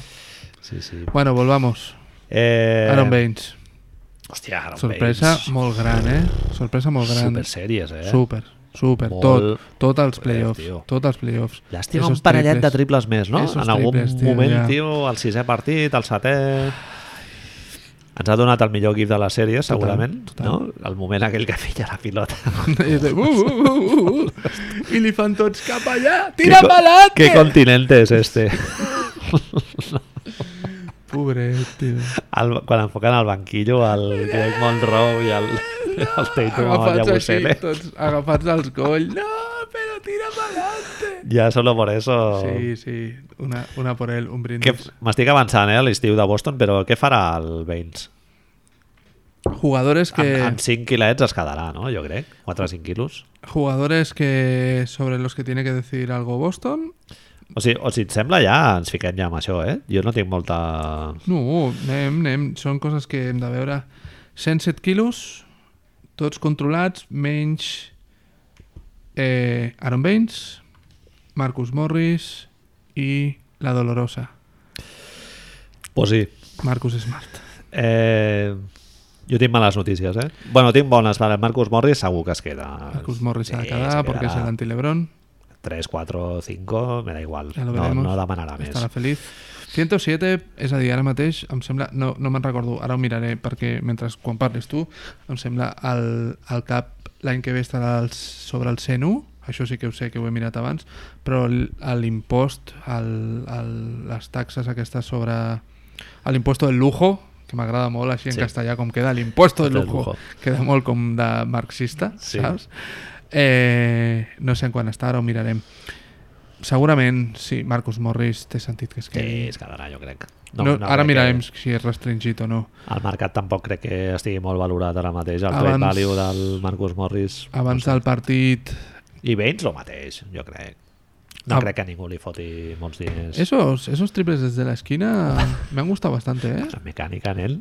Speaker 1: Sí, sí.
Speaker 2: Bueno, volvamos.
Speaker 1: Eh,
Speaker 2: Aaron Baines.
Speaker 1: Hòstia, Aaron
Speaker 2: Sorpresa
Speaker 1: Baines.
Speaker 2: molt gran, eh? Sorpresa molt gran.
Speaker 1: Super sèries, eh?
Speaker 2: Super, super.
Speaker 1: Molt.
Speaker 2: Tot, tot els
Speaker 1: Joder,
Speaker 2: playoffs.
Speaker 1: tio.
Speaker 2: Tot els playoffs.
Speaker 1: Llàstima
Speaker 2: Esos
Speaker 1: un parellet de
Speaker 2: triples.
Speaker 1: triples més, no?
Speaker 2: Esos
Speaker 1: en algun
Speaker 2: triples, tio,
Speaker 1: moment,
Speaker 2: ja.
Speaker 1: tio, el sisè partit, el setè... Ens ha donat el millor gif de la sèrie, segurament,
Speaker 2: total.
Speaker 1: no? El moment aquell que filla la pilota.
Speaker 2: [laughs] I, és de, uh, uh, uh, uh, uh. I li fan tots cap allà. Tira malalt!
Speaker 1: ¿Qué continente es este?
Speaker 2: Pobret, tio. [laughs]
Speaker 1: Al, quan enfoquen al banquillo, al Greg Monroe i al... el Tatum amb el
Speaker 2: agafats així,
Speaker 1: Yabusele.
Speaker 2: tots agafats als colls. No, però tira pa'lante.
Speaker 1: Ja solo por eso...
Speaker 2: Sí, sí, una, una por él, un brindis.
Speaker 1: Oh. Que m'estic avançant, eh, a l'estiu de Boston, però què farà el Baines?
Speaker 2: Jugadores que...
Speaker 1: En, en 5 quilets es quedarà, no? Jo crec. 4 o 5 quilos.
Speaker 2: Jugadores que sobre los que tiene que decidir algo Boston.
Speaker 1: O sigui, o si et sembla ja, ens fiquem ja amb això, eh? Jo no tinc molta...
Speaker 2: No, anem, anem. Són coses que hem de veure. 107 quilos, tots controlats, menys eh, Aaron Baines, Marcus Morris i la Dolorosa,
Speaker 1: Pues sí.
Speaker 2: Marcus Smart.
Speaker 1: Eh, jo tinc males notícies, eh? Bueno, tinc bones, per Marcus Morris segur que es queda.
Speaker 2: Marcus Morris se ha de
Speaker 1: Sí,
Speaker 2: quedar
Speaker 1: es
Speaker 2: perquè es el
Speaker 1: quedarà.
Speaker 2: anti-Lebron.
Speaker 1: 3, 4, 5, me da igual.
Speaker 2: Ja lo
Speaker 1: no,
Speaker 2: veremos.
Speaker 1: no demanarà més.
Speaker 2: Estarà feliç. 107, és a dir, ara mateix, em sembla... No, no me'n recordo, ara ho miraré perquè mentre quan parles tu, em sembla el, el cap l'any que ve estarà als, sobre el 101, això sí que ho sé, que ho he mirat abans, però l- a l'impost, el- el- les taxes aquestes sobre... a l'impost del lujo, que m'agrada molt així en
Speaker 1: Sí.
Speaker 2: castellà com queda, l'impost del
Speaker 1: Del
Speaker 2: lujo.
Speaker 1: lujo.
Speaker 2: Queda molt com de marxista,
Speaker 1: Sí.
Speaker 2: saps? Eh, no sé en quan està, ara ho mirarem. Segurament, sí, Marcus Morris té sentit que es
Speaker 1: Sí,
Speaker 2: quedi.
Speaker 1: es quedarà, jo crec.
Speaker 2: no, no, ara
Speaker 1: crec
Speaker 2: mirarem
Speaker 1: Que...
Speaker 2: si és restringit o no.
Speaker 1: El mercat tampoc crec que estigui molt valorat ara mateix. El
Speaker 2: Abans-
Speaker 1: trade value del Marcus Morris...
Speaker 2: Abans del partit...
Speaker 1: I Baines, el mateix, jo crec. No
Speaker 2: Ah.
Speaker 1: crec que ningú li foti molts diners.
Speaker 2: Esos, esos triples des de la
Speaker 1: [laughs]
Speaker 2: esquina me han gustado bastante, ¿eh?
Speaker 1: La mecànica en ell.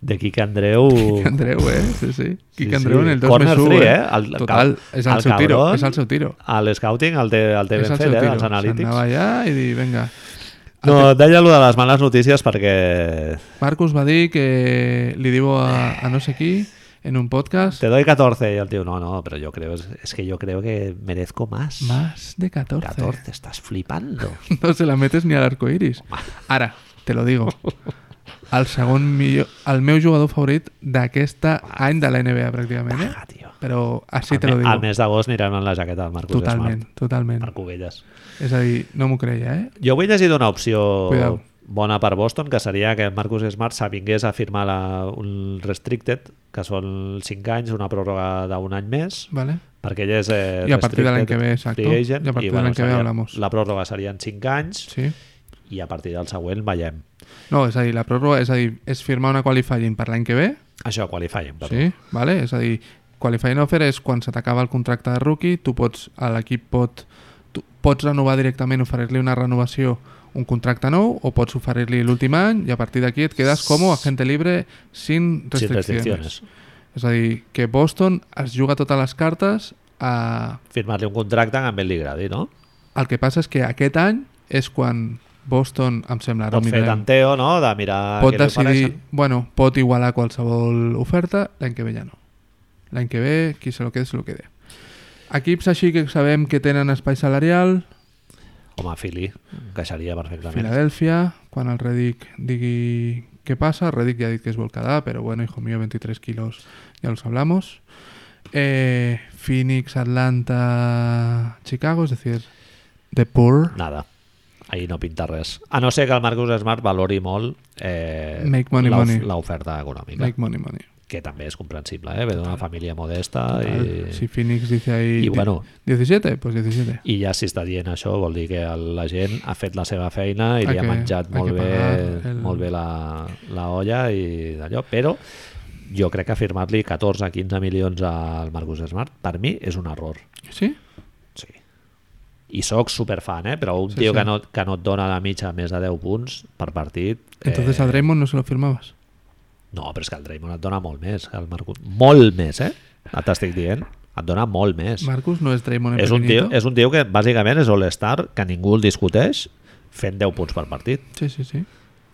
Speaker 1: De Quique Andreu...
Speaker 2: [laughs] Quique Andreu, ¿eh? Sí, sí. [laughs] Quique
Speaker 1: sí.
Speaker 2: Andreu en el 2
Speaker 1: Corner
Speaker 2: més u,
Speaker 1: three,
Speaker 2: eh?
Speaker 1: eh? El- el
Speaker 2: Total,
Speaker 1: cab-
Speaker 2: és el,
Speaker 1: el
Speaker 2: seu tiro,
Speaker 1: cabrón.
Speaker 2: és el seu tiro.
Speaker 1: A l'escouting el té, el té
Speaker 2: és
Speaker 1: ben
Speaker 2: el
Speaker 1: fet,
Speaker 2: seu
Speaker 1: eh,
Speaker 2: tiro.
Speaker 1: dels
Speaker 2: S'anava
Speaker 1: analítics.
Speaker 2: allà i dir, vinga...
Speaker 1: No, et deia allò de les males notícies perquè...
Speaker 2: Marcus va dir que li diu a, a no sé qui en un podcast
Speaker 1: Te doy 14 y el tío, no, no, pero yo creo, es, es que yo creo que merezco más.
Speaker 2: más de 14.
Speaker 1: 14, estás flipando.
Speaker 2: [laughs] No se la metes ni al arco iris. Ara, te
Speaker 1: [laughs]
Speaker 2: lo digo. El segon millor... El meu jugador favorit d'aquesta any de la NBA, pràcticament, eh?
Speaker 1: Ah, tío.
Speaker 2: Però així te
Speaker 1: al,
Speaker 2: lo
Speaker 1: me-
Speaker 2: digo.
Speaker 1: al mes d'agost aniran amb la jaqueta del Marcus
Speaker 2: Totalment,
Speaker 1: Smart.
Speaker 2: totalment.
Speaker 1: Per Cubelles.
Speaker 2: És a dir, no m'ho creia, eh?
Speaker 1: Jo avui he llegit una opció
Speaker 2: Cuidao.
Speaker 1: bona per Boston, que seria que Marcus Smart s'avingués a firmar la, un restricted, que són 5 anys, una pròrroga d'un any més,
Speaker 2: Vale?
Speaker 1: perquè ell és eh,
Speaker 2: I a partir de l'any
Speaker 1: restricted
Speaker 2: que ve, exacto.
Speaker 1: free agent,
Speaker 2: I a partir de l'any que ve
Speaker 1: seria-
Speaker 2: hablamos.
Speaker 1: La pròrroga serien 5 anys
Speaker 2: Sí.
Speaker 1: i a partir del següent veiem.
Speaker 2: No, és a dir, la pròrroga, és a dir, és firmar una qualifying per l'any que ve,
Speaker 1: Això, qualifying. perdó.
Speaker 2: Sí, vale? és a dir, qualifying offer és quan se t'acaba el contracte de rookie, tu pots, a l'equip pot, tu pots renovar directament, oferir-li una renovació, un contracte nou, o pots oferir-li l'últim any i a partir d'aquí et quedes com a agente libre sin
Speaker 1: Sin
Speaker 2: restriccions.
Speaker 1: restricciones.
Speaker 2: És a dir, que Boston es juga totes les cartes a...
Speaker 1: Firmar-li un contracte amb ell li agradi, no?
Speaker 2: El que passa és que aquest any és quan Boston, em sembla, ara ho
Speaker 1: Pot fer
Speaker 2: mirarem,
Speaker 1: tanteo, Ah, no?, de mirar
Speaker 2: pot
Speaker 1: què li ofereixen.
Speaker 2: decidir, bueno, pot igualar qualsevol oferta, l'any que ve ja no. L'any que ve, qui se lo quede, se lo quede. Equips així que sabem que tenen espai salarial,
Speaker 1: Home, Fili,
Speaker 2: Mm.
Speaker 1: encaixaria perfectament.
Speaker 2: Filadèlfia, quan el Redick digui què passa, Redick ja ha dit que es vol quedar, però bueno, hijo mío, 23 quilos, ja los hablamos. Eh, Phoenix, Atlanta, Chicago, es decir, The Poor,
Speaker 1: Nada. Ahir no pinta res. A no ser que el Marcus Smart valori molt eh,
Speaker 2: Make money,
Speaker 1: l'of-
Speaker 2: money.
Speaker 1: l'oferta econòmica,
Speaker 2: make money, money.
Speaker 1: que també és comprensible, eh? Ve d'una família modesta
Speaker 2: Tal.
Speaker 1: i,
Speaker 2: Si Phoenix dice ahí
Speaker 1: i, bueno,
Speaker 2: 17, pues 17.
Speaker 1: i ja si està dient això vol dir que el- la gent ha fet la seva feina i
Speaker 2: Hay
Speaker 1: li ha
Speaker 2: que-
Speaker 1: menjat
Speaker 2: hay
Speaker 1: molt
Speaker 2: que
Speaker 1: bé,
Speaker 2: pagar el-
Speaker 1: molt bé la, la olla i d'allò, però jo crec que firmar-li 14-15 milions al Marcus Smart per mi és un error.
Speaker 2: Sí?
Speaker 1: Sí. I sóc superfan, eh? però un
Speaker 2: Sí,
Speaker 1: sí, tio
Speaker 2: sí.
Speaker 1: sí. Que, no, que no et dona la mitja més de 10 punts per partit... eh,
Speaker 2: Entonces a Draymond no se lo firmabas.
Speaker 1: No, però és que el Draymond et dona molt més. que El Marcus... Molt més, eh? Ja T'estic dient. Et dona molt més.
Speaker 2: Marcus no es Draymond en
Speaker 1: és, un tio,
Speaker 2: pequeñito.
Speaker 1: és un tio que bàsicament és all-star, que ningú el discuteix, fent 10 punts per partit,
Speaker 2: Sí, sí, sí.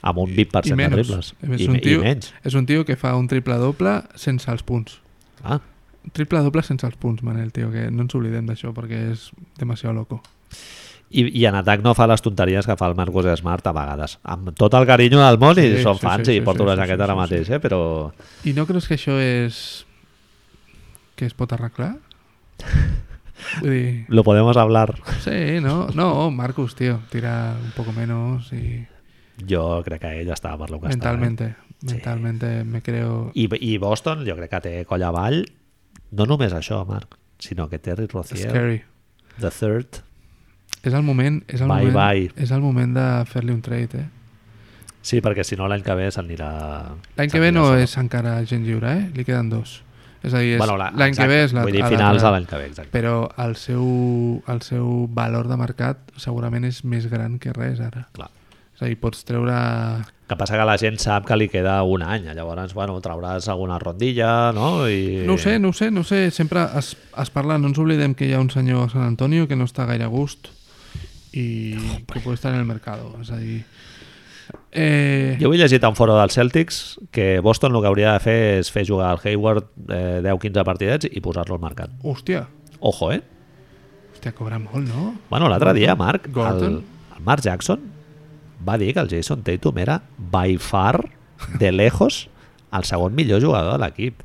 Speaker 1: amb un
Speaker 2: I
Speaker 1: 20% de
Speaker 2: menys.
Speaker 1: triples.
Speaker 2: És
Speaker 1: I,
Speaker 2: un
Speaker 1: me-
Speaker 2: tio-
Speaker 1: I menys.
Speaker 2: És un tio que fa un triple-doble sense els punts.
Speaker 1: Ah,
Speaker 2: Triple-doble sense els punts, Manel, tio, que no ens oblidem d'això perquè és demasiado loco.
Speaker 1: I, I en atac no fa les tonteries que fa el Marcus Smart a vegades. Amb tot el carinyo del món i
Speaker 2: Sí,
Speaker 1: són
Speaker 2: sí,
Speaker 1: fans
Speaker 2: sí,
Speaker 1: i
Speaker 2: sí,
Speaker 1: porto
Speaker 2: sí,
Speaker 1: la
Speaker 2: sí,
Speaker 1: jaqueta
Speaker 2: sí,
Speaker 1: ara
Speaker 2: sí,
Speaker 1: mateix, eh? però
Speaker 2: I no creus que això és... que es
Speaker 1: [laughs]
Speaker 2: pot arreglar? Vull dir...
Speaker 1: lo podemos hablar.
Speaker 2: Sí, no, no, Marcus, tío, tira un poco menos y
Speaker 1: Jo crec que ell està eh? per lo que
Speaker 2: mentalmente. Mentalmente me creo...
Speaker 1: I, I Boston jo crec que té colla avall no només això, Marc, sinó que Terry Rozier,
Speaker 2: Scary.
Speaker 1: The Third...
Speaker 2: És el moment... És el
Speaker 1: Bye,
Speaker 2: moment,
Speaker 1: bye.
Speaker 2: És el moment de fer-li un trade, eh?
Speaker 1: Sí, perquè si no l'any que ve s'anirà...
Speaker 2: L'any que ve
Speaker 1: s'anirà
Speaker 2: no
Speaker 1: sol.
Speaker 2: és encara gent lliure, eh? Li queden dos. És a dir, és-
Speaker 1: Bueno, la-
Speaker 2: l'any que ve
Speaker 1: exacte,
Speaker 2: és la,
Speaker 1: Vull dir,
Speaker 2: a la-
Speaker 1: finals de l'any que ve, exacte.
Speaker 2: Però el seu, el seu valor de mercat segurament és més gran que res ara.
Speaker 1: Clar.
Speaker 2: És a dir, pots treure...
Speaker 1: que passa que la gent sap que li queda un any, llavors, bueno, trauràs alguna rondilla, no? I...
Speaker 2: No ho sé, no ho sé, no ho sé. Sempre es, es parla, no ens oblidem que hi ha un senyor a San Antonio que no està gaire a gust i que pot estar en el mercat. És a dir... Eh,
Speaker 1: Jo he llegit a un foro dels Celtics que Boston el que hauria de fer és fer jugar al Hayward eh, 10-15 partidets i posar-lo al mercat.
Speaker 2: Hòstia,
Speaker 1: Ojo, eh?
Speaker 2: hòstia, cobra molt, no?
Speaker 1: Bueno, l'altre dia, Marc, el,
Speaker 2: Gordon?
Speaker 1: el Mark Jackson va dir que el Jason Tatum era by far, de lejos, el segon millor jugador de l'equip.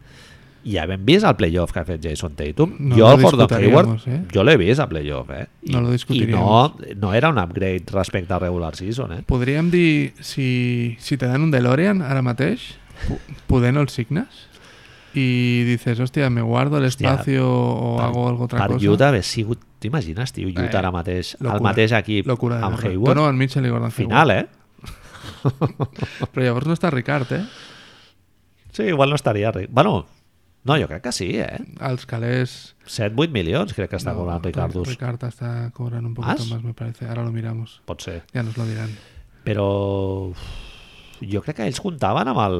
Speaker 1: I havent vist el playoff que ha fet Jason Tatum,
Speaker 2: No
Speaker 1: jo
Speaker 2: lo
Speaker 1: el Gordon
Speaker 2: discutiríamos,
Speaker 1: Hayward,
Speaker 2: eh?
Speaker 1: jo l'he vist a playoff, eh? I,
Speaker 2: No lo
Speaker 1: I
Speaker 2: discutiríamos.
Speaker 1: no, no era un upgrade respecte al regular season, eh?
Speaker 2: Podríem dir, si, si te dan un DeLorean ara mateix, po- poder no el signes? I dices, hòstia, me guardo
Speaker 1: Hòstia,
Speaker 2: l'espacio o
Speaker 1: per-
Speaker 2: hago algo otra
Speaker 1: per
Speaker 2: cosa.
Speaker 1: Utah haver sigut... T'imagines, tio, Utah
Speaker 2: Eh,
Speaker 1: ara mateix,
Speaker 2: locura,
Speaker 1: el mateix equip
Speaker 2: Locura eh? de
Speaker 1: amb
Speaker 2: guerra.
Speaker 1: Hayward,
Speaker 2: Donovan Mitchell i Gordon
Speaker 1: final, eh?
Speaker 2: Hayward. Però llavors no està Ricard, eh?
Speaker 1: Sí, igual no estaria ric. Bueno, no, jo crec que sí, eh?
Speaker 2: Els calés... 7-8
Speaker 1: 7-8 milions crec que està
Speaker 2: no,
Speaker 1: cobrant Ricardus.
Speaker 2: Ricard está cobrando un poquito
Speaker 1: ¿Más?
Speaker 2: más, me parece. Ahora lo miramos.
Speaker 1: Pot ser.
Speaker 2: Ya nos lo dirán.
Speaker 1: Però uf, jo crec que ells comptaven amb el...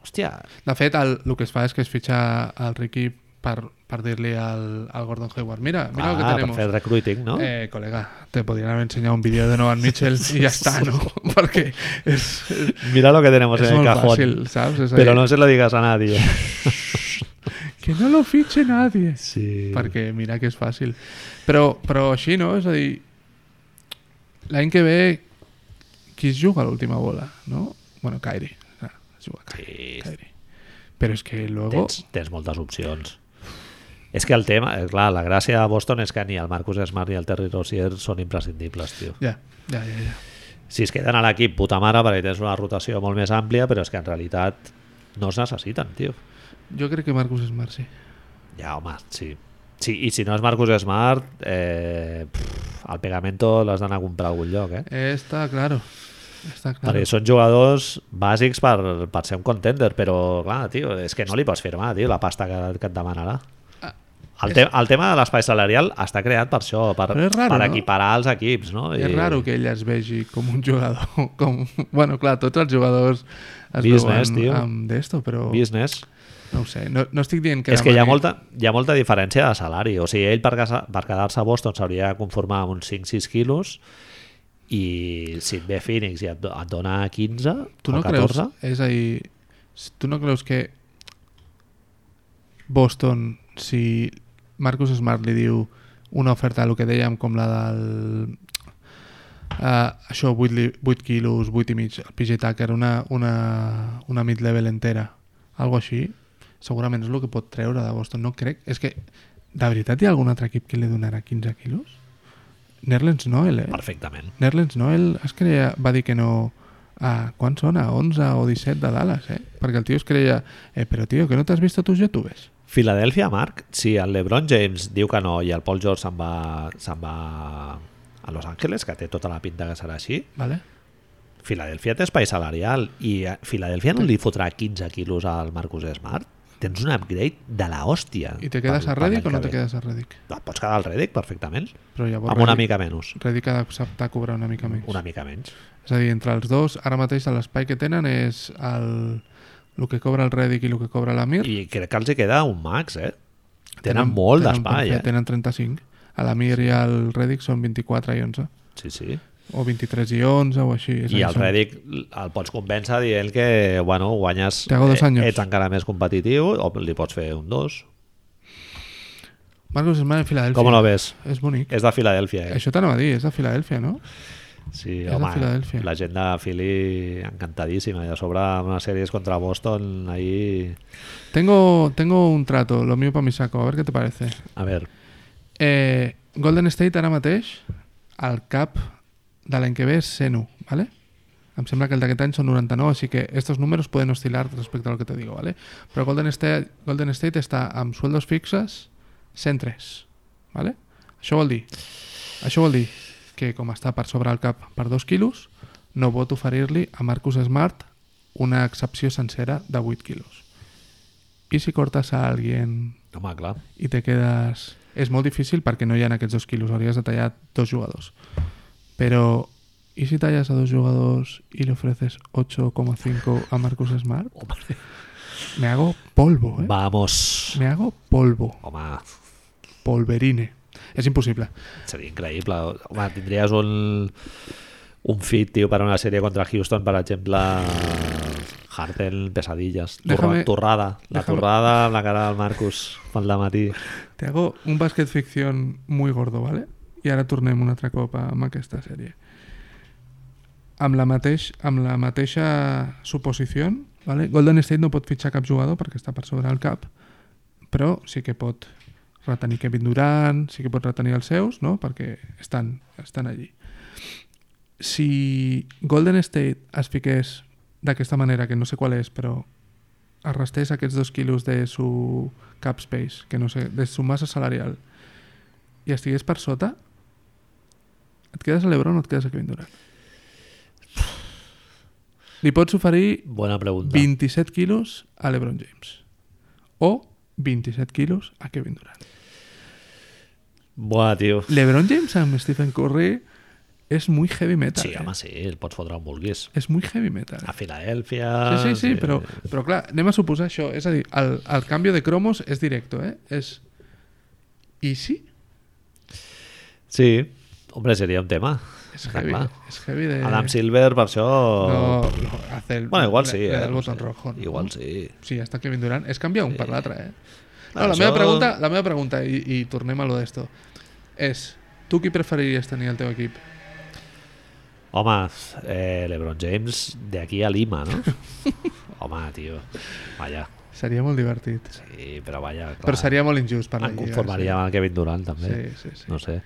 Speaker 1: Hòstia,
Speaker 2: De fet, el, el que es fa és que es fitxa el Ricky per, per dir-li al, al Gordon Hayward mira, mira
Speaker 1: ah,
Speaker 2: lo que
Speaker 1: per
Speaker 2: tenemos.
Speaker 1: fer recruiting, no? Eh,
Speaker 2: Eh, colega, te podrían haber enseñado un vídeo de Novan Mitchell y ya
Speaker 1: [laughs]
Speaker 2: está, ¿no? [laughs] Porque es, es,
Speaker 1: Mira lo que tenemos
Speaker 2: es
Speaker 1: en el
Speaker 2: muy
Speaker 1: cajón.
Speaker 2: fácil, ¿sabes? Es
Speaker 1: Pero
Speaker 2: ahí,
Speaker 1: no se lo digas a nadie.
Speaker 2: Que no lo fiche nadie.
Speaker 1: Sí.
Speaker 2: perquè mira que és fàcil. Però, però així, no? És a dir, l'any que ve qui es juga a l'última bola, no? Bueno, Kairi. Clar, es juga Kairi.
Speaker 1: Sí,
Speaker 2: Kairi. Però és que luego...
Speaker 1: tens, tens moltes opcions. És que el tema, eh, clar, la gràcia de Boston és que ni el Marcus Smart ni el Terry Rozier són imprescindibles, tio.
Speaker 2: Ja, ja, ja, ja.
Speaker 1: Si es queden a l'equip, puta mare, perquè tens una rotació molt més àmplia, però és que en realitat no es necessiten, tio.
Speaker 2: Jo crec que Marcus Smart sí.
Speaker 1: Ja, home, sí. sí I si no és Marcus Smart, eh, pff, el pegamento l'has d'anar a comprar a algun lloc, eh?
Speaker 2: Està claro. Està claro.
Speaker 1: Perquè són jugadors bàsics per, per ser un contender, però, clar, tio, és que no li pots firmar, tio, la pasta que, que et demanarà.
Speaker 2: Ah,
Speaker 1: El, te el tema de l'espai salarial està creat per això, per,
Speaker 2: Però és raro,
Speaker 1: per
Speaker 2: no?
Speaker 1: equiparar els equips, no?
Speaker 2: És raro que ell es vegi com un jugador... [laughs] Com... Bueno, clar, tots els jugadors es
Speaker 1: Business, tio.
Speaker 2: veuen amb d'esto, però
Speaker 1: Business.
Speaker 2: no ho sé. No, no estic dient que...
Speaker 1: Que és que hi ha,
Speaker 2: demani-
Speaker 1: molta, hi ha molta diferència de salari. O sigui, ell per, casa- per quedar-se a Boston s'hauria de conformar amb uns 5-6 quilos i si et ve Phoenix i et, do- et dona 15
Speaker 2: tu
Speaker 1: o
Speaker 2: no
Speaker 1: 14...
Speaker 2: creus, és a dir, si tu no creus que Boston, si Marcus Smart li diu una oferta, el que dèiem, com la del... Uh, això, 8, li, 8 quilos, 8 i mig, el PJ Tucker, una, una, una mid-level entera, algo així, segurament és el que pot treure de Boston, no crec. És que, de veritat, hi ha algun altre equip que li donarà 15 quilos? Nerlens Noel, eh?
Speaker 1: Perfectament.
Speaker 2: Nerlens Noel es creia, va dir que no a, quan són? A 11 o 17 de Dallas, eh? Perquè el tio es creia, eh, però tio, que no t'has vist a tus youtubers?
Speaker 1: Filadèlfia, Marc, si el LeBron James diu que no i el Paul George se'n va, se va a Los Angeles, que té tota la pinta que serà així,
Speaker 2: Vale?
Speaker 1: Filadèlfia té espai salarial i a Filadèlfia no li fotrà 15 quilos al Marcus Smart. Tens un upgrade de la hòstia.
Speaker 2: I te quedes
Speaker 1: per-
Speaker 2: a
Speaker 1: per l'any
Speaker 2: Redick o no
Speaker 1: que
Speaker 2: te
Speaker 1: ve.
Speaker 2: quedes a Redick?
Speaker 1: No, et pots quedar al Redick perfectament,
Speaker 2: Però llavors
Speaker 1: amb una
Speaker 2: Redick-
Speaker 1: mica menys.
Speaker 2: Redick ha d'acceptar cobrar una mica més.
Speaker 1: Una mica menys.
Speaker 2: És a dir, entre els dos, ara mateix l'espai que tenen és el, el que cobra el Redick i el que cobra l'Amir.
Speaker 1: I crec que els hi queda un max, eh? Tenen, molt
Speaker 2: tenen
Speaker 1: d'espai,
Speaker 2: per fer,
Speaker 1: eh?
Speaker 2: Tenen 35. A l'Amir i al Redick són 24 i 11.
Speaker 1: Sí, sí.
Speaker 2: O 23 i 11 o així. És a
Speaker 1: I
Speaker 2: dir,
Speaker 1: el
Speaker 2: són-
Speaker 1: Redick el pots convèncer dient que bueno, guanyes...
Speaker 2: Te hago dos
Speaker 1: eh,
Speaker 2: años.
Speaker 1: Ets encara més competitiu o li pots fer un dos.
Speaker 2: Marcus Smart en Filadèlfia.
Speaker 1: Com lo ves?
Speaker 2: És bonic.
Speaker 1: És de Filadèlfia, eh?
Speaker 2: Això t'anava a dir, és de Filadèlfia, no?
Speaker 1: Sí,
Speaker 2: és de
Speaker 1: home,
Speaker 2: Filadèlfia.
Speaker 1: la gent de Philly encantadíssima. I a sobre amb unes sèries contra Boston ahí...
Speaker 2: Tengo, tengo un trato, lo mío para mi saco, a ver qué te parece.
Speaker 1: A veure,
Speaker 2: Eh, Golden State ara mateix, al cap de l'any que ve és Senu, ¿vale? Em sembla que el d'aquest any són 99, així que estos números poden oscil·lar respecte a lo que te digo, ¿vale? Però Golden State, Golden State està amb sueldos fixes 103, ¿vale? Això vol dir, això vol dir que com està per sobre el cap per dos quilos, no pot oferir-li a Marcus Smart una excepció sencera de 8 quilos. I si cortes a alguien
Speaker 1: Home, clar.
Speaker 2: i te quedes... És molt difícil perquè no hi ha aquests dos quilos, hauries de tallar dos jugadors. Però, i si tallas a dos jugadors i li ofreces 8,5 a Marcus Smart? Me hago polvo, eh?
Speaker 1: Vamos.
Speaker 2: Me hago polvo.
Speaker 1: Home,
Speaker 2: Polverine. És impossible.
Speaker 1: seria increïble. Home, tindries un, un fit, tio, per una sèrie contra Houston, per exemple... Harden, pesadilles,
Speaker 2: Déjame-
Speaker 1: Déjame, torrada, la
Speaker 2: déjame-
Speaker 1: torrada amb la cara del Marcus pel matí.
Speaker 2: Te hago un bàsquet ficció muy gordo, ¿vale? I ara tornem un altre cop amb aquesta sèrie. Amb la, mateix, amb la mateixa suposició, ¿vale? Golden State no pot fitxar cap jugador perquè està per sobre el cap, però sí que pot retenir Kevin Durant, sí que pot retenir els seus, no? perquè estan, estan allí. Si Golden State es fiqués d'aquesta manera, que no sé qual és, però arrastés aquests dos quilos de su cap space, que no sé, de su massa salarial, i estigués per sota, et quedes a l'Ebron o et quedes a Kevin Durant? Li pots oferir
Speaker 1: Bona pregunta.
Speaker 2: 27 quilos a LeBron James o 27 quilos a Kevin Durant.
Speaker 1: Buah, tio.
Speaker 2: LeBron James amb Stephen Curry és muy heavy metal.
Speaker 1: Sí,
Speaker 2: eh?
Speaker 1: home, Ah, sí, el pots fotre on vulguis.
Speaker 2: És muy heavy metal.
Speaker 1: A Filadèlfia...
Speaker 2: Sí, sí, sí, però, però clar, anem a suposar això. És a dir, el, el canvi de cromos és directo, eh? És... I sí?
Speaker 1: Sí, hombre, seria un tema.
Speaker 2: És
Speaker 1: Està
Speaker 2: heavy.
Speaker 1: clar.
Speaker 2: És heavy de...
Speaker 1: Adam Silver, per això...
Speaker 2: Eh. No, no, hace el,
Speaker 1: Bueno, igual
Speaker 2: le-
Speaker 1: sí,
Speaker 2: le da
Speaker 1: eh?
Speaker 2: el
Speaker 1: no
Speaker 2: botón
Speaker 1: sé.
Speaker 2: rojo. ¿no?
Speaker 1: Igual sí.
Speaker 2: Sí, està Kevin Durant. És canviar un per l'altre, eh? No,
Speaker 1: Clar,
Speaker 2: la,
Speaker 1: això-
Speaker 2: meva pregunta, la meva pregunta, i, i tornem a lo d'esto, és, tu qui preferiries tenir al teu equip?
Speaker 1: Home, eh, LeBron James d'aquí a Lima,
Speaker 2: [laughs]
Speaker 1: no? Home, tio, vaja.
Speaker 2: Seria molt divertit.
Speaker 1: Sí, però vaja, clar.
Speaker 2: Però seria molt injust per la
Speaker 1: Em
Speaker 2: Lliga.
Speaker 1: conformaria amb el Kevin Durant, també.
Speaker 2: Sí, sí,
Speaker 1: eh?
Speaker 2: sí.
Speaker 1: No sé.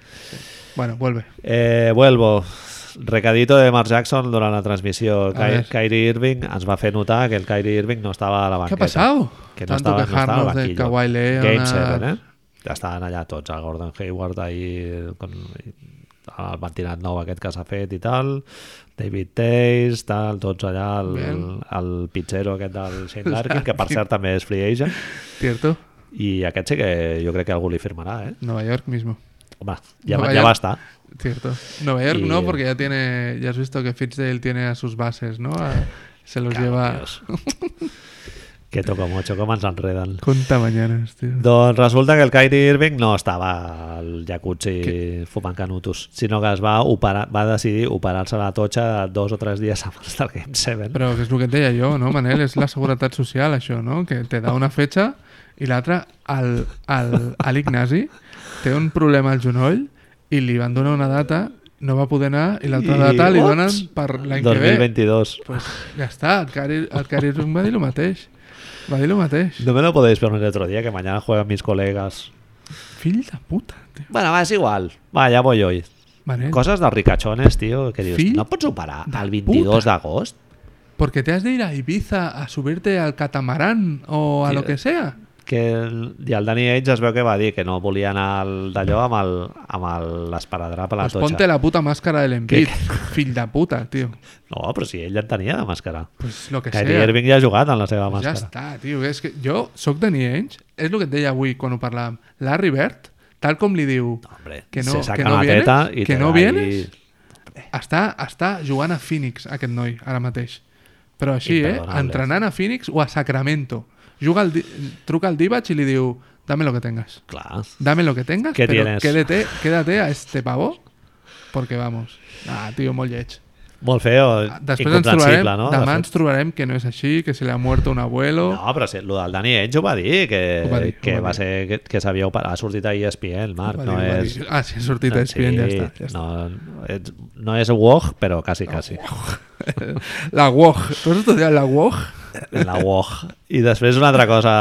Speaker 2: Bueno, vuelve.
Speaker 1: Eh, vuelvo. Recadito de Mark Jackson durant la transmissió. Ky
Speaker 2: ver.
Speaker 1: Kyrie Irving ens va fer notar que el Kyrie Irving no estava a la
Speaker 2: Què ha
Speaker 1: banqueta.
Speaker 2: passat?
Speaker 1: Que no
Speaker 2: Tanto
Speaker 1: estava, no estava al
Speaker 2: quejarnos de
Speaker 1: banquillo.
Speaker 2: Kawhi
Speaker 1: Game
Speaker 2: Leonard.
Speaker 1: 7, eh? Ja estaven allà tots, el Gordon Hayward ahir con, el pentinat nou aquest que s'ha fet i tal, David Tays, tal, tots allà, el,
Speaker 2: Bien.
Speaker 1: el pizzero aquest
Speaker 2: [laughs]
Speaker 1: del Shane Larkin, que per cert també és free agent,
Speaker 2: Cierto.
Speaker 1: i aquest sí que jo crec que algú li firmarà, eh?
Speaker 2: Nueva York mismo.
Speaker 1: Home, ja,
Speaker 2: Nova
Speaker 1: ja
Speaker 2: York.
Speaker 1: basta.
Speaker 2: Cierto. Nueva York
Speaker 1: Y-
Speaker 2: no, porque ya tiene. Ya has visto que Fitzdale tiene a sus bases, ¿no? A- se los lleva.
Speaker 1: Dios. que toco mucho, com ens enreden.
Speaker 2: Conta mañanas, tío.
Speaker 1: Doncs resulta que el Kyrie Irving no estava al jacuzzi fumant canutos, sinó que es va, operar, va decidir operar-se la totxa dos o tres dies abans del Game 7. Però...
Speaker 2: Però que és el que et deia jo, no, Manel? És la seguretat social, això, no? Que te da una fetge i l'altra, el, el, a l'Ignasi, té un problema al genoll i li van donar una data, no va poder anar, i l'altra
Speaker 1: I,
Speaker 2: data li
Speaker 1: ups,
Speaker 2: donen per l'any que ve.
Speaker 1: 2022.
Speaker 2: Pues ja està, el Cari, el Cari va dir el mateix. Va dir el mateix.
Speaker 1: No me lo podéis poner el otro día, que mañana juegan mis colegas.
Speaker 2: Fill de puta, tio.
Speaker 1: Bueno, va, és igual. Va, ja voy hoy.
Speaker 2: Manel,
Speaker 1: Coses dels ricachones, tio, que dius,
Speaker 2: Fill
Speaker 1: no pots operar
Speaker 2: de
Speaker 1: el 22 d'agost?
Speaker 2: Porque te has de ir a Ibiza a subirte al catamarán o a
Speaker 1: Sí,
Speaker 2: lo que sea.
Speaker 1: que el, i el Danny Age es veu que va dir que no volia anar al- d'allò amb el- amb el- l'esparadrap a la
Speaker 2: Pues
Speaker 1: totxa.
Speaker 2: ponte la puta máscara del Embiid, fill de puta, tío.
Speaker 1: No, però si ell en tenia de màscara.
Speaker 2: Pues lo que
Speaker 1: Kyrie
Speaker 2: sea.
Speaker 1: Irving ja ha jugat en la seva
Speaker 2: Pues ja
Speaker 1: màscara.
Speaker 2: està, tio. És que jo sóc Danny Ainge, és el que et deia avui quan ho parlàvem. Larry Bird, tal com li diu
Speaker 1: Hombre,
Speaker 2: que no,
Speaker 1: se saca
Speaker 2: que no
Speaker 1: una
Speaker 2: vienes,
Speaker 1: teta i
Speaker 2: que
Speaker 1: te da
Speaker 2: no
Speaker 1: ahí-
Speaker 2: vienes,
Speaker 1: Eh.
Speaker 2: està, està jugant a Phoenix, aquest noi, ara mateix. Però així, eh?
Speaker 1: Imperdonable.
Speaker 2: Entrenant a Phoenix o a Sacramento. Juga al, Di- truca al Divac i li diu dame lo que tengas.
Speaker 1: Clar.
Speaker 2: Dame lo que tengas,
Speaker 1: ¿Qué
Speaker 2: pero
Speaker 1: tienes?
Speaker 2: quédate, quédate a este pavo, porque vamos. Ah, tío, molt lleig.
Speaker 1: Molt feo,
Speaker 2: Després ens trobarem,
Speaker 1: Eh, incomprensible, no? De
Speaker 2: demà
Speaker 1: fet.
Speaker 2: ens trobarem que no és així, que se li ha muerto un abuelo...
Speaker 1: No, però sí, el del Dani Age ho va dir, que,
Speaker 2: Ho va dir, ho
Speaker 1: que
Speaker 2: va
Speaker 1: va
Speaker 2: dir.
Speaker 1: ser que, que s'havia operat. Ha sortit a E ESPN, Marc,
Speaker 2: Va
Speaker 1: no
Speaker 2: dir, va
Speaker 1: és...
Speaker 2: dir. Ah, sí, ha sortit a
Speaker 1: sí,
Speaker 2: ESPN, ja està. Ja està.
Speaker 1: No, ets, no és WOG, però quasi, quasi.
Speaker 2: La WOG. Tu has estudiat la WOG?
Speaker 1: en la UOG. I després una altra cosa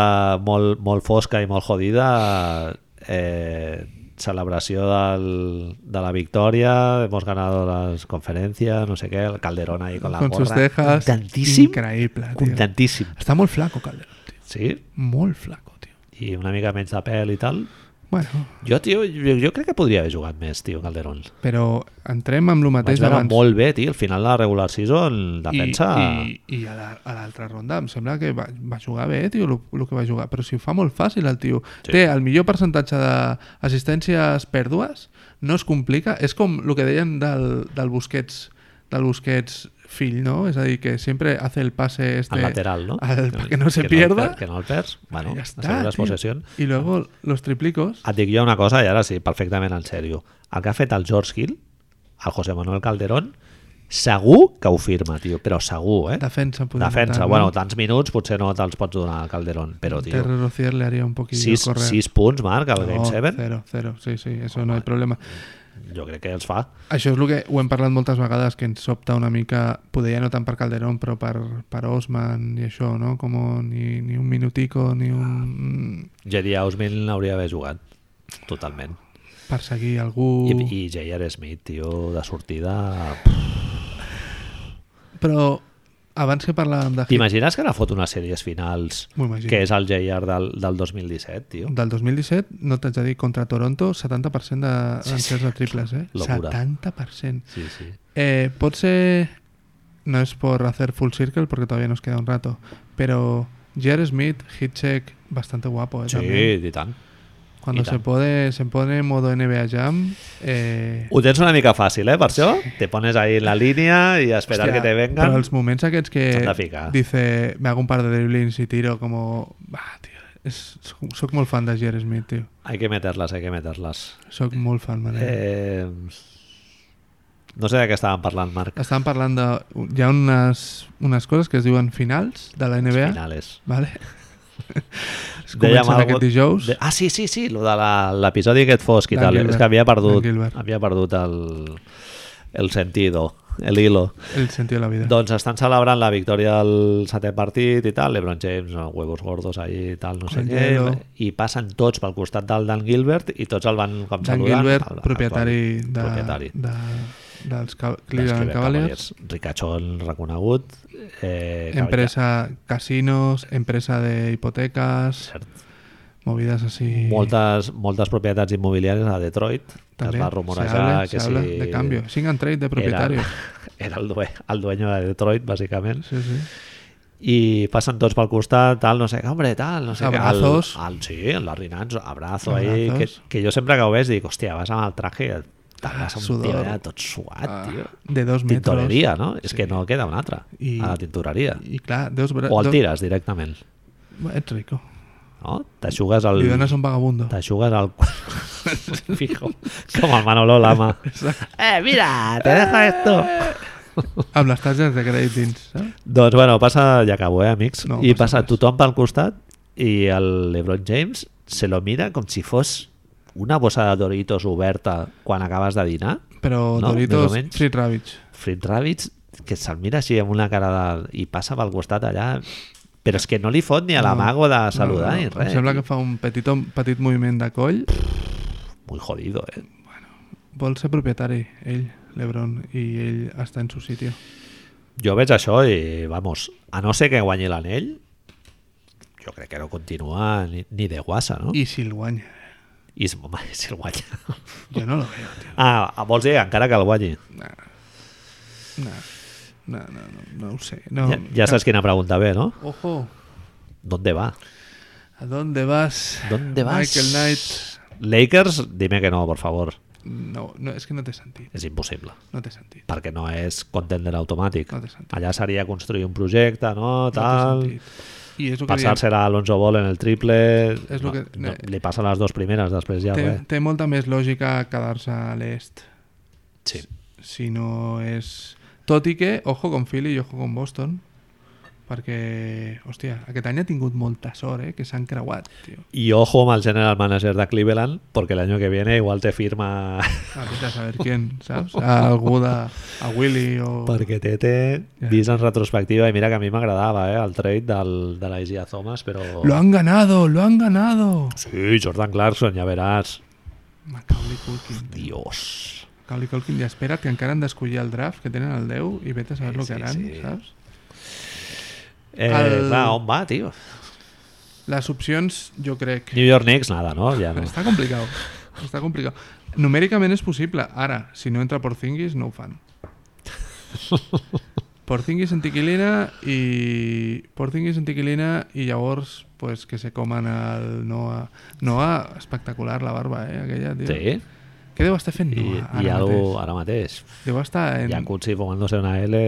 Speaker 1: molt, molt fosca i molt jodida eh, celebració del, de la victòria, hemos ganado las conferencias, no sé què, el Calderón ahí con la
Speaker 2: Con sus
Speaker 1: gorra.
Speaker 2: cejas.
Speaker 1: Contentíssim,
Speaker 2: Increíble, tío.
Speaker 1: contentíssim.
Speaker 2: Està molt flaco, Calderón, tio.
Speaker 1: Sí,
Speaker 2: Molt flaco, tio.
Speaker 1: i una mica menys de pèl i tal.
Speaker 2: Bueno,
Speaker 1: Jo, tio, jo, jo crec que podria haver jugat més, tio, Calderón.
Speaker 2: però entrem amb el
Speaker 1: Vaig
Speaker 2: mateix
Speaker 1: veure
Speaker 2: d'abans.
Speaker 1: molt bé, tio, al final de la regular season,
Speaker 2: I,
Speaker 1: defensa...
Speaker 2: i, i a la- a l'altra ronda em sembla que va, va jugar bé, tio, el que va jugar. Però si ho fa molt fàcil, el tio.
Speaker 1: Sí.
Speaker 2: Sí. Té el millor percentatge d'assistències pèrdues, no es complica. És com el que deien del, del Busquets del Busquets fill, no? És a dir, que sempre hace el pase este...
Speaker 1: al lateral, ¿no?
Speaker 2: Al, que no se
Speaker 1: el
Speaker 2: pierda.
Speaker 1: per- que no el perds. Bueno, ja
Speaker 2: Ya está,
Speaker 1: està,
Speaker 2: tío.
Speaker 1: possessions.
Speaker 2: Y luego los triplicos.
Speaker 1: Et dic jo una cosa, i ara sí, perfectament en sèrio. El que ha fet el George Hill, el José Manuel Calderón, segur que ho firma, tio, però segur, eh?
Speaker 2: Defensa, podríem
Speaker 1: Defensa,
Speaker 2: notar,
Speaker 1: bueno,
Speaker 2: no?
Speaker 1: tants minuts potser no te'ls pots donar al Calderón, però, tio,
Speaker 2: Terry Rozier le haría un poquillo
Speaker 1: sis,
Speaker 2: correr.
Speaker 1: sis punts, Marc, al Game
Speaker 2: No,
Speaker 1: 7,
Speaker 2: cero, cero. Sí, sí, eso no hay problema.
Speaker 1: jo crec que els fa.
Speaker 2: Això és el que ho hem parlat moltes vegades, que ens sobta una mica, poder ja no tant per Calderón, però per, per Osman i això, no? Com ni, ni un minutico, ni un...
Speaker 1: Jedi Ausmin hauria d'haver jugat, totalment.
Speaker 2: perseguir algú...
Speaker 1: I, i J.R. Smith, tio, de sortida... pff.
Speaker 2: Però abans que parlàvem de Hit,
Speaker 1: T'imagines que ara fot unes sèries finals
Speaker 2: M'ho imagino.
Speaker 1: que és el JR del, del 2017, tio?
Speaker 2: del 2017, no t'haig de dir, contra Toronto, 70% de
Speaker 1: Sí,
Speaker 2: sí, sí. de triples, eh?
Speaker 1: Locura.
Speaker 2: 70%.
Speaker 1: Sí, sí.
Speaker 2: Eh, pot ser... No es por hacer full circle porque todavía nos queda un rato, pero Jared Smith, Hitchek, bastante guapo. Eh,
Speaker 1: Sí,
Speaker 2: también.
Speaker 1: i tant.
Speaker 2: Cuando
Speaker 1: y
Speaker 2: se
Speaker 1: tal.
Speaker 2: puede, se pone en modo NBA Jam, eh,
Speaker 1: Ho tens una mica fàcil, eh, per això? Te pones ahí en la línia i a esperar
Speaker 2: hòstia,
Speaker 1: que te
Speaker 2: Però
Speaker 1: vengan.
Speaker 2: els moments aquests que
Speaker 1: S'han de ficar.
Speaker 2: dice, me hago un par de driblings y tiro como... Bah, tio, és, soc, soc molt fan de Jared Smith, tio.
Speaker 1: Hay que meterles, hay que meterles.
Speaker 2: Soc molt fan, man. Eh...
Speaker 1: Eh... No sé de què estàvem parlant, Marc.
Speaker 2: Estàvem parlant de... Hi ha unes, unes coses que es diuen finals de la NBA.
Speaker 1: Finales. [laughs]
Speaker 2: Vale? es comencen
Speaker 1: algo-
Speaker 2: aquest dijous.
Speaker 1: De... Ah, sí, sí, sí, lo de la- l'episodi aquest fosc i
Speaker 2: Dan
Speaker 1: tal.
Speaker 2: Gilbert.
Speaker 1: És que havia perdut,
Speaker 2: Dan Gilbert.
Speaker 1: havia perdut el, el sentido, el hilo.
Speaker 2: El sentido de la vida.
Speaker 1: Doncs estan celebrant la victòria del setè partit i tal, LeBron James, no, huevos gordos allí i tal, no sé
Speaker 2: Con
Speaker 1: què,
Speaker 2: hielo.
Speaker 1: i passen tots pel costat del Dan Gilbert i tots el van com
Speaker 2: Dan
Speaker 1: saludant.
Speaker 2: Gilbert,
Speaker 1: el- el-
Speaker 2: propietari, de,
Speaker 1: propietari.
Speaker 2: De, dels Ca-
Speaker 1: dels
Speaker 2: Cleveland Cavaliers,
Speaker 1: Ricachón reconegut. Eh, que
Speaker 2: empresa casinos, empresa de hipotecas,
Speaker 1: Cert.
Speaker 2: movidas así.
Speaker 1: Moltes, moltes propietats immobiliàries a Detroit, que es
Speaker 2: També
Speaker 1: va
Speaker 2: se
Speaker 1: rumorejar
Speaker 2: habla,
Speaker 1: que
Speaker 2: se
Speaker 1: si...
Speaker 2: habla de cambio. Sing and trade de propietario.
Speaker 1: Era, [laughs] Ah, era el, due, el dueño de Detroit, bàsicament.
Speaker 2: Sí, sí.
Speaker 1: i passen tots pel costat, tal, no sé què, hombre, tal, no sé què.
Speaker 2: Abrazos.
Speaker 1: El, el, sí, el Larry Nance, abrazo,
Speaker 2: Abrazos.
Speaker 1: ahí, que, que jo sempre que ho veig dic, hòstia, vas amb el traje, te'n vas amb un
Speaker 2: sudor.
Speaker 1: tio allà tot suat,
Speaker 2: Ah,
Speaker 1: tio.
Speaker 2: de dos metros.
Speaker 1: Tintoreria, no? És que no queda un altre,
Speaker 2: I-
Speaker 1: a la tintoreria.
Speaker 2: Y claro, dos bra-
Speaker 1: Ah, O el
Speaker 2: dos-
Speaker 1: tires directament,
Speaker 2: Es rico.
Speaker 1: no? T'aixugues el...
Speaker 2: Y donas a un vagabundo.
Speaker 1: T'aixugues el... [laughs] Fijo, com el Manolo Lama. eh, mira, te dejo esto.
Speaker 2: Amb les targetes de crèdit dins, saps?
Speaker 1: Doncs bueno, passa, ja acabo, eh, amics. No,
Speaker 2: No,
Speaker 1: I passa
Speaker 2: passa res.
Speaker 1: tothom pel costat i el LeBron James se lo mira com si fos una bossa de Doritos oberta quan acabes de dinar.
Speaker 2: Però
Speaker 1: No, més o
Speaker 2: Doritos,
Speaker 1: menys.
Speaker 2: Street Rabbits.
Speaker 1: Fritz Rabbits, que se'l mira així amb una cara de... i passa pel costat allà. Però és que no li fot ni a l'amago de saludar ni res.
Speaker 2: Em sembla que fa un petit, un petit moviment de coll.
Speaker 1: Muy jodido, eh?
Speaker 2: Vol ser propietari, ell, l'Ebron, i ell està en su sitio.
Speaker 1: Jo veig això i, vamos, a no ser que guanyi l'anell, jo crec que no continua ni, ni de guassa, no? I,
Speaker 2: I si el guanya.
Speaker 1: I home, [laughs] si el guanya...
Speaker 2: Jo no lo veo, tio.
Speaker 1: Ah, vols dir encara que el guanyi?
Speaker 2: No, no, no, no, no ho sé. No.
Speaker 1: Ja, ja saps quina pregunta ve, no?
Speaker 2: Ojo,
Speaker 1: ¿Dónde va?
Speaker 2: a dónde vas?
Speaker 1: ¿Dónde vas?
Speaker 2: Michael Knight.
Speaker 1: Lakers, dime que no, por favor.
Speaker 2: No, no és que no té sentit.
Speaker 1: És impossible.
Speaker 2: No té sentit.
Speaker 1: Perquè no és contender automàtic.
Speaker 2: No té sentit.
Speaker 1: Allà seria construir un projecte, no? Tal...
Speaker 2: No té sentit. I és el que diem.
Speaker 1: Passar-se-la a Alonso Ball en el triple...
Speaker 2: És
Speaker 1: no,
Speaker 2: lo que-
Speaker 1: no, li passen les dues primeres, després ja...
Speaker 2: Té,
Speaker 1: res.
Speaker 2: té molta més lògica quedar-se a l'est.
Speaker 1: Sí.
Speaker 2: si no és... Tot i que, ojo con Philly i ojo con Boston, perquè, hòstia, aquest any ha tingut molta sort, eh? Que s'han creuat, tio.
Speaker 1: I ojo amb el general manager de Cleveland, perquè l'any que viene igual te
Speaker 2: [laughs]
Speaker 1: firma...
Speaker 2: A vés a saber quién, saps? A algú de... A Willy o...
Speaker 1: perquè Tete,
Speaker 2: Ja.
Speaker 1: vist en retrospectiva, i mira que a mi m'agradava eh, el trade del, de la Isia Thomas, però...
Speaker 2: Lo han ganado, lo han ganado.
Speaker 1: Sí, Jordan Clarkson, ja veràs.
Speaker 2: Macaulay Culkin.
Speaker 1: Dios.
Speaker 2: Macaulay Culkin, i espera't que encara han d'escollir el draft, que tenen el 10, i vete a saber
Speaker 1: Sí,
Speaker 2: el
Speaker 1: sí,
Speaker 2: que faran,
Speaker 1: sí.
Speaker 2: saps?
Speaker 1: Eh,
Speaker 2: El-
Speaker 1: Clar, on va, tio?
Speaker 2: Les opcions, jo crec...
Speaker 1: New York Knicks, nada, no? Ja no.
Speaker 2: Està complicat. Està complicat. Numèricament és possible. Ara, si no entra Porzingis, no ho fan. Porzingis en Tiquilina i... Porzingis en Tiquilina i llavors pues, que se comen el Noah. Noah, espectacular la barba, eh? Aquella, tio.
Speaker 1: Sí,
Speaker 2: Què deu estar fent
Speaker 1: i,
Speaker 2: Noah ara
Speaker 1: i algú
Speaker 2: mateix?
Speaker 1: ara mateix.
Speaker 2: Deu estar en...
Speaker 1: Hi ha Cutsi fumándose una L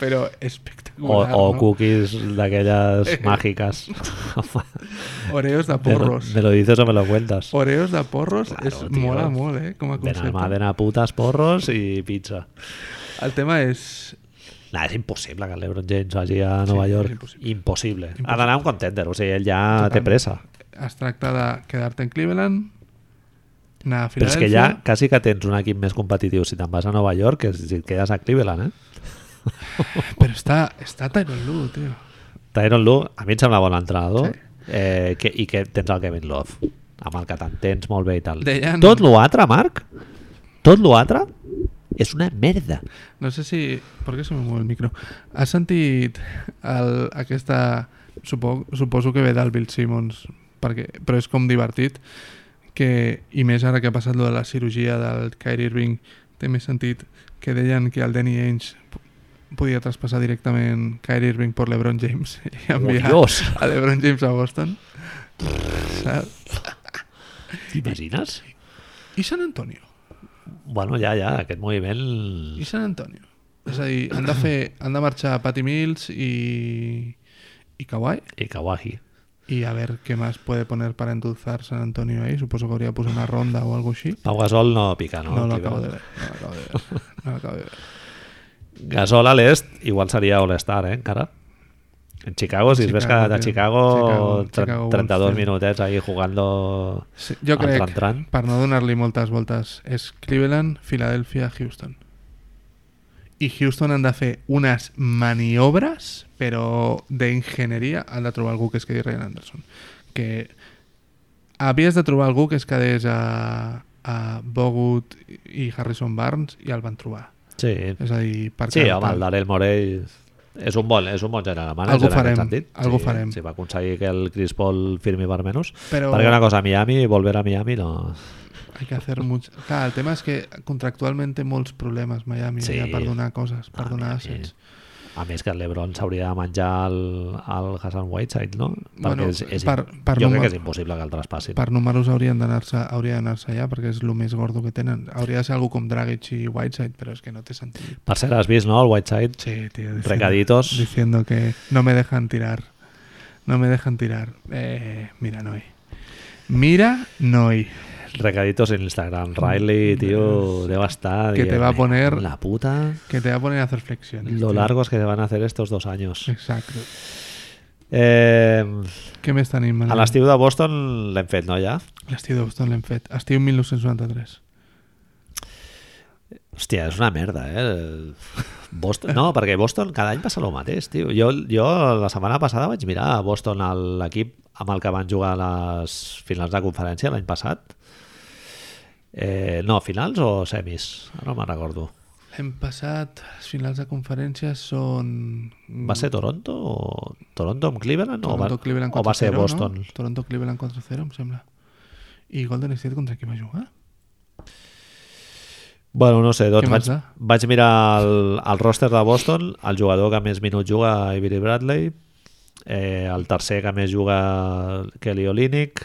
Speaker 2: Però
Speaker 1: o,
Speaker 2: espectacular,
Speaker 1: o
Speaker 2: no?
Speaker 1: cookies d'aquelles
Speaker 2: [laughs]
Speaker 1: màgiques.
Speaker 2: Oreos de
Speaker 1: Me lo-
Speaker 2: porros.
Speaker 1: me lo dices o me lo cuentas.
Speaker 2: Oreos de porros
Speaker 1: Claro,
Speaker 2: és,
Speaker 1: tio.
Speaker 2: mola molt, eh? Com a
Speaker 1: De
Speaker 2: concepte.
Speaker 1: a putas, porros i pizza.
Speaker 2: El tema és...
Speaker 1: Nah, és impossible que el LeBron James vagi a Nova
Speaker 2: és
Speaker 1: York. Impossible.
Speaker 2: impossible.
Speaker 1: Ha d'anar a un contender, o sigui, ell ja té
Speaker 2: Totalment.
Speaker 1: pressa.
Speaker 2: es tracta de quedar-te en Cleveland, anar a
Speaker 1: Però és
Speaker 2: Filadèlfia...
Speaker 1: que ja quasi que tens un equip més competitiu si te'n vas a Nova York que si et quedes a Cleveland, eh?
Speaker 2: Però està, està Tyron Lue, tio.
Speaker 1: Tyron Lue, a mi em sembla bon entrenador
Speaker 2: Sí.
Speaker 1: eh, que, i que tens el Kevin Love amb el que t'entens molt bé i tal.
Speaker 2: Deien-
Speaker 1: Tot l'altre, Marc, tot l'altre és una merda.
Speaker 2: No sé si... Per què se me mou el micro? Has sentit el, aquesta... Supo, suposo que ve del Bill Simmons, perquè, però és com divertit, que, i més ara que ha passat lo de la cirurgia del Kyrie Irving, té més sentit que deien que el Danny Ainge p- podia traspassar directament Kyrie Irving per LeBron James [laughs] i enviar
Speaker 1: Oh, Dios.
Speaker 2: a LeBron James a Boston. Saps?
Speaker 1: T'imagines?
Speaker 2: I San Antonio.
Speaker 1: Bueno, ja, ja, aquest moviment...
Speaker 2: I San Antonio. És a dir, han de, fer, han de marxar Patty Mills i, i Kawhi
Speaker 1: I Kawhi.
Speaker 2: i a ver què més puede poner para endulzar San Antonio ahí. Suposo que hauria posat una ronda o algo així.
Speaker 1: Pau Gasol no pica, no?
Speaker 2: No, lo
Speaker 1: Cleveland.
Speaker 2: acabo de ver. No lo acabo de ver. No lo acabo de ver.
Speaker 1: Gasol a l'est igual seria All-Star, eh, encara? En Chicago, si es ves
Speaker 2: Chicago,
Speaker 1: quedat a
Speaker 2: tio.
Speaker 1: Chicago,
Speaker 2: Chicago,
Speaker 1: tre-
Speaker 2: Chicago
Speaker 1: 32
Speaker 2: Bulls, tio.
Speaker 1: minutets ahí jugando...
Speaker 2: Sí, jo
Speaker 1: Entran,
Speaker 2: crec,
Speaker 1: entran.
Speaker 2: per no donar-li moltes voltes, és Cleveland, Filadèlfia, Houston. I Houston han de fer unes maniobres, però d'enginyeria han de trobar algú que es quedi Ryan Anderson. Que havies de trobar algú que es quedés a, a Bogut i Harrison Barnes i el van trobar.
Speaker 1: Sí,
Speaker 2: És a dir, per
Speaker 1: sí
Speaker 2: cada
Speaker 1: home,
Speaker 2: tal.
Speaker 1: el Darell Morey és un bon, és un bon general
Speaker 2: Algú
Speaker 1: manager en
Speaker 2: farem,
Speaker 1: aquest sentit.
Speaker 2: algú
Speaker 1: sí,
Speaker 2: farem.
Speaker 1: Si va aconseguir que el Chris Paul firmi per menys.
Speaker 2: Però-
Speaker 1: Perquè una cosa, Miami, volver a Miami no...
Speaker 2: Hay que hacer mucho. Clar, el tema és que contractualment té molts problemes Miami
Speaker 1: Sí.
Speaker 2: sí. allà per donar coses, per
Speaker 1: Ah,
Speaker 2: donar
Speaker 1: Miami.
Speaker 2: assets.
Speaker 1: A més que el LeBron s'hauria de menjar el, el Hassan Whiteside, no? Perquè
Speaker 2: Bueno,
Speaker 1: és, és,
Speaker 2: per- per
Speaker 1: jo
Speaker 2: número-
Speaker 1: crec que és impossible que el traspassin.
Speaker 2: per números haurien d'anar-se hauria d'anar-se allà perquè és el més gordo que tenen hauria de ser algú com Dragic i Whiteside però és que no té sentit
Speaker 1: Per cert, has vist, no?, el Whiteside
Speaker 2: sí, tío,
Speaker 1: Recaditos.
Speaker 2: diciendo que no me dejan tirar no me dejan tirar eh, mira Noi mira Noi
Speaker 1: Recaditos en Instagram. Riley, tío, deba estar.
Speaker 2: Mm, Que te va a
Speaker 1: me
Speaker 2: poner- Este-
Speaker 1: cago en La puta.
Speaker 2: que te va a poner a hacer flexiones
Speaker 1: Lo
Speaker 2: tío.
Speaker 1: largos que se van a hacer estos dos años.
Speaker 2: exacto
Speaker 1: Eh,
Speaker 2: què més tenim?
Speaker 1: a l'estiu de Boston l'hem fet, no, ja?
Speaker 2: l'estiu de Boston l'hem fet estiu 1993
Speaker 1: Hòstia, és una merda, eh? Boston, no, perquè Boston cada any passa el mateix, tio. Jo, jo la setmana passada vaig mirar a Boston el- l'equip amb el que van jugar a les finals de conferència l'any passat. Eh, no, finals o semis? Ara no me'n recordo.
Speaker 2: l'hem passat els finals de conferència són
Speaker 1: ¿Va a ser Toronto o Toronto amb Cleveland o va,
Speaker 2: Mm. Toronto, Cleveland
Speaker 1: o va
Speaker 2: 4-0,
Speaker 1: ser Boston?
Speaker 2: No? Toronto, Cleveland 4-0, em sembla. I Golden State contra qui va jugar?
Speaker 1: Bueno, no sé, doncs
Speaker 2: Què
Speaker 1: vaig,
Speaker 2: més eh? da?
Speaker 1: vaig mirar el, el roster de Boston, el jugador que més minuts juga Avery Bradley, eh, el tercer que més juga Kelly Olynyk,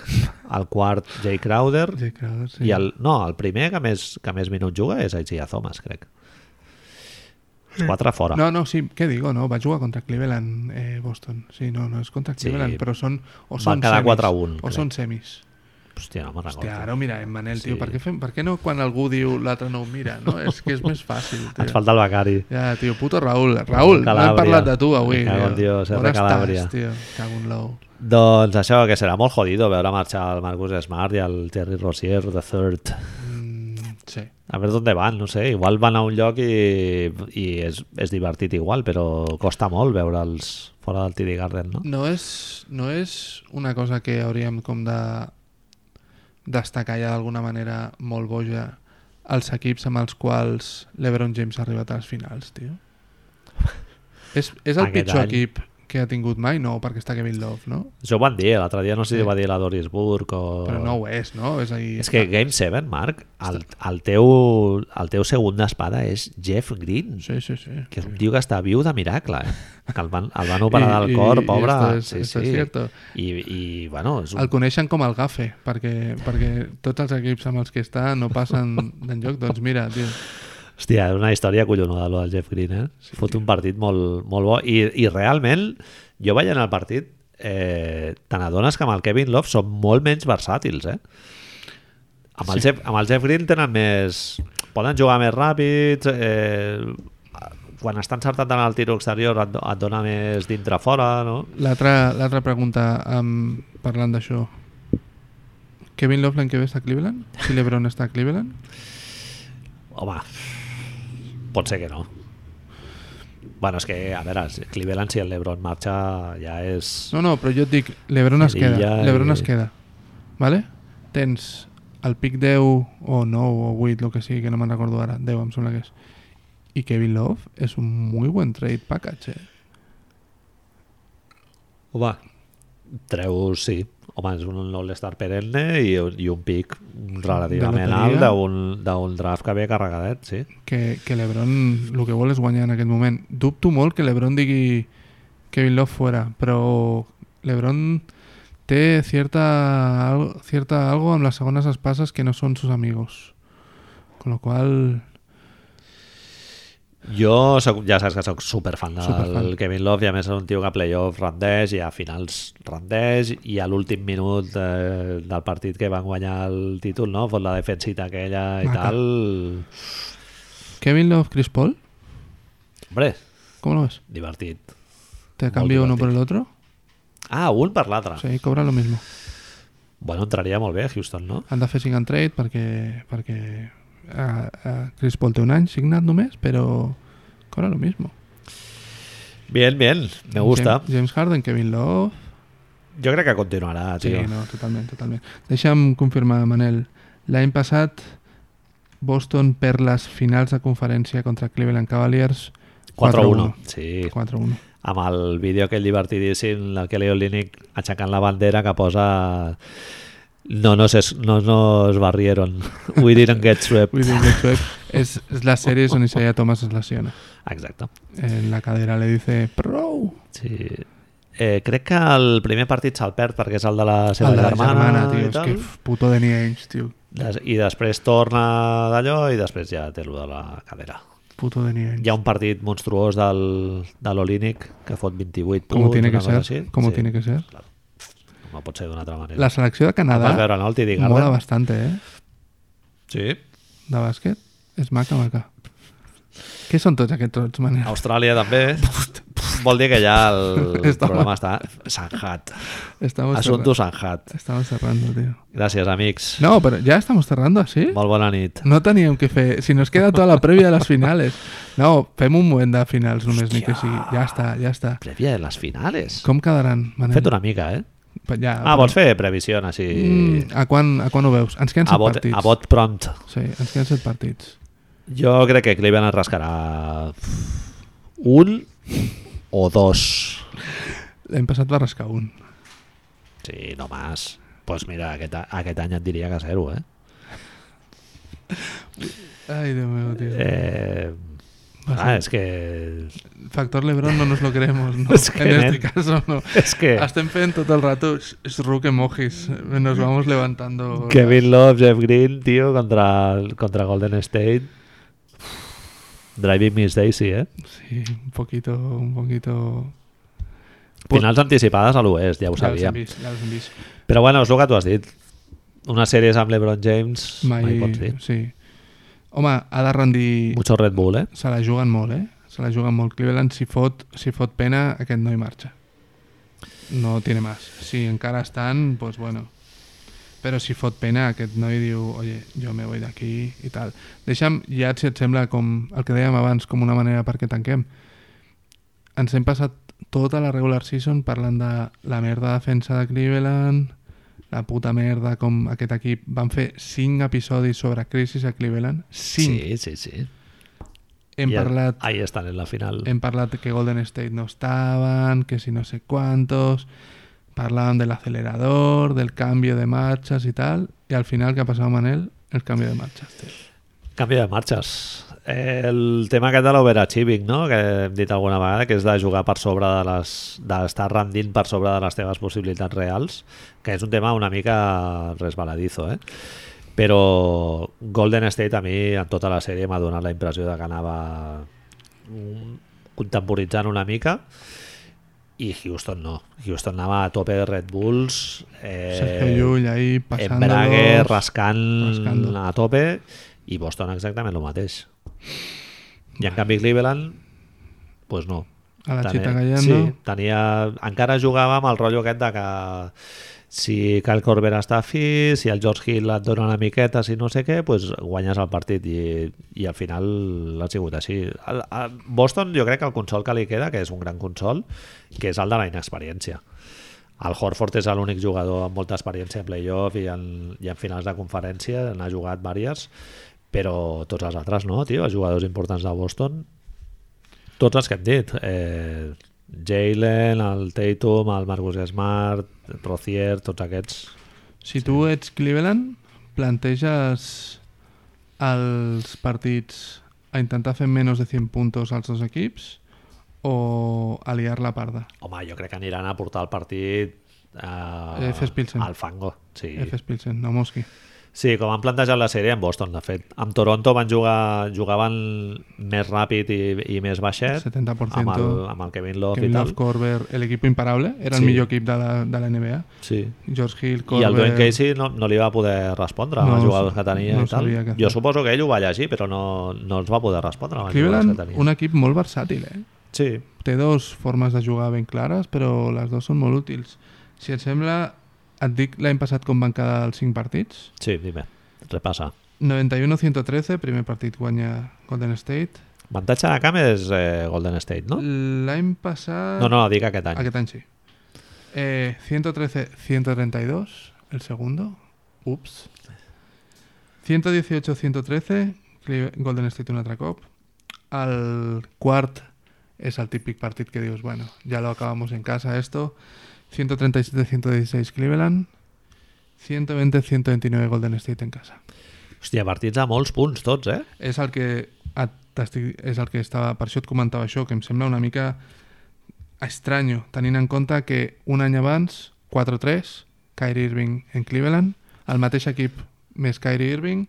Speaker 1: el quart Jay Crowder
Speaker 2: Jay Crowder, sí.
Speaker 1: i el, no, el primer que més, que més minuts juga és Isaiah Thomas, crec. Els Quatre fora.
Speaker 2: Eh. No, no, sí, què digo, no? Va jugar contra Cleveland, eh, Boston. Sí, no, no és contra
Speaker 1: Sí.
Speaker 2: Cleveland, però són... O
Speaker 1: Van
Speaker 2: són
Speaker 1: quedar
Speaker 2: semis,
Speaker 1: 4-1,
Speaker 2: O
Speaker 1: crec.
Speaker 2: són semis.
Speaker 1: Hòstia, no me'n recordo.
Speaker 2: Hòstia, ara ho mirarem, Manel,
Speaker 1: Sí.
Speaker 2: tio. Per què, fem, per què no quan algú diu l'altre no ho mira,
Speaker 1: [laughs]
Speaker 2: no? És que és més fàcil,
Speaker 1: Ens
Speaker 2: tio.
Speaker 1: falta el Becari.
Speaker 2: Ja, tio, puto Raül. Raül, no
Speaker 1: Calàbria.
Speaker 2: hem parlat de tu avui.
Speaker 1: Me cago en Dios,
Speaker 2: On
Speaker 1: R. Calàbria.
Speaker 2: estàs, tio? Cago en l'ou.
Speaker 1: Doncs això, que serà molt jodido veure marxar el Marcus Smart i el Terry Rozier the third.
Speaker 2: Mm, sí.
Speaker 1: A veure d'on van, no sé, igual van a un lloc i, i és, és divertit igual, però costa molt veure'ls fora del TD Garden, no?
Speaker 2: No és, no és una cosa que hauríem com de destacar ja d'alguna manera molt boja els equips amb els quals l'Ebron James ha arribat a les finals,
Speaker 1: [laughs]
Speaker 2: tio. És, és el
Speaker 1: Aquest
Speaker 2: pitjor
Speaker 1: any.
Speaker 2: equip que ha tingut mai? No, perquè està Kevin Love, no?
Speaker 1: Això ho van dir, l'altre dia no sé si
Speaker 2: Sí.
Speaker 1: ho va dir la Doris Burke o...
Speaker 2: Però no ho és, no? És, a dir,
Speaker 1: És que Game 7, Marc, el, el, teu, el teu segon d'espada és Jeff Green,
Speaker 2: Sí, sí, sí.
Speaker 1: que és un tio que està viu de miracle, eh? que el van, el
Speaker 2: [laughs]
Speaker 1: van operar del cor, pobre.
Speaker 2: esto es-
Speaker 1: sí,
Speaker 2: esto es
Speaker 1: sí.
Speaker 2: cierto.
Speaker 1: I, I, bueno, és un...
Speaker 2: El coneixen com el gafe, perquè, perquè tots els equips amb els que està no passen d'enlloc. Doncs mira, tio,
Speaker 1: Hòstia, és una història collonuda, allò del Jeff Green, eh? Sí, Fot un partit molt, molt bo. I, I realment, jo veient el partit, eh, te n'adones que amb el Kevin Love són molt menys versàtils, eh? Amb el, sí. Jeff, amb el Jeff Green tenen més... Poden jugar més ràpids, eh, quan estan encertat en el tiro exterior et, do- et dona més dintre-fora, no?
Speaker 2: l'altra l'altra pregunta, um, parlant d'això. Kevin Love l'any que ve està a Cleveland? Si l'Ebron està a Cleveland?
Speaker 1: Home, pot ser que no. Bueno, és que, a veure, Cleveland, si el LeBron marxa, ja és...
Speaker 2: No, no, però jo et dic, l'Ebron es
Speaker 1: Lilla
Speaker 2: queda.
Speaker 1: i-
Speaker 2: L'Ebron es queda. Vale? Tens el pic 10 o 9 o 8, el que sigui, que no me'n recordo ara. 10 em sembla que és. I Kevin Love és un muy buen trade package, eh?
Speaker 1: Home, treus, sí. Home, és un all-star perenne i, un- i un pic relativament
Speaker 2: De
Speaker 1: alt
Speaker 2: loteria.
Speaker 1: d'un d'un draft que ve carregadet, sí.
Speaker 2: que, que l'Ebron el que vol és guanyar en aquest moment. Dubto molt que l'Ebron digui Kevin Love fuera, però l'Ebron té cierta, al- cierta algo amb les segones espases que no són sus amigos. Con lo cual,
Speaker 1: Jo soc, ja saps que sóc superfan del
Speaker 2: Superfan.
Speaker 1: Kevin Love i a més és un tio que a playoff rendeix i a finals rendeix i a l'últim minut eh, del partit que van guanyar el títol, no? Fot la defensita aquella i
Speaker 2: Maca.
Speaker 1: tal...
Speaker 2: Kevin Love, Chris Paul,
Speaker 1: Hombre,
Speaker 2: com lo ves?
Speaker 1: divertit.
Speaker 2: ¿Te
Speaker 1: Molt
Speaker 2: cambio uno
Speaker 1: divertit.
Speaker 2: por el otro?
Speaker 1: Ah, un per l'altre. Sí.
Speaker 2: Sí, cobra lo mismo.
Speaker 1: Bueno, entraria molt bé a Houston, no?
Speaker 2: Han de fer 5 and trade perquè, perquè a, a Chris Paul té un any signat només, però cobra lo mismo.
Speaker 1: Bien, bien, me gusta.
Speaker 2: James, James Harden, Kevin Love,
Speaker 1: Jo crec que continuarà,
Speaker 2: Sí,
Speaker 1: tio.
Speaker 2: no, totalment, totalment. Deixa'm confirmar, Manel. L'any passat, Boston perd les finals de conferència contra Cleveland Cavaliers
Speaker 1: 4-1. Sí,
Speaker 2: 4-1.
Speaker 1: amb el vídeo aquell divertidíssim, el Kelly Olynyk aixecant la bandera que posa no nos, es, no nos barrieron, [laughs] we didn't get swept.
Speaker 2: Vull dir, Get Swept és, és la sèrie on Isaiah Thomas es lesiona.
Speaker 1: Exacte.
Speaker 2: En la cadera le dice, prou!
Speaker 1: Sí. Eh, crec que el primer partit se'l perd perquè és el de la seva
Speaker 2: El de la
Speaker 1: germana,
Speaker 2: tio,
Speaker 1: i,
Speaker 2: és
Speaker 1: tal,
Speaker 2: que f- puto Danny Ainge, tio.
Speaker 1: Des, i després torna d'allò i després ja té lo de la cadera.
Speaker 2: Puto Danny Ainge.
Speaker 1: Hi ha un partit monstruós del, de l'Olínic que fot 28
Speaker 2: Com ho
Speaker 1: punts,
Speaker 2: tiene que
Speaker 1: una cosa
Speaker 2: ser,
Speaker 1: així.
Speaker 2: com ho
Speaker 1: Sí,
Speaker 2: tiene que ser.
Speaker 1: No pot ser d'una altra manera.
Speaker 2: La selecció de
Speaker 1: Vas
Speaker 2: Canadà
Speaker 1: veure, no? El T.D.
Speaker 2: mola
Speaker 1: Garden?
Speaker 2: bastante, eh?
Speaker 1: Sí.
Speaker 2: De bàsquet. És maca, maca. Què són tots aquests trots, Manel?
Speaker 1: Austràlia també. Vol dir que ja
Speaker 2: [laughs]
Speaker 1: el
Speaker 2: Estamos-
Speaker 1: programa està sanjat.
Speaker 2: Estamos
Speaker 1: Assunto sanjat.
Speaker 2: cerra- Estamos cerrando, tío.
Speaker 1: Gràcies, amics.
Speaker 2: No, pero ya estamos cerrando así.
Speaker 1: Molt bona nit.
Speaker 2: No teníamos que fe. Si nos queda toda la previa de las finales. No, fem un buen de finals només, ni que sigui. Ja està, ja està.
Speaker 1: Prèvia de les finales.
Speaker 2: Com quedaran, Manel?
Speaker 1: Fet una mica, eh?
Speaker 2: Pe- Ja,
Speaker 1: Ah, vols fer previsió així?
Speaker 2: Mm, a, quan, a quan ho veus? Ens queden
Speaker 1: A
Speaker 2: set
Speaker 1: bot,
Speaker 2: partits.
Speaker 1: a bot prompt.
Speaker 2: Sí, ens queden set partits.
Speaker 1: Jo crec que Cleveland es rascarà un o dos.
Speaker 2: L'hem passat va rascar un.
Speaker 1: Sí, no más. Doncs pues mira, aquest, a- aquest any et diria que zero, eh?
Speaker 2: Ay, Dios mío, tío.
Speaker 1: eh
Speaker 2: Va
Speaker 1: ah,
Speaker 2: ser-
Speaker 1: és que...
Speaker 2: Factor Lebron no nos lo
Speaker 1: [laughs]
Speaker 2: queremos, no.
Speaker 1: Es que
Speaker 2: en
Speaker 1: nen. Eh.
Speaker 2: este caso, no.
Speaker 1: És que...
Speaker 2: Hasta en fe todo el rato, es ruque mojis. Nos vamos levantando.
Speaker 1: Kevin Love, Jeff Green, tío, contra, contra Golden State. Driving Miss Daisy, eh?
Speaker 2: Sí, un poquito, un poquito... Pot-
Speaker 1: Finals anticipades a l'oest, ja ho
Speaker 2: Ja les hem
Speaker 1: sabíem.
Speaker 2: vist, ja les hem vist.
Speaker 1: Però bueno, és el que tu has dit. Unes sèries amb LeBron James, mai, mai pots dir.
Speaker 2: Sí. Home, ha de rendir...
Speaker 1: Mucho Red Bull, eh?
Speaker 2: Se la juguen molt, eh? Se la juguen molt. Cleveland, si fot, si fot pena, aquest no hi marxa. No tiene más. Si encara estan, pues bueno. Però si fot pena, aquest noi diu oye, jo me voy d'aquí i tal. Deixa'm, ja si et sembla, com el que dèiem abans, com una manera perquè tanquem. Ens hem passat tota la regular season parlant de la merda defensa de Cleveland, la puta merda com aquest equip. Van fer 5 episodis sobre crisis a Cleveland. 5.
Speaker 1: Sí,
Speaker 2: Sí.
Speaker 1: sí, sí.
Speaker 2: Hem
Speaker 1: I a-
Speaker 2: parlat
Speaker 1: Ahí estan en la final.
Speaker 2: Hem parlat que Golden State no estaban, que si no sé cuántos. Parlaban del acelerador, del cambio de marchas y tal. Y al final, ¿qué ha pasado, Manel? El cambio de marchas, tío.
Speaker 1: Canvi de marxes. Eh, El tema aquest de l'overachieving, no? que hem dit alguna vegada, que és de jugar per sobre de les... d'estar rendint per sobre de les teves possibilitats reals, que és un tema una mica resbaladizo, eh? Però Golden State a mi en tota la sèrie m'ha donat la impressió de que anava mm, contemporitzant una mica i Houston no. Houston anava a tope de Red Bulls. Eh,
Speaker 2: Sergio Llull ahí pasando.
Speaker 1: Embrague rascant
Speaker 2: rascando.
Speaker 1: a tope i Boston exactament el mateix. I en canvi Cleveland, pues no.
Speaker 2: A la
Speaker 1: Tenia-
Speaker 2: chita callando.
Speaker 1: Sí, tenia, encara jugava amb el rotllo aquest de que si Kyle Corber està fi, si el George Hill et dona una miqueta, si no sé què, pues guanyes el partit i, i al final ha sigut així. El, a Boston jo crec que el consol que li queda, que és un gran consol, que és el de la inexperiència. El Horford és l'únic jugador amb molta experiència en playoff i en, i en finals de conferència, n'ha jugat diverses, però tots els altres no, tio, els jugadors importants de Boston tots els que hem dit. Eh, Jalen, el Tatum, el Marcus Smart, Rozier, tots aquests.
Speaker 2: Si tu ets Cleveland, planteges els partits a intentar fer menys de 100 puntos als dos equips o aliar la parda?
Speaker 1: Home, jo crec que aniran a portar el partit eh,
Speaker 2: F. Pilsen.
Speaker 1: al fango. Sí.
Speaker 2: F. Spilsen, no Mosqui.
Speaker 1: sí, com han plantejat la sèrie amb Boston, de fet. Amb Toronto van jugar, jugaven més ràpid i, i més baixet.
Speaker 2: 70%.
Speaker 1: Amb el, amb el Kevin Love
Speaker 2: Kevin
Speaker 1: i
Speaker 2: Love,
Speaker 1: tal.
Speaker 2: Corber, el equipo imparable, era
Speaker 1: Sí.
Speaker 2: el millor equip de la, de la NBA.
Speaker 1: Sí.
Speaker 2: George Hill,
Speaker 1: I
Speaker 2: Corber...
Speaker 1: el Dwayne Casey no, no li va poder respondre amb
Speaker 2: No,
Speaker 1: els jugadors que tenia i
Speaker 2: no
Speaker 1: tal.
Speaker 2: sabia què
Speaker 1: Jo
Speaker 2: fer.
Speaker 1: suposo que ell ho va llegir, però no, no els va poder respondre amb els jugadors
Speaker 2: Cleveland,
Speaker 1: que tenia.
Speaker 2: un equip molt versàtil, eh?
Speaker 1: Sí,
Speaker 2: Té dos formes de jugar ben clares, però les dues són molt útils. Si et sembla, et dic l'any passat com van quedar els cinc partits.
Speaker 1: sí, dime. Repassa.
Speaker 2: 91-113, primer partit guanya Golden State.
Speaker 1: Avantatge de camp és eh, Golden State, no?
Speaker 2: L'any passat...
Speaker 1: No, no, dic aquest any.
Speaker 2: Aquest any sí. Eh, 113-132, el segundo. Ups. 118-113, Cle- Golden State un altre cop. El quart és el típic partit que dius, bueno, ja lo acabamos en casa esto. 137-116 Cleveland. 120-129 Golden State en casa.
Speaker 1: Hòstia, partits a molts punts tots, eh?
Speaker 2: És el que et, t'estic- és el que estava... Per això et comentava això, que em sembla una mica estranyo, tenint en compte que un any abans, 4-3, Kyrie Irving en Cleveland, el mateix equip més Kyrie Irving,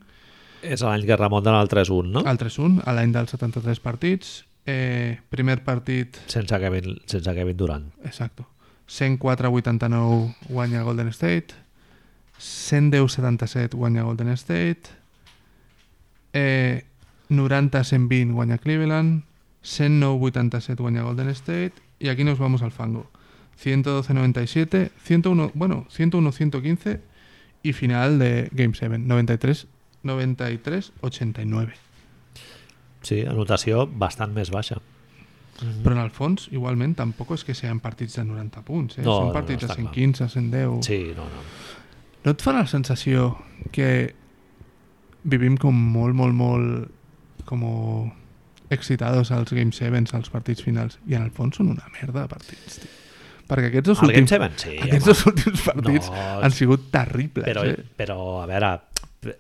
Speaker 1: És l'any que remunten al 3-1, no?
Speaker 2: el 3-1, a l'any dels 73 partits, eh, primer partit,
Speaker 1: Sense, Kevin, sense Kevin Durant.
Speaker 2: exacto, 104-89 guanya Golden State, 110-77 guanya Golden State, eh, 90-120 guanya Cleveland, 109-87 guanya Golden State, y aquí nos vamos al fango. 112-97, 101, bueno, 101-115 y final de Game 7, 93-93-89.
Speaker 1: Sí, anotació bastant més baixa.
Speaker 2: Però en el fons, igualment, tampoc és que sean partits de 90 punts, eh?
Speaker 1: No,
Speaker 2: Són
Speaker 1: no,
Speaker 2: partits
Speaker 1: està
Speaker 2: de
Speaker 1: clar.
Speaker 2: 115, 110...
Speaker 1: Sí, no, no.
Speaker 2: No et fa la sensació que vivim com molt, molt, molt com excitados als Game 7, als partits finals, i en el fons són una merda de partits, tio. Perquè aquests dos
Speaker 1: El Game 7,
Speaker 2: últims,
Speaker 1: sí.
Speaker 2: aquests
Speaker 1: home.
Speaker 2: dos últims partits
Speaker 1: No,
Speaker 2: han sigut terribles,
Speaker 1: Però,
Speaker 2: eh?
Speaker 1: però a veure, p-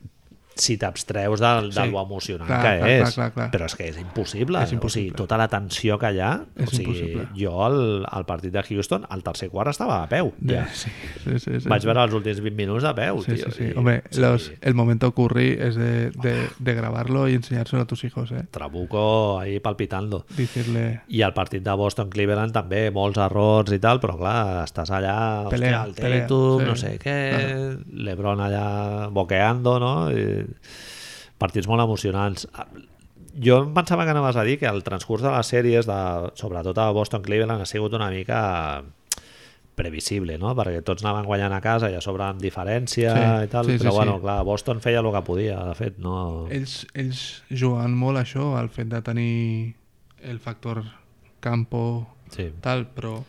Speaker 1: si t'abstreus del, del
Speaker 2: Sí.
Speaker 1: bo emocionant
Speaker 2: Clar,
Speaker 1: que
Speaker 2: clar,
Speaker 1: és,
Speaker 2: clar, clar, clar.
Speaker 1: però és que és impossible.
Speaker 2: És
Speaker 1: O sigui,
Speaker 2: impossible.
Speaker 1: tota la tensió que hi ha...
Speaker 2: És
Speaker 1: o sigui,
Speaker 2: impossible.
Speaker 1: Jo al, al partit de Houston, al tercer quart estava a peu. Ja.
Speaker 2: Sí, sí, sí, sí.
Speaker 1: Vaig veure els últims 20 minuts a peu,
Speaker 2: Sí,
Speaker 1: tio.
Speaker 2: sí, sí.
Speaker 1: i-
Speaker 2: Hombre,
Speaker 1: sí.
Speaker 2: los- el momento curry es de, de- de grabarlo y enseñárselo a tus hijos, ¿eh?
Speaker 1: Trabuco ahí palpitando.
Speaker 2: Decirle,
Speaker 1: I el partit de Boston-Cleveland també, molts errors i tal, però clar, estàs allà,
Speaker 2: Pelea,
Speaker 1: hòstia, el
Speaker 2: pelea,
Speaker 1: Tatum,
Speaker 2: sí,
Speaker 1: no sé què, l'Ebron allà boqueando, no? I partits molt emocionants. Jo em pensava que anaves a dir que el transcurs de les sèries, de, sobretot a Boston-Cleveland, ha sigut una mica previsible, no? Perquè tots anaven guanyant a casa i a sobre amb diferència
Speaker 2: Sí,
Speaker 1: i tal,
Speaker 2: sí, sí,
Speaker 1: però bueno,
Speaker 2: sí. Eh,
Speaker 1: clar, Boston feia el que podia, de fet, no...
Speaker 2: ells, ells juguen molt a això, al fet de tenir el factor campo,
Speaker 1: Sí.
Speaker 2: tal, però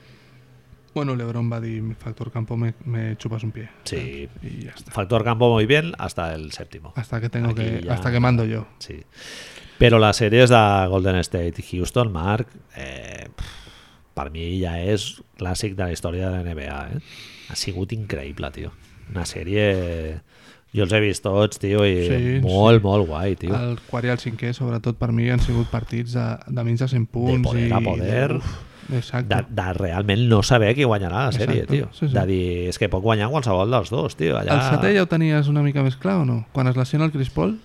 Speaker 2: Bueno, LeBron va dir, Factor Campo, me, me chupas un pie.
Speaker 1: Sí.
Speaker 2: ¿sabes? Y ya está.
Speaker 1: Factor campo muy bien hasta el séptimo.
Speaker 2: Hasta que tengo
Speaker 1: Aquí
Speaker 2: que...
Speaker 1: ya-
Speaker 2: Hasta que mando yo.
Speaker 1: Sí. Pero les sèries de Golden State i Houston, Marc, eh, per mi ja és clàssic de la història de la NBA. Eh? Ha sigut increïble, tio. Una sèrie... Jo els he vist tots, tio, i
Speaker 2: Sí, Ah,
Speaker 1: molt, molt guai, tio.
Speaker 2: El quart i el cinquè, sobretot per mi, han sigut partits de, de menys de 100 punts.
Speaker 1: poder
Speaker 2: i,
Speaker 1: a poder.
Speaker 2: Uf, exacte.
Speaker 1: De, de realment no saber qui guanyarà la sèrie,
Speaker 2: Exacte,
Speaker 1: tio.
Speaker 2: sí, sí.
Speaker 1: De dir, és que pot guanyar qualsevol dels dos, tio. Allà...
Speaker 2: El setè ja ho tenies una mica més clar o no? Quan es lesiona el Chris Paul?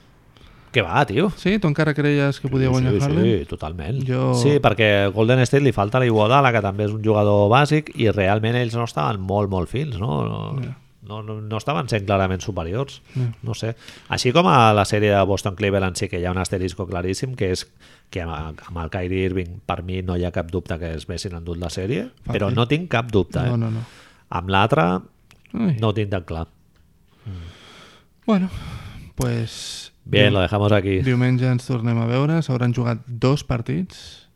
Speaker 1: Que va, tio.
Speaker 2: Sí? Tu encara creies que podia guanyar
Speaker 1: sí,
Speaker 2: Harden?
Speaker 1: Sí, totalment.
Speaker 2: Jo-
Speaker 1: Sí, perquè al Golden State li falta la Iguodala, que també és un jugador bàsic, i realment ells no estaven molt, molt fins, no? No,
Speaker 2: Ja.
Speaker 1: no, no, no estaven sent clarament superiors.
Speaker 2: Ja.
Speaker 1: No sé. Així com a la sèrie de Boston Cleveland sí que hi ha un asterisco claríssim, que és que amb, amb el Kyrie Irving per mi no hi ha cap dubte que es vessin endut la sèrie,
Speaker 2: Fàcil.
Speaker 1: però no tinc cap dubte. Eh?
Speaker 2: No, no, no.
Speaker 1: Amb l'altre
Speaker 2: Ai.
Speaker 1: no ho tinc tan clar.
Speaker 2: Bueno, pues...
Speaker 1: Bien,
Speaker 2: diu-
Speaker 1: lo dejamos aquí.
Speaker 2: Diumenge ens tornem a veure. S'hauran jugat dos partits.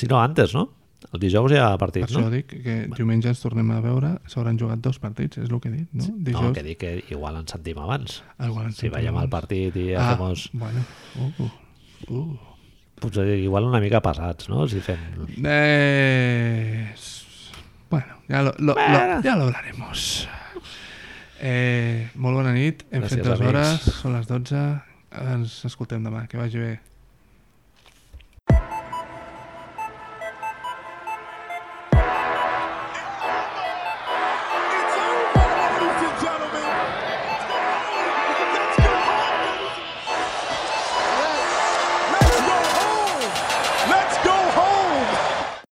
Speaker 1: Si no, antes, no? El dijous hi ha
Speaker 2: Per
Speaker 1: partit,
Speaker 2: això
Speaker 1: no?
Speaker 2: dic que diumenge ens tornem a veure. S'hauran jugat dos partits, és el que he dit, no?
Speaker 1: No, que dic que igual ens sentim abans.
Speaker 2: Ah, igual ens
Speaker 1: Si
Speaker 2: sentim
Speaker 1: veiem el
Speaker 2: abans.
Speaker 1: partit i
Speaker 2: Ah,
Speaker 1: hacemos...
Speaker 2: bueno. Uh, uh, uh.
Speaker 1: Potser igual una mica pesats, no? Si fem...
Speaker 2: Eh, s- bueno, ya lo, lo- lo- ya lo hablaremos. Eh, molt bona nit, hem
Speaker 1: Gràcies,
Speaker 2: fet dues
Speaker 1: amics.
Speaker 2: hores, són les 12, ens escoltem demà, que vagi bé.